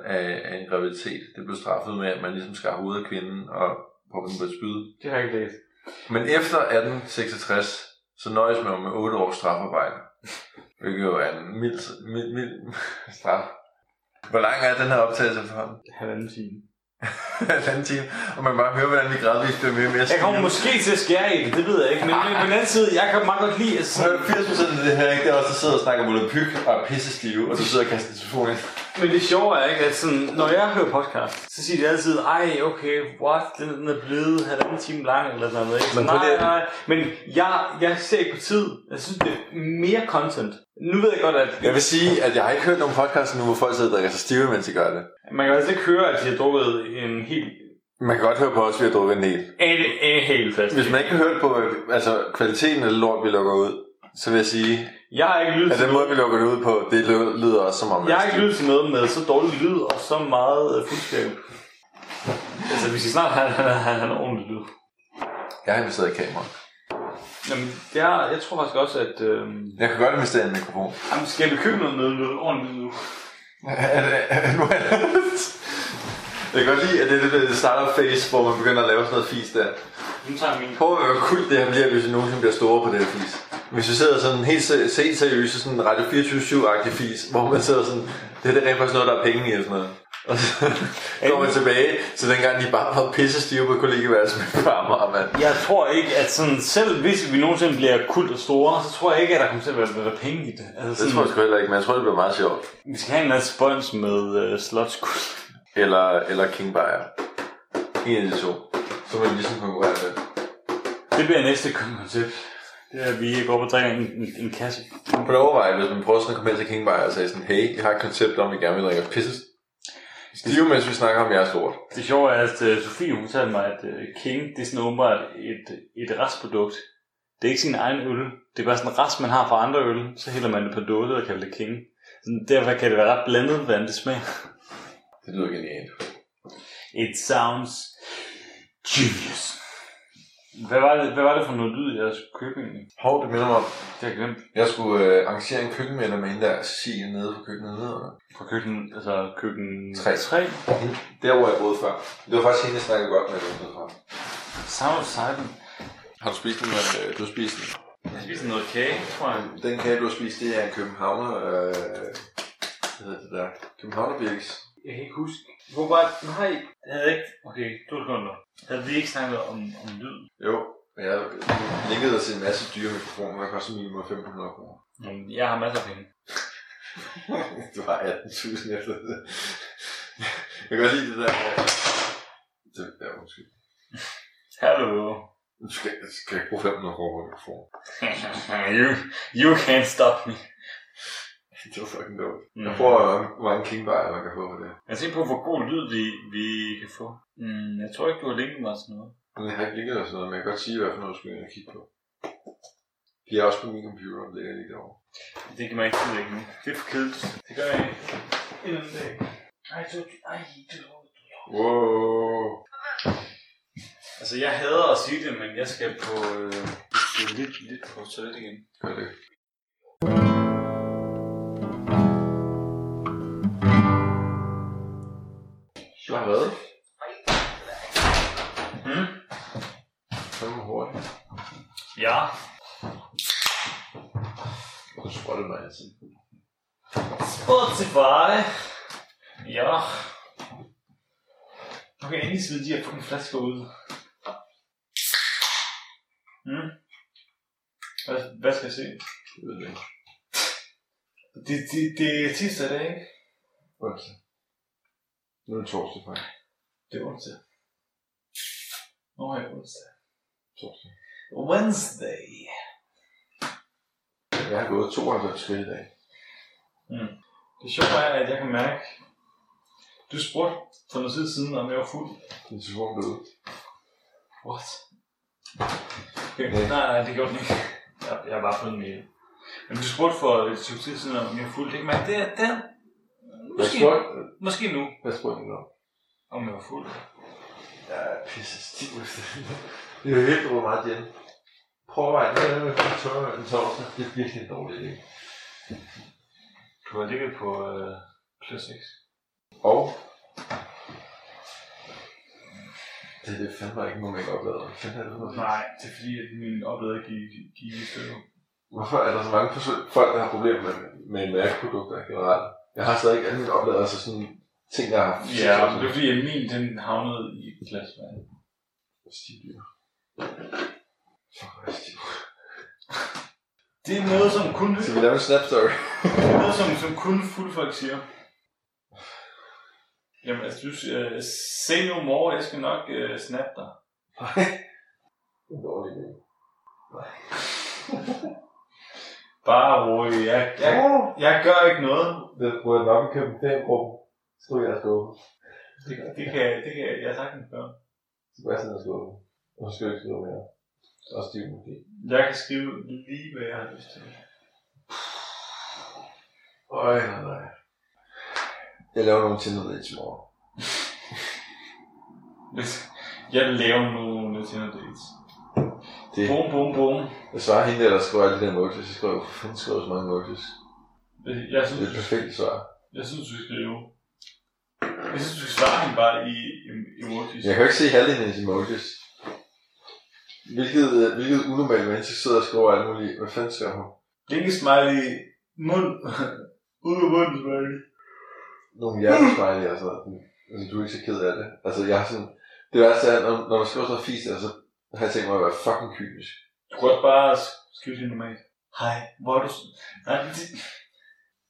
Speaker 3: af en graviditet. Det blev straffet med, at man ligesom skar hovedet af kvinden og proppede den på et spyd.
Speaker 1: Det har jeg ikke læst.
Speaker 3: Men efter 1866, så nøjes man jo med 8 års strafarbejde. Hvilket jo er en mild, mild, mild <laughs> straf. Hvor lang er den her optagelse for ham? <laughs>
Speaker 1: Halvanden time.
Speaker 3: Halvanden time. Og man bare hører, hvordan vi gradvist bliver mere og mere
Speaker 1: Jeg kommer
Speaker 3: stive.
Speaker 1: måske til at skære i det, det ved jeg ikke. Men, men på den anden side, jeg kan meget godt lide at
Speaker 3: Så er 80% af det her, ikke? Det er også, der sidder og snakker volapyk og er pisse stive, og du sidder og kaster en telefon ind.
Speaker 1: Men det sjove er ikke, at sådan, når jeg hører podcast, så siger de altid, ej, okay, what, den, den er blevet halvanden time lang, eller sådan noget, ikke?
Speaker 3: Men
Speaker 1: Men
Speaker 3: prøv lige
Speaker 1: nej,
Speaker 3: at-
Speaker 1: nej, men jeg, jeg ser ikke på tid. Jeg synes, det er mere content. Nu ved jeg godt, at
Speaker 3: Jeg vil sige, at jeg har ikke hørt nogen podcast nu, hvor folk sidder og drikker sig stive, mens de gør det.
Speaker 1: man kan altså ikke høre, at de har drukket en helt,
Speaker 3: Man kan godt høre på os, vi har drukket en del.
Speaker 1: en, en hel fest.
Speaker 3: Hvis man ikke har hørt på øh, altså, kvaliteten af det lort, vi lukker ud, så vil jeg sige,
Speaker 1: Jeg har ikke lyttet
Speaker 3: at
Speaker 1: til,
Speaker 3: den måde, vi lukker det ud på, det lø- lyder også som om, man
Speaker 1: jeg
Speaker 3: er
Speaker 1: har ikke
Speaker 3: stiv.
Speaker 1: lyttet til noget med så dårlig lyd og så meget uh, fuldskab. Altså, vi skal snart have, have, have, have en ordentlig lyd.
Speaker 3: jeg har investeret i kamera.
Speaker 1: Jamen, det er, jeg tror faktisk også, at... Øh,
Speaker 3: Jeg kan godt investere i en mikrofon.
Speaker 1: jamen, skal vi købe noget, noget, noget ordentligt nu?
Speaker 3: Er det- er det nu er det- jeg kan godt lide, at det er det der startup phase, hvor man begynder at lave sådan noget fis der.
Speaker 1: Nu tager jeg min
Speaker 3: Prøv at hvor kult det her bliver, hvis vi nogensinde bliver store på det her fis. Hvis vi sidder sådan helt se- helt seriøse, sådan Radio 24-7-agtig fis, hvor man sidder sådan, det her det er rent faktisk noget, der er penge i og sådan noget. Og så går man tilbage, så dengang de bare var pisse stive på kollegeværelset med farmer, mand.
Speaker 1: Jeg tror ikke, at sådan, selv hvis vi nogensinde bliver kult og store, så tror jeg ikke, at der kommer til at være, være penge i det. Altså,
Speaker 3: Det
Speaker 1: sådan,
Speaker 3: tror jeg sgu heller ikke, men jeg tror, det bliver meget sjovt.
Speaker 1: Vi skal have en eller anden spons med uh, slotskult.
Speaker 3: Eller, eller King Bayer. En af de to. Så må vi ligesom konkurrere med.
Speaker 1: Det bliver næste koncept. Det er, at vi går op og drikker en, en, en kasse.
Speaker 3: Prøv at overveje, hvis man prøver sådan at komme hen til King Bayer og sagde sådan, hey, jeg har et koncept om, at vi gerne vil drikke os pisse stive, mens vi snakker om jeres lort.
Speaker 1: Det sjove er, at uh, Sofie hun fortalte mig, at uh, King, det er sådan åbenbart et, et restprodukt. Det er ikke sin egen øl. Det er bare sådan en rest, man har fra andre øl. Så hælder man det på dåse og kalder det King. Sådan, Derfor kan det være ret blandet, hvordan det smager.
Speaker 3: Det lyder genialt.
Speaker 1: It sounds genius. Hvad var det, hvad var det for noget lyd, jeg skulle købe egentlig?
Speaker 3: Hov, det minder mig om,
Speaker 1: Det har jeg glemt.
Speaker 3: jeg skulle øh, arrangere en køkkenmænd med hende der Cecilie nede på køkkenet nedenunder.
Speaker 1: Fra køkken, altså køkken
Speaker 3: Tre.
Speaker 1: 3.
Speaker 3: Mhm. Der, hvor jeg boede før. Det var faktisk hende, jeg snakkede godt med, der boede før.
Speaker 1: Sound of Silence.
Speaker 3: Har du spist den, øh, du har spist den?
Speaker 1: Jeg spiste noget kage, tror jeg.
Speaker 3: Den kage, du har spist, det er en københavner... Øh, hvad hedder det der? Københavnerbirkes.
Speaker 1: Jeg kan ikke huske. Hvor var det? Nej. Jeg havde ikke. Okay, du sekunder. Havde vi ikke snakket om, om lyd?
Speaker 3: Jo, men jeg linkede dig til en masse dyre mikrofoner, der koster minimum 500 kroner. <laughs>
Speaker 1: Jamen, jeg har masser af penge.
Speaker 3: du har 18.000 efter det. Jeg kan godt lide det der, hvor... Det der, undskyld.
Speaker 1: Hallo.
Speaker 3: Du skal, skal ikke bruge 500 kroner på en mikrofon. <laughs>
Speaker 1: you, you can't stop me.
Speaker 3: Det var fucking dumt.
Speaker 1: Mm.
Speaker 3: Jeg prøver, hvor- hvor mange kingbejer man kan få for det.
Speaker 1: Jeg tænker på, hvor god lyd vi, vi kan få. Mm, jeg tror ikke, du har linket mig sådan noget.
Speaker 3: Men jeg har ikke ligget og sådan noget, men jeg kan godt sige, hvad for noget du skal ind og kigge på. De er også på min computer, det ligger lige derovre.
Speaker 1: Det kan man ikke udlægge nu. Det er for kedeligt. Det gør jeg ikke. Inden dag. Ej, du... Ej, du...
Speaker 3: Wow.
Speaker 2: Altså, jeg hader at sige det, men jeg skal på, øh, jeg skal lidt, lidt på toilet igen.
Speaker 3: Gør det. Du har været?
Speaker 2: Mm.
Speaker 3: Kom hurtigt.
Speaker 2: Ja.
Speaker 3: Du spottede mig altid.
Speaker 2: Spotify. Ja. Nu kan jeg endelig smide de her fucking flasker ud. Mm. Hvad, hvad skal jeg se?
Speaker 3: Jeg ved det ikke.
Speaker 2: Det, det, det er tirsdag i dag, ikke?
Speaker 3: Onsdag. Nu er det torsdag, faktisk.
Speaker 2: Det er onsdag. Nå, jeg er onsdag.
Speaker 3: Torsdag.
Speaker 2: Wednesday.
Speaker 3: Jeg har gået 92 skridt i dag.
Speaker 2: Det sjove er, at jeg kan mærke, du spurgte for noget tid siden, om jeg var fuld.
Speaker 3: Det er svunget ud.
Speaker 2: What? Okay. Nej, nej, det gjorde den ikke.
Speaker 4: Jeg, jeg har bare fået en mail.
Speaker 2: Men du spurgte for et stykke tid siden, om jeg var fuld. Det kan mærke, det er den.
Speaker 3: Hvad
Speaker 2: Måske,
Speaker 3: spurgte
Speaker 2: måske nu,
Speaker 3: Hvad spurgte du om?
Speaker 2: om jeg var fuld.
Speaker 3: Jeg er pisse stiv. det er jo helt hvor meget igen. Prøv at være med på tørre en torsdag. Det er virkelig en dårlig idé.
Speaker 2: Du har ligget på øh, plus 6.
Speaker 3: Og det, det fandme ikke nogen make oplader. Hvad fanden er det for noget?
Speaker 2: Nej, det er fordi, at min oplader gik, gik i stykker.
Speaker 3: Hvorfor er der så mange forsøg- folk, der har problemer med, med mærkeprodukter generelt? Jeg har stadig ikke alle mine opladere, så sådan ting, jeg har
Speaker 2: Ja, men det er fordi, at min den havnede i et glas vand.
Speaker 3: Stivdyr. Fuck, hvor er jeg stiv.
Speaker 2: Det er noget, som kun,
Speaker 3: Skal vi lave en snap story?
Speaker 2: det er noget, som, som kun fuldfolk siger. Jamen, altså, du uh, say no more, jeg skal nok uh, snappe dig.
Speaker 3: Nej. Det er en dårlig idé.
Speaker 2: Bare rolig, jeg, jeg, jeg gør ikke noget.
Speaker 3: Det burde jeg nok i København-gruppen. Stod jeg og skuffet.
Speaker 2: Det, det, kan, det kan jeg, jeg sagtens gøre.
Speaker 3: Sebastian er skuffet. Og så skal jeg ikke skrive mere. Og stiv måske.
Speaker 2: Jeg kan skrive lige, hvad jeg har lyst til.
Speaker 3: Øj, nej, nej. Jeg laver nogle tinder dates i morgen.
Speaker 2: Hvis jeg laver nu nogle Tinder dates.
Speaker 3: Det,
Speaker 2: Boom, boom, boom.
Speaker 3: jeg svarer hende, der, der skriver alle de der emojis. Jeg skriver, hvor fanden skriver jeg så mange emojis?
Speaker 2: Jeg
Speaker 3: Det er
Speaker 2: synes,
Speaker 3: et perfekt svar.
Speaker 2: Jeg synes, du skal skrive. Jeg synes, du skal svare hende bare i em- emojis.
Speaker 3: Jeg kan jo ikke se halvdelen af hendes emojis. Hvilket, øh, hvilket unormalt menneske sidder og skriver alt muligt. Hvad fanden skriver hun?
Speaker 2: Linke smiley, mund, <laughs> ud af munden smiley.
Speaker 3: Nogle hjertesmiley og sådan noget. Altså, du er ikke så ked af det. Altså, jeg har sådan... Det værste er, når, når man skriver sådan noget fisk, altså, har jeg tænkt mig at være fucking kynisk.
Speaker 2: Du kan også bare sk- skrive det normalt. Hej, hvor er du? s- Nej, det,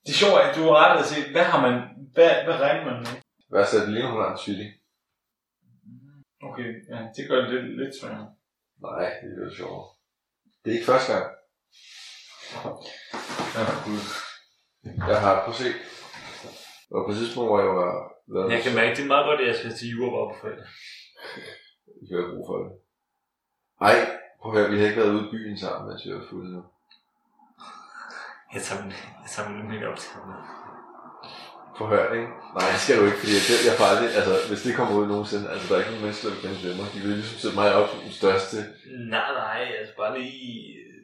Speaker 2: det er sjovt, at du har ret at se, hvad har man, hvad, hvad regner man med?
Speaker 3: Værste er, at det ligner, hun har en tvilling.
Speaker 2: Okay, ja, det gør det lidt, lidt sværere.
Speaker 3: Nej, det er jo sjovt. Det er ikke første gang.
Speaker 2: Ja, gud.
Speaker 3: Jeg har prøv at se. Og på et tidspunkt, hvor jeg var... Lavet,
Speaker 4: Jeg kan mærke, det er meget godt, at jeg skal til jura bare på fredag.
Speaker 3: Jeg har brug for det. Ej, prøv at høre, vi har ikke været ude i byen sammen, mens vi var fulde nu.
Speaker 4: Jeg tager min, jeg tager min min optagelse med.
Speaker 3: Prøv at høre, ikke? Nej, det skal du ikke, fordi jeg, jeg får aldrig, altså, hvis det kommer ud nogensinde, altså, der er ikke nogen mennesker, der vil kende til mig. De vil ligesom sætte mig op som den største.
Speaker 4: Nej, nej, altså bare lige... øh,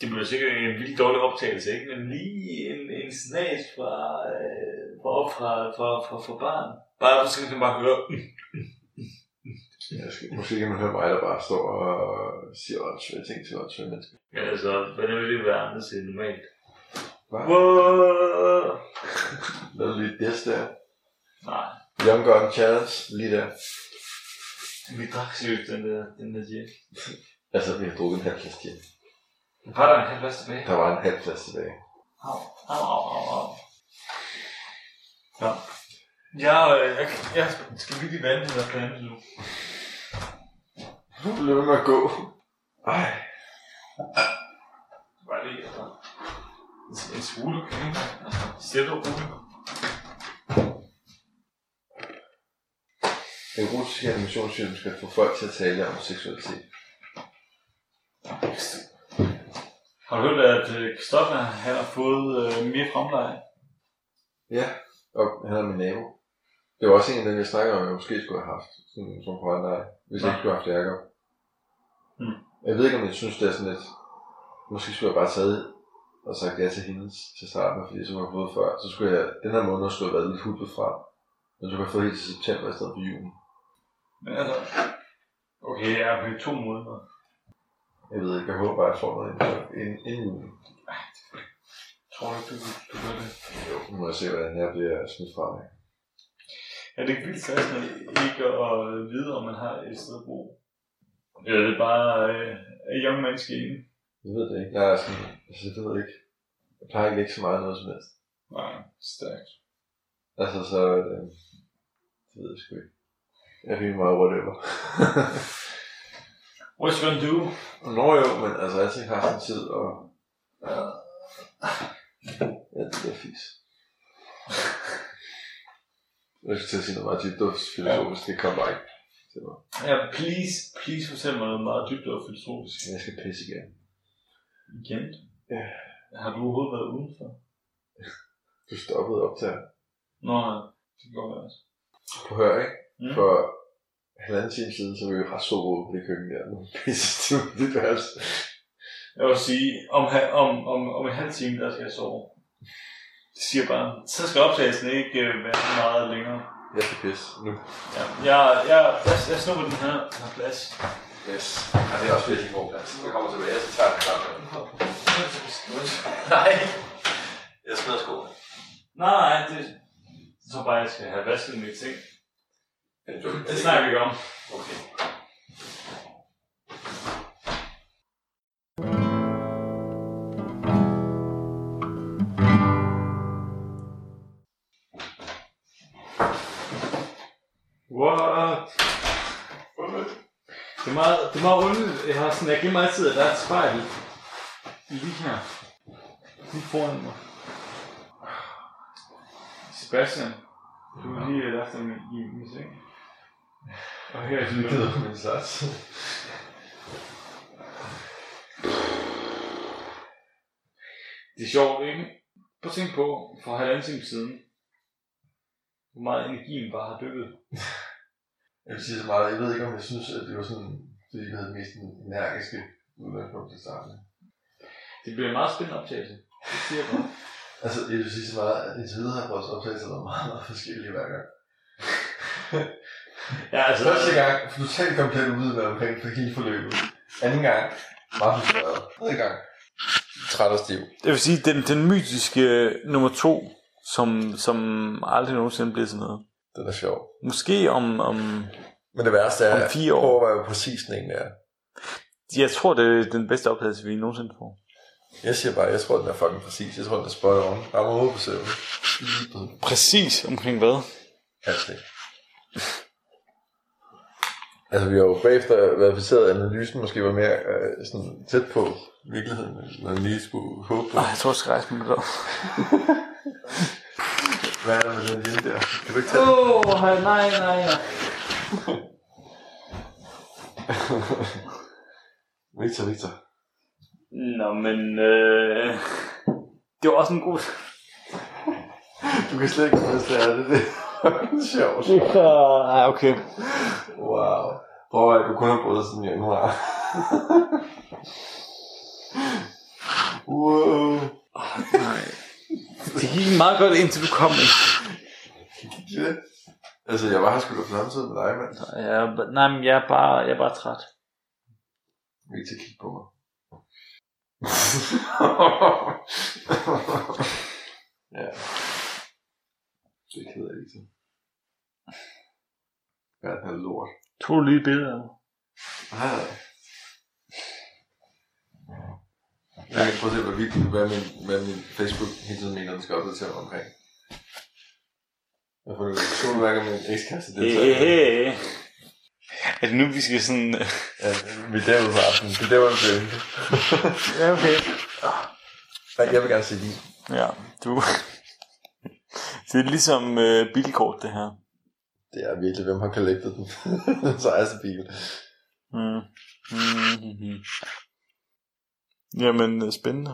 Speaker 4: Det bliver sikkert en vildt dårlig optagelse, ikke? Men lige en, en snas fra, øh, fra, op fra, fra, fra, fra barn. Bare for så kan man bare høre, "Mm,
Speaker 3: Jeg skal, måske kan man høre mig, der bare står og siger åndssvage ting til åndssvage mennesker.
Speaker 4: Men altså, hvordan vil det være andet til normalt?
Speaker 3: Hvad?
Speaker 4: Wow.
Speaker 3: Lavede lige det der.
Speaker 2: Nej.
Speaker 3: Young Gun Challenge, lige der.
Speaker 4: Vi drak seriøst den der, den der gin.
Speaker 3: Altså, vi har drukket en halv flaske gin.
Speaker 4: Var der en halv plads tilbage?
Speaker 3: Der var en halv flaske tilbage.
Speaker 4: Au, au, au, au.
Speaker 2: Jeg, øh, jeg, jeg skal virkelig vande den der plante nu.
Speaker 3: Nu blev med at gå. Ej,
Speaker 2: Bare lige, altså. En- En smule, ikke? Stille og roligt.
Speaker 3: erotiske animationsfilm skal få folk til at tale om seksualitet.
Speaker 2: Har du hørt, at øh, Christoffer han har fået øh, mere fremleje?
Speaker 3: Og han er min nabo. Det var også en af dem, jeg snakkede om, jeg måske skulle have haft, sådan, som på andre, hvis jeg ikke skulle have haft Jacob.
Speaker 1: Mm.
Speaker 2: Hmm.
Speaker 3: Jeg ved ikke, om jeg synes, det er sådan lidt, måske skulle jeg bare taget og sagt ja til hendes til starten, fordi som jeg har fået før, så skulle jeg, den her måned skulle jeg have været lidt hudlet fra. Men så kunne jeg få helt til september i stedet for julen.
Speaker 1: Men altså,
Speaker 2: Okay, jeg er på to måneder.
Speaker 3: Jeg ved ikke, jeg håber bare, at jeg får noget inden, inden, inden julen.
Speaker 2: Tror du ikke, du, du gør det?
Speaker 3: Jo, nu må jeg se, hvordan jeg bliver smidt fra mig.
Speaker 1: er det ikke vildt stressende ikke at vide, om man har et sted at bo? Ja, det er bare øh, et young menneske inde.
Speaker 3: Jeg ved det ikke. Jeg er sådan, altså, det ved jeg ikke. Jeg plejer ikke at lægge så meget noget som helst.
Speaker 1: Nej, stærkt.
Speaker 3: Altså, så... Øh, det ved jeg sgu ikke. Jeg er rimelig meget whatever. <laughs>
Speaker 1: What's gonna do?
Speaker 3: Nå jo, men altså, jeg tænker, har sådan tid, og... Ja, ja det er fis. Jeg skulle til at sige noget meget dybt, det var filosofisk, det kom bare ikke til mig.
Speaker 1: Ja, please, please fortæl mig noget meget dybt og filosofisk.
Speaker 3: Jeg skal pisse igen.
Speaker 1: Igen?
Speaker 3: Ja.
Speaker 1: Har du overhovedet været udenfor?
Speaker 3: Du stoppede op til
Speaker 1: Nå, ja. det kan godt være. altså.
Speaker 3: Prøv at høre, ikke?
Speaker 1: Mm.
Speaker 3: Mm. For halvanden time siden, så var vi jo ret sobrede på det køkken der. Nu pisser du i dit værelse.
Speaker 1: Jeg vil sige, om, ha- om, om, om en halv time, der skal jeg sove. Det siger bare, så skal optagelsen ikke øh, være så meget længere.
Speaker 3: Jeg skal pisse nu.
Speaker 1: Ja, jeg, jeg, jeg, jeg snupper den her, den her plads.
Speaker 3: Yes. Ja, det er også virkelig en god plads. Jeg kommer tilbage, så tager jeg den sammen.
Speaker 4: Nej.
Speaker 3: Jeg smider skoene.
Speaker 1: Nej, nej, det jeg tror bare, jeg skal have vasket mine ting.
Speaker 3: Er det dumt?
Speaker 1: Det snakker vi ikke om.
Speaker 3: Okay.
Speaker 1: What? Det er meget, det er meget underligt. Jeg, har sådan, jeg glemmer altid, at der er et spejl lige her. Lige foran mig. Sebastian, du er lige øh, efter min, i min seng. Og her er din
Speaker 3: Det lyder min slags.
Speaker 1: Det er sjovt, ikke? Prøv at tænke på, for halvanden time siden, hvor meget energien bare har dykket.
Speaker 3: Jeg vil sige så meget. Jeg ved ikke, om jeg synes, at det var sådan, fordi vi havde det mest energiske udgangspunkt til starten.
Speaker 1: Det bliver en meget spændende optagelse. Det siger jeg bare.
Speaker 3: Altså, jeg vil sige så meget, at indtil videre har vores optagelser været meget, meget forskellige hver gang.
Speaker 1: <laughs> Ja, altså,
Speaker 3: Første gang, for du talte komplet ude med omkring for hele forløbet. Anden gang, meget frustreret. Tredje gang, træt og stiv.
Speaker 1: det vil sige, den, den mytiske øh, nummer to, som, som aldrig nogensinde blev til noget.
Speaker 3: Den er sjov.
Speaker 1: Måske om, om
Speaker 3: Men det værste er,
Speaker 1: Om fire år.
Speaker 3: prøv at overveje, hvor præcis den egentlig er.
Speaker 1: jeg tror, det er den bedste opdagelse, vi nogensinde får.
Speaker 3: Jeg siger bare, jeg tror, den er fucking præcis. Jeg tror, den er spot on. Rammer hovedet på søvn.
Speaker 1: Præcis omkring hvad?
Speaker 3: Alt det. Altså, vi har jo bagefter verificeret, at analysen måske var mere øh, sådan tæt på virkeligheden, når man lige skulle håbe på.
Speaker 1: Ej, jeg tror, jeg skal rejse mig lidt op.
Speaker 3: Hvad er der med den lille der? Kan du ikke tage den?
Speaker 1: Åh, nej, nej, nej.
Speaker 3: Victor, Victor.
Speaker 1: Nå, men... Øh, det var også en god...
Speaker 3: Du kan slet ikke konstatere det. Det er sjovt.
Speaker 1: Nej, okay.
Speaker 3: Wow. Prøv at du kun har brudt sådan i januar. wow.
Speaker 1: Nej. Det gik meget godt, indtil du kom. ikke?
Speaker 3: Ja. Altså, jeg var her sgu da på samme tid med dig, mand.
Speaker 1: Ja, b- nej, men jeg er bare, jeg er bare træt.
Speaker 3: Victor, kig på mig. <laughs> ja. Det er ked af, Victor. Hvad er det her lort?
Speaker 1: Tog du lige billeder af mig?
Speaker 3: Nej, nej. Jeg kan prøve at se, hvad, vi, hvad, min, hvad min Facebook hele tiden mener, den skal opdatere mig omkring. Jeg får nogle solværker med min ekskæreste. Det er
Speaker 1: Hey. Er det nu, vi skal sådan... øh,
Speaker 3: ja, vi er derude på aftenen. Det er der, hvor det blev.
Speaker 1: Ja, okay.
Speaker 3: Nej, Ah. jeg vil gerne se din.
Speaker 1: Ja, du... Det er ligesom øh, bilkort, det her.
Speaker 3: Det er virkelig, hvem har collectet den <laughs> sejeste bil.
Speaker 1: Mm. Mm. Jamen, øh, spændende.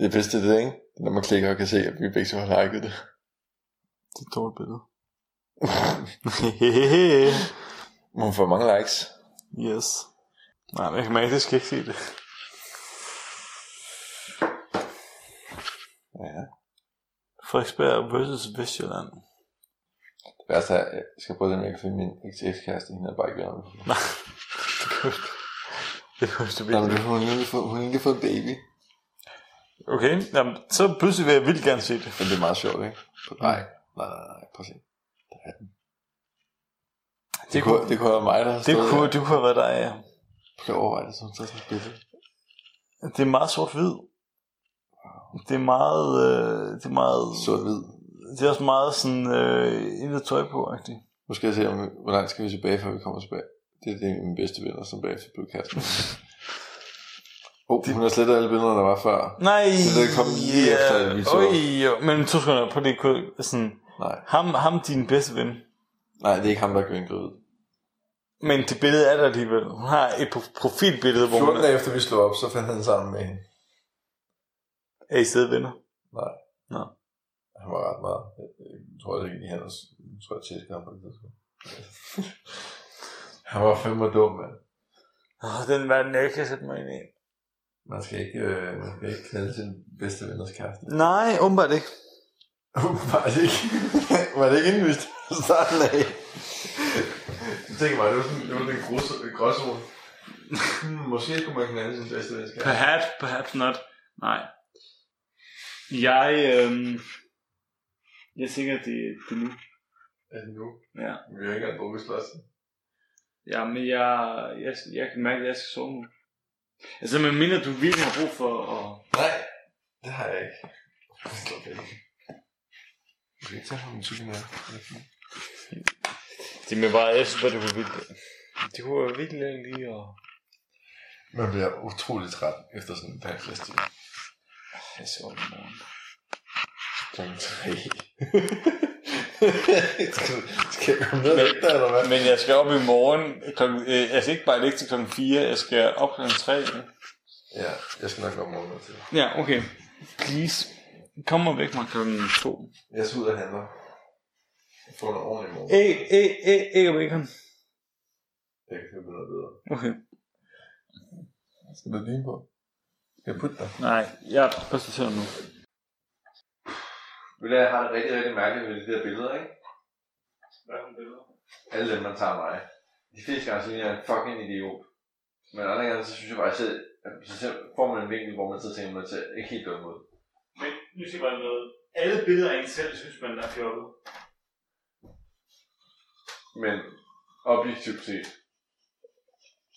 Speaker 3: Det bedste er det, ikke? Når man klikker og kan se, at vi begge to har liket det.
Speaker 1: Det er et dårligt billede. <laughs>
Speaker 3: Man får mange likes.
Speaker 1: yes. Nej, men jeg kan mærke, at jeg skal ikke se det.
Speaker 3: Ja.
Speaker 1: Frederiksberg vs. Vestjylland.
Speaker 3: Det værste er, jeg skal prøve den, jeg kan finde min eks-kæreste, hende er bare ikke venner med.
Speaker 1: Det er højst
Speaker 3: Nej, men det- hun har lige fået, hun har lige fået en baby.
Speaker 1: Okay, jamen, så pludselig vil jeg vildt gerne se det.
Speaker 3: Men det er meget sjovt, ikke? Nej, nej, nej, nej, prøv at se. Der er den. Det, det, kunne, det kunne være mig, der har
Speaker 1: Det
Speaker 3: stået
Speaker 1: kunne,
Speaker 3: der.
Speaker 1: det kunne have været dig, ja.
Speaker 3: Prøv at overveje det, som tager sådan et billede.
Speaker 1: Det er meget sort-hvid. Det er meget... Øh, det er meget...
Speaker 3: Sort-hvid.
Speaker 1: Det er også meget sådan... Øh, intet tøj på, agtigt.
Speaker 3: Nu skal jeg se, om, hvor langt skal vi tilbage, før vi kommer tilbage. Det er det er mine bedste venner, som bagefter blev kæresten. <laughs> Åh, oh, hun har slettet alle billederne, der var før.
Speaker 1: Nej,
Speaker 3: Så det kom lige efter, at vi så-
Speaker 1: Øj, jo. men to sekunder på det kunne sådan...
Speaker 3: Nej,
Speaker 1: Ham, ham din bedste ven.
Speaker 3: nej, det er ikke ham, der blev gravid.
Speaker 1: Men det billede er der alligevel. Hun har et pro- profilbillede, hvor hun
Speaker 3: 14
Speaker 1: er,
Speaker 3: dage efter vi slog op, så fandt han sammen med hende.
Speaker 1: er i stedet venner.
Speaker 3: Nej.
Speaker 1: Nå.
Speaker 3: Han var ret meget. Jeg tror, det gik i hans. Jeg tror, jeg tæskede ham på det <laughs> tidspunkt. han var fandme dum, mand.
Speaker 1: Åh, den verden, jeg ikke kan sætte mig ind i.
Speaker 3: Man skal ikke, øh, man skal ikke knalde sin bedste venners kæreste. <laughs>
Speaker 1: Nej, åbenbart ikke.
Speaker 3: var det ikke, <laughs> var det ikke <laughs> indvist fra starten af? Jeg tænker bare, det var sådan, det var den grus, gråzone. Hmm, måske skulle man knalde sin bedste venners kæreste.
Speaker 2: Perhaps, perhaps not. Nej. Jeg, øhm, jeg er sikker, det, det er nu.
Speaker 3: Altså nu.
Speaker 2: Ja.
Speaker 3: Vi har ikke engang brugt slåsen.
Speaker 2: Ja, men jeg, jeg, jeg kan mærke, at jeg skal sove nu. Altså, men mindre du virkelig har brug for at...
Speaker 3: Nej, det har jeg ikke. Slå det. Du kan ikke tage ham en tusind mere.
Speaker 1: Det er bare, jeg synes bare, det var vildt. Det kunne være vildt lige at...
Speaker 3: Man bliver utrolig træt efter sådan en dag festival.
Speaker 1: Jeg så i morgen.
Speaker 3: Klokken tre. skal, skal jeg komme ned og vække dig, eller hvad?
Speaker 1: Men jeg skal op i morgen. Klokken, øh, jeg skal ikke bare ligge til klokken 4, jeg skal op klokken 3.
Speaker 3: Ja, jeg skal nok komme morgen til.
Speaker 1: Ja, okay. Please. Kom og væk mig klokken 2.
Speaker 3: Jeg skal ud og handle. Jeg får noget ordentligt i morgen.
Speaker 1: Æg, æg, æg, æg og bacon.
Speaker 3: Jeg kan købe noget bedre.
Speaker 1: Okay.
Speaker 3: Skal du lige på? Skal jeg putte dig?
Speaker 1: Nej, jeg præsenterer nu.
Speaker 3: Ved du, jeg har det rigtig, rigtig mærkeligt med de der billeder, ikke? Alle dem, man tager af mig. De fleste gange, så ligner jeg en fucking idiot. Men andre gange, så synes jeg bare, at selv, så selv får man en vinkel, hvor man så tænker, at man ser ikke helt dum ud.
Speaker 2: Men nu siger jeg bare noget. Alle billeder af en selv, synes man, der er fjollet.
Speaker 3: Men objektivt set,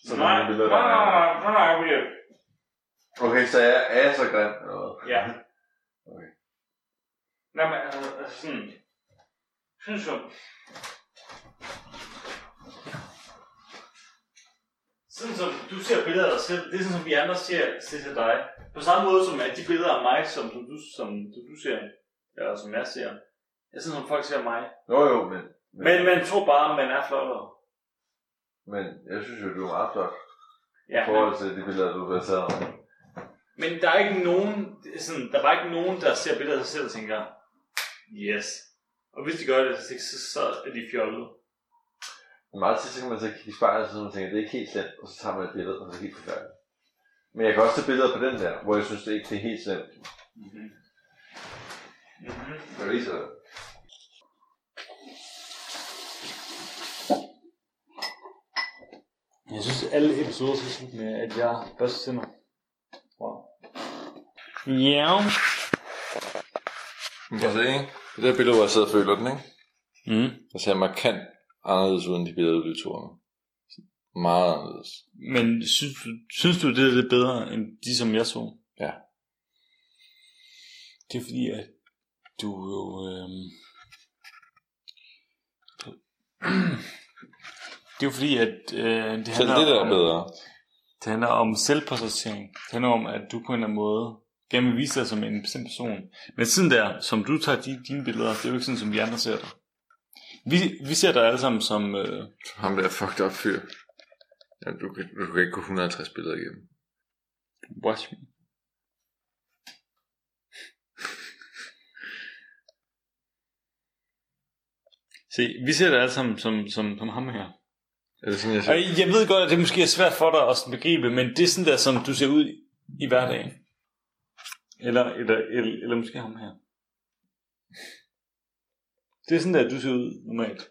Speaker 3: så er der
Speaker 2: nej, Ah.
Speaker 3: nogle billeder, der
Speaker 2: nej,
Speaker 3: er
Speaker 2: nej,
Speaker 3: mærkelige.
Speaker 2: nej, nej, nej, okay.
Speaker 3: Okay, så er, er jeg så grim? Eller hvad?
Speaker 2: Ja.
Speaker 3: Okay.
Speaker 2: Nej, men altså, altså sådan... Synes jeg... Sådan som du ser billeder af dig selv, det er sådan som vi andre ser, ser til dig. På samme måde som at de billeder af mig, som du, du, som du, du ser, eller som jeg ser, er sådan som folk ser mig.
Speaker 3: Jo, jo, men,
Speaker 2: Men man tror bare, man er flottere.
Speaker 3: men jeg synes jo, du er meget flot
Speaker 2: Ja,
Speaker 3: i forhold til de billeder, du har taget.
Speaker 2: Men der er ikke nogen, det er sådan, der var ikke nogen, der ser billeder af sig selv og tænker, yes. Og hvis de gør det, så, så, så er de fjollede.
Speaker 3: Men meget tit, så kan man så kigge i spejlet, og så man tænker, det er ikke helt slemt, og så tager man et billede, og så er det helt forfærdeligt. Men jeg kan også tage billeder på den der, hvor jeg synes, det ikke det er helt slemt.
Speaker 2: Mm-hmm. Mm-hmm.
Speaker 3: Jeg viser det.
Speaker 1: Jeg synes, at alle episoder skal slutte med, at jeg først sender. Wow. Ja.
Speaker 3: Prøv at se, Mm-hmm. ikke? Det der billede, hvor jeg sidder og føler den, ikke?
Speaker 1: Mm.
Speaker 3: Der ser markant anderledes ud, end de billeder, du tog med. Meget anderledes.
Speaker 1: Men synes du, synes du, det er lidt bedre, end de, som jeg så?
Speaker 3: Ja.
Speaker 1: Det er fordi, at du jo... Øhm, det er jo fordi, at øh, det,
Speaker 3: Selv
Speaker 1: handler
Speaker 3: det der
Speaker 1: om,
Speaker 3: er bedre.
Speaker 1: det handler om selvportrættering. Det handler om, at du på en eller anden måde gerne vil vise dig som en bestemt person. Men siden der, som du tager de, dine billeder, det er jo ikke sådan, som vi andre ser dig. Vi, vi ser dig alle sammen som... Øh,
Speaker 3: Ham der fucked up fyr. Ja, du, kan, du kan ikke gå 150 billeder igennem.
Speaker 1: Watch me. Se, vi ser det alle sammen som, som, som ham her.
Speaker 3: Er det sådan, jeg siger?
Speaker 1: Og Øh, jeg ved godt, at det måske er svært for dig at sådan begribe, men det er sådan der, som du ser ud i hverdagen. Eller, eller, eller, eller måske ham her. Det er sådan der, du ser ud normalt.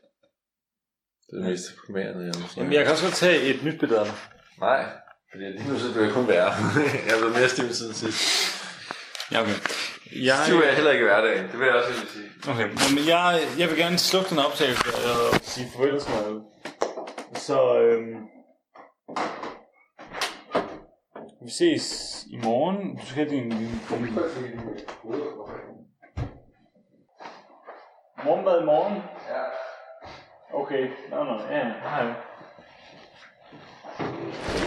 Speaker 3: Det er det mest deprimerende, jeg måske.
Speaker 1: Jamen, jeg kan også godt tage et nyt billede af dig.
Speaker 3: Nej, fordi lige nu så bliver jeg kun værre. <laughs> jeg er blevet mere stiv siden sidst.
Speaker 1: Ja, okay.
Speaker 3: Stiv er
Speaker 1: Jeg,
Speaker 3: jeg heller ikke i hverdagen, det vil jeg også lige sige.
Speaker 1: okay. Jamen, jeg, jeg vil gerne slukke den optagelse og sige farvel til mig. Så øhm, vi ses i morgen. Du skal have din, din, din Morgenmad i morgen? Ja. Okay, nå, nå, ja, hej.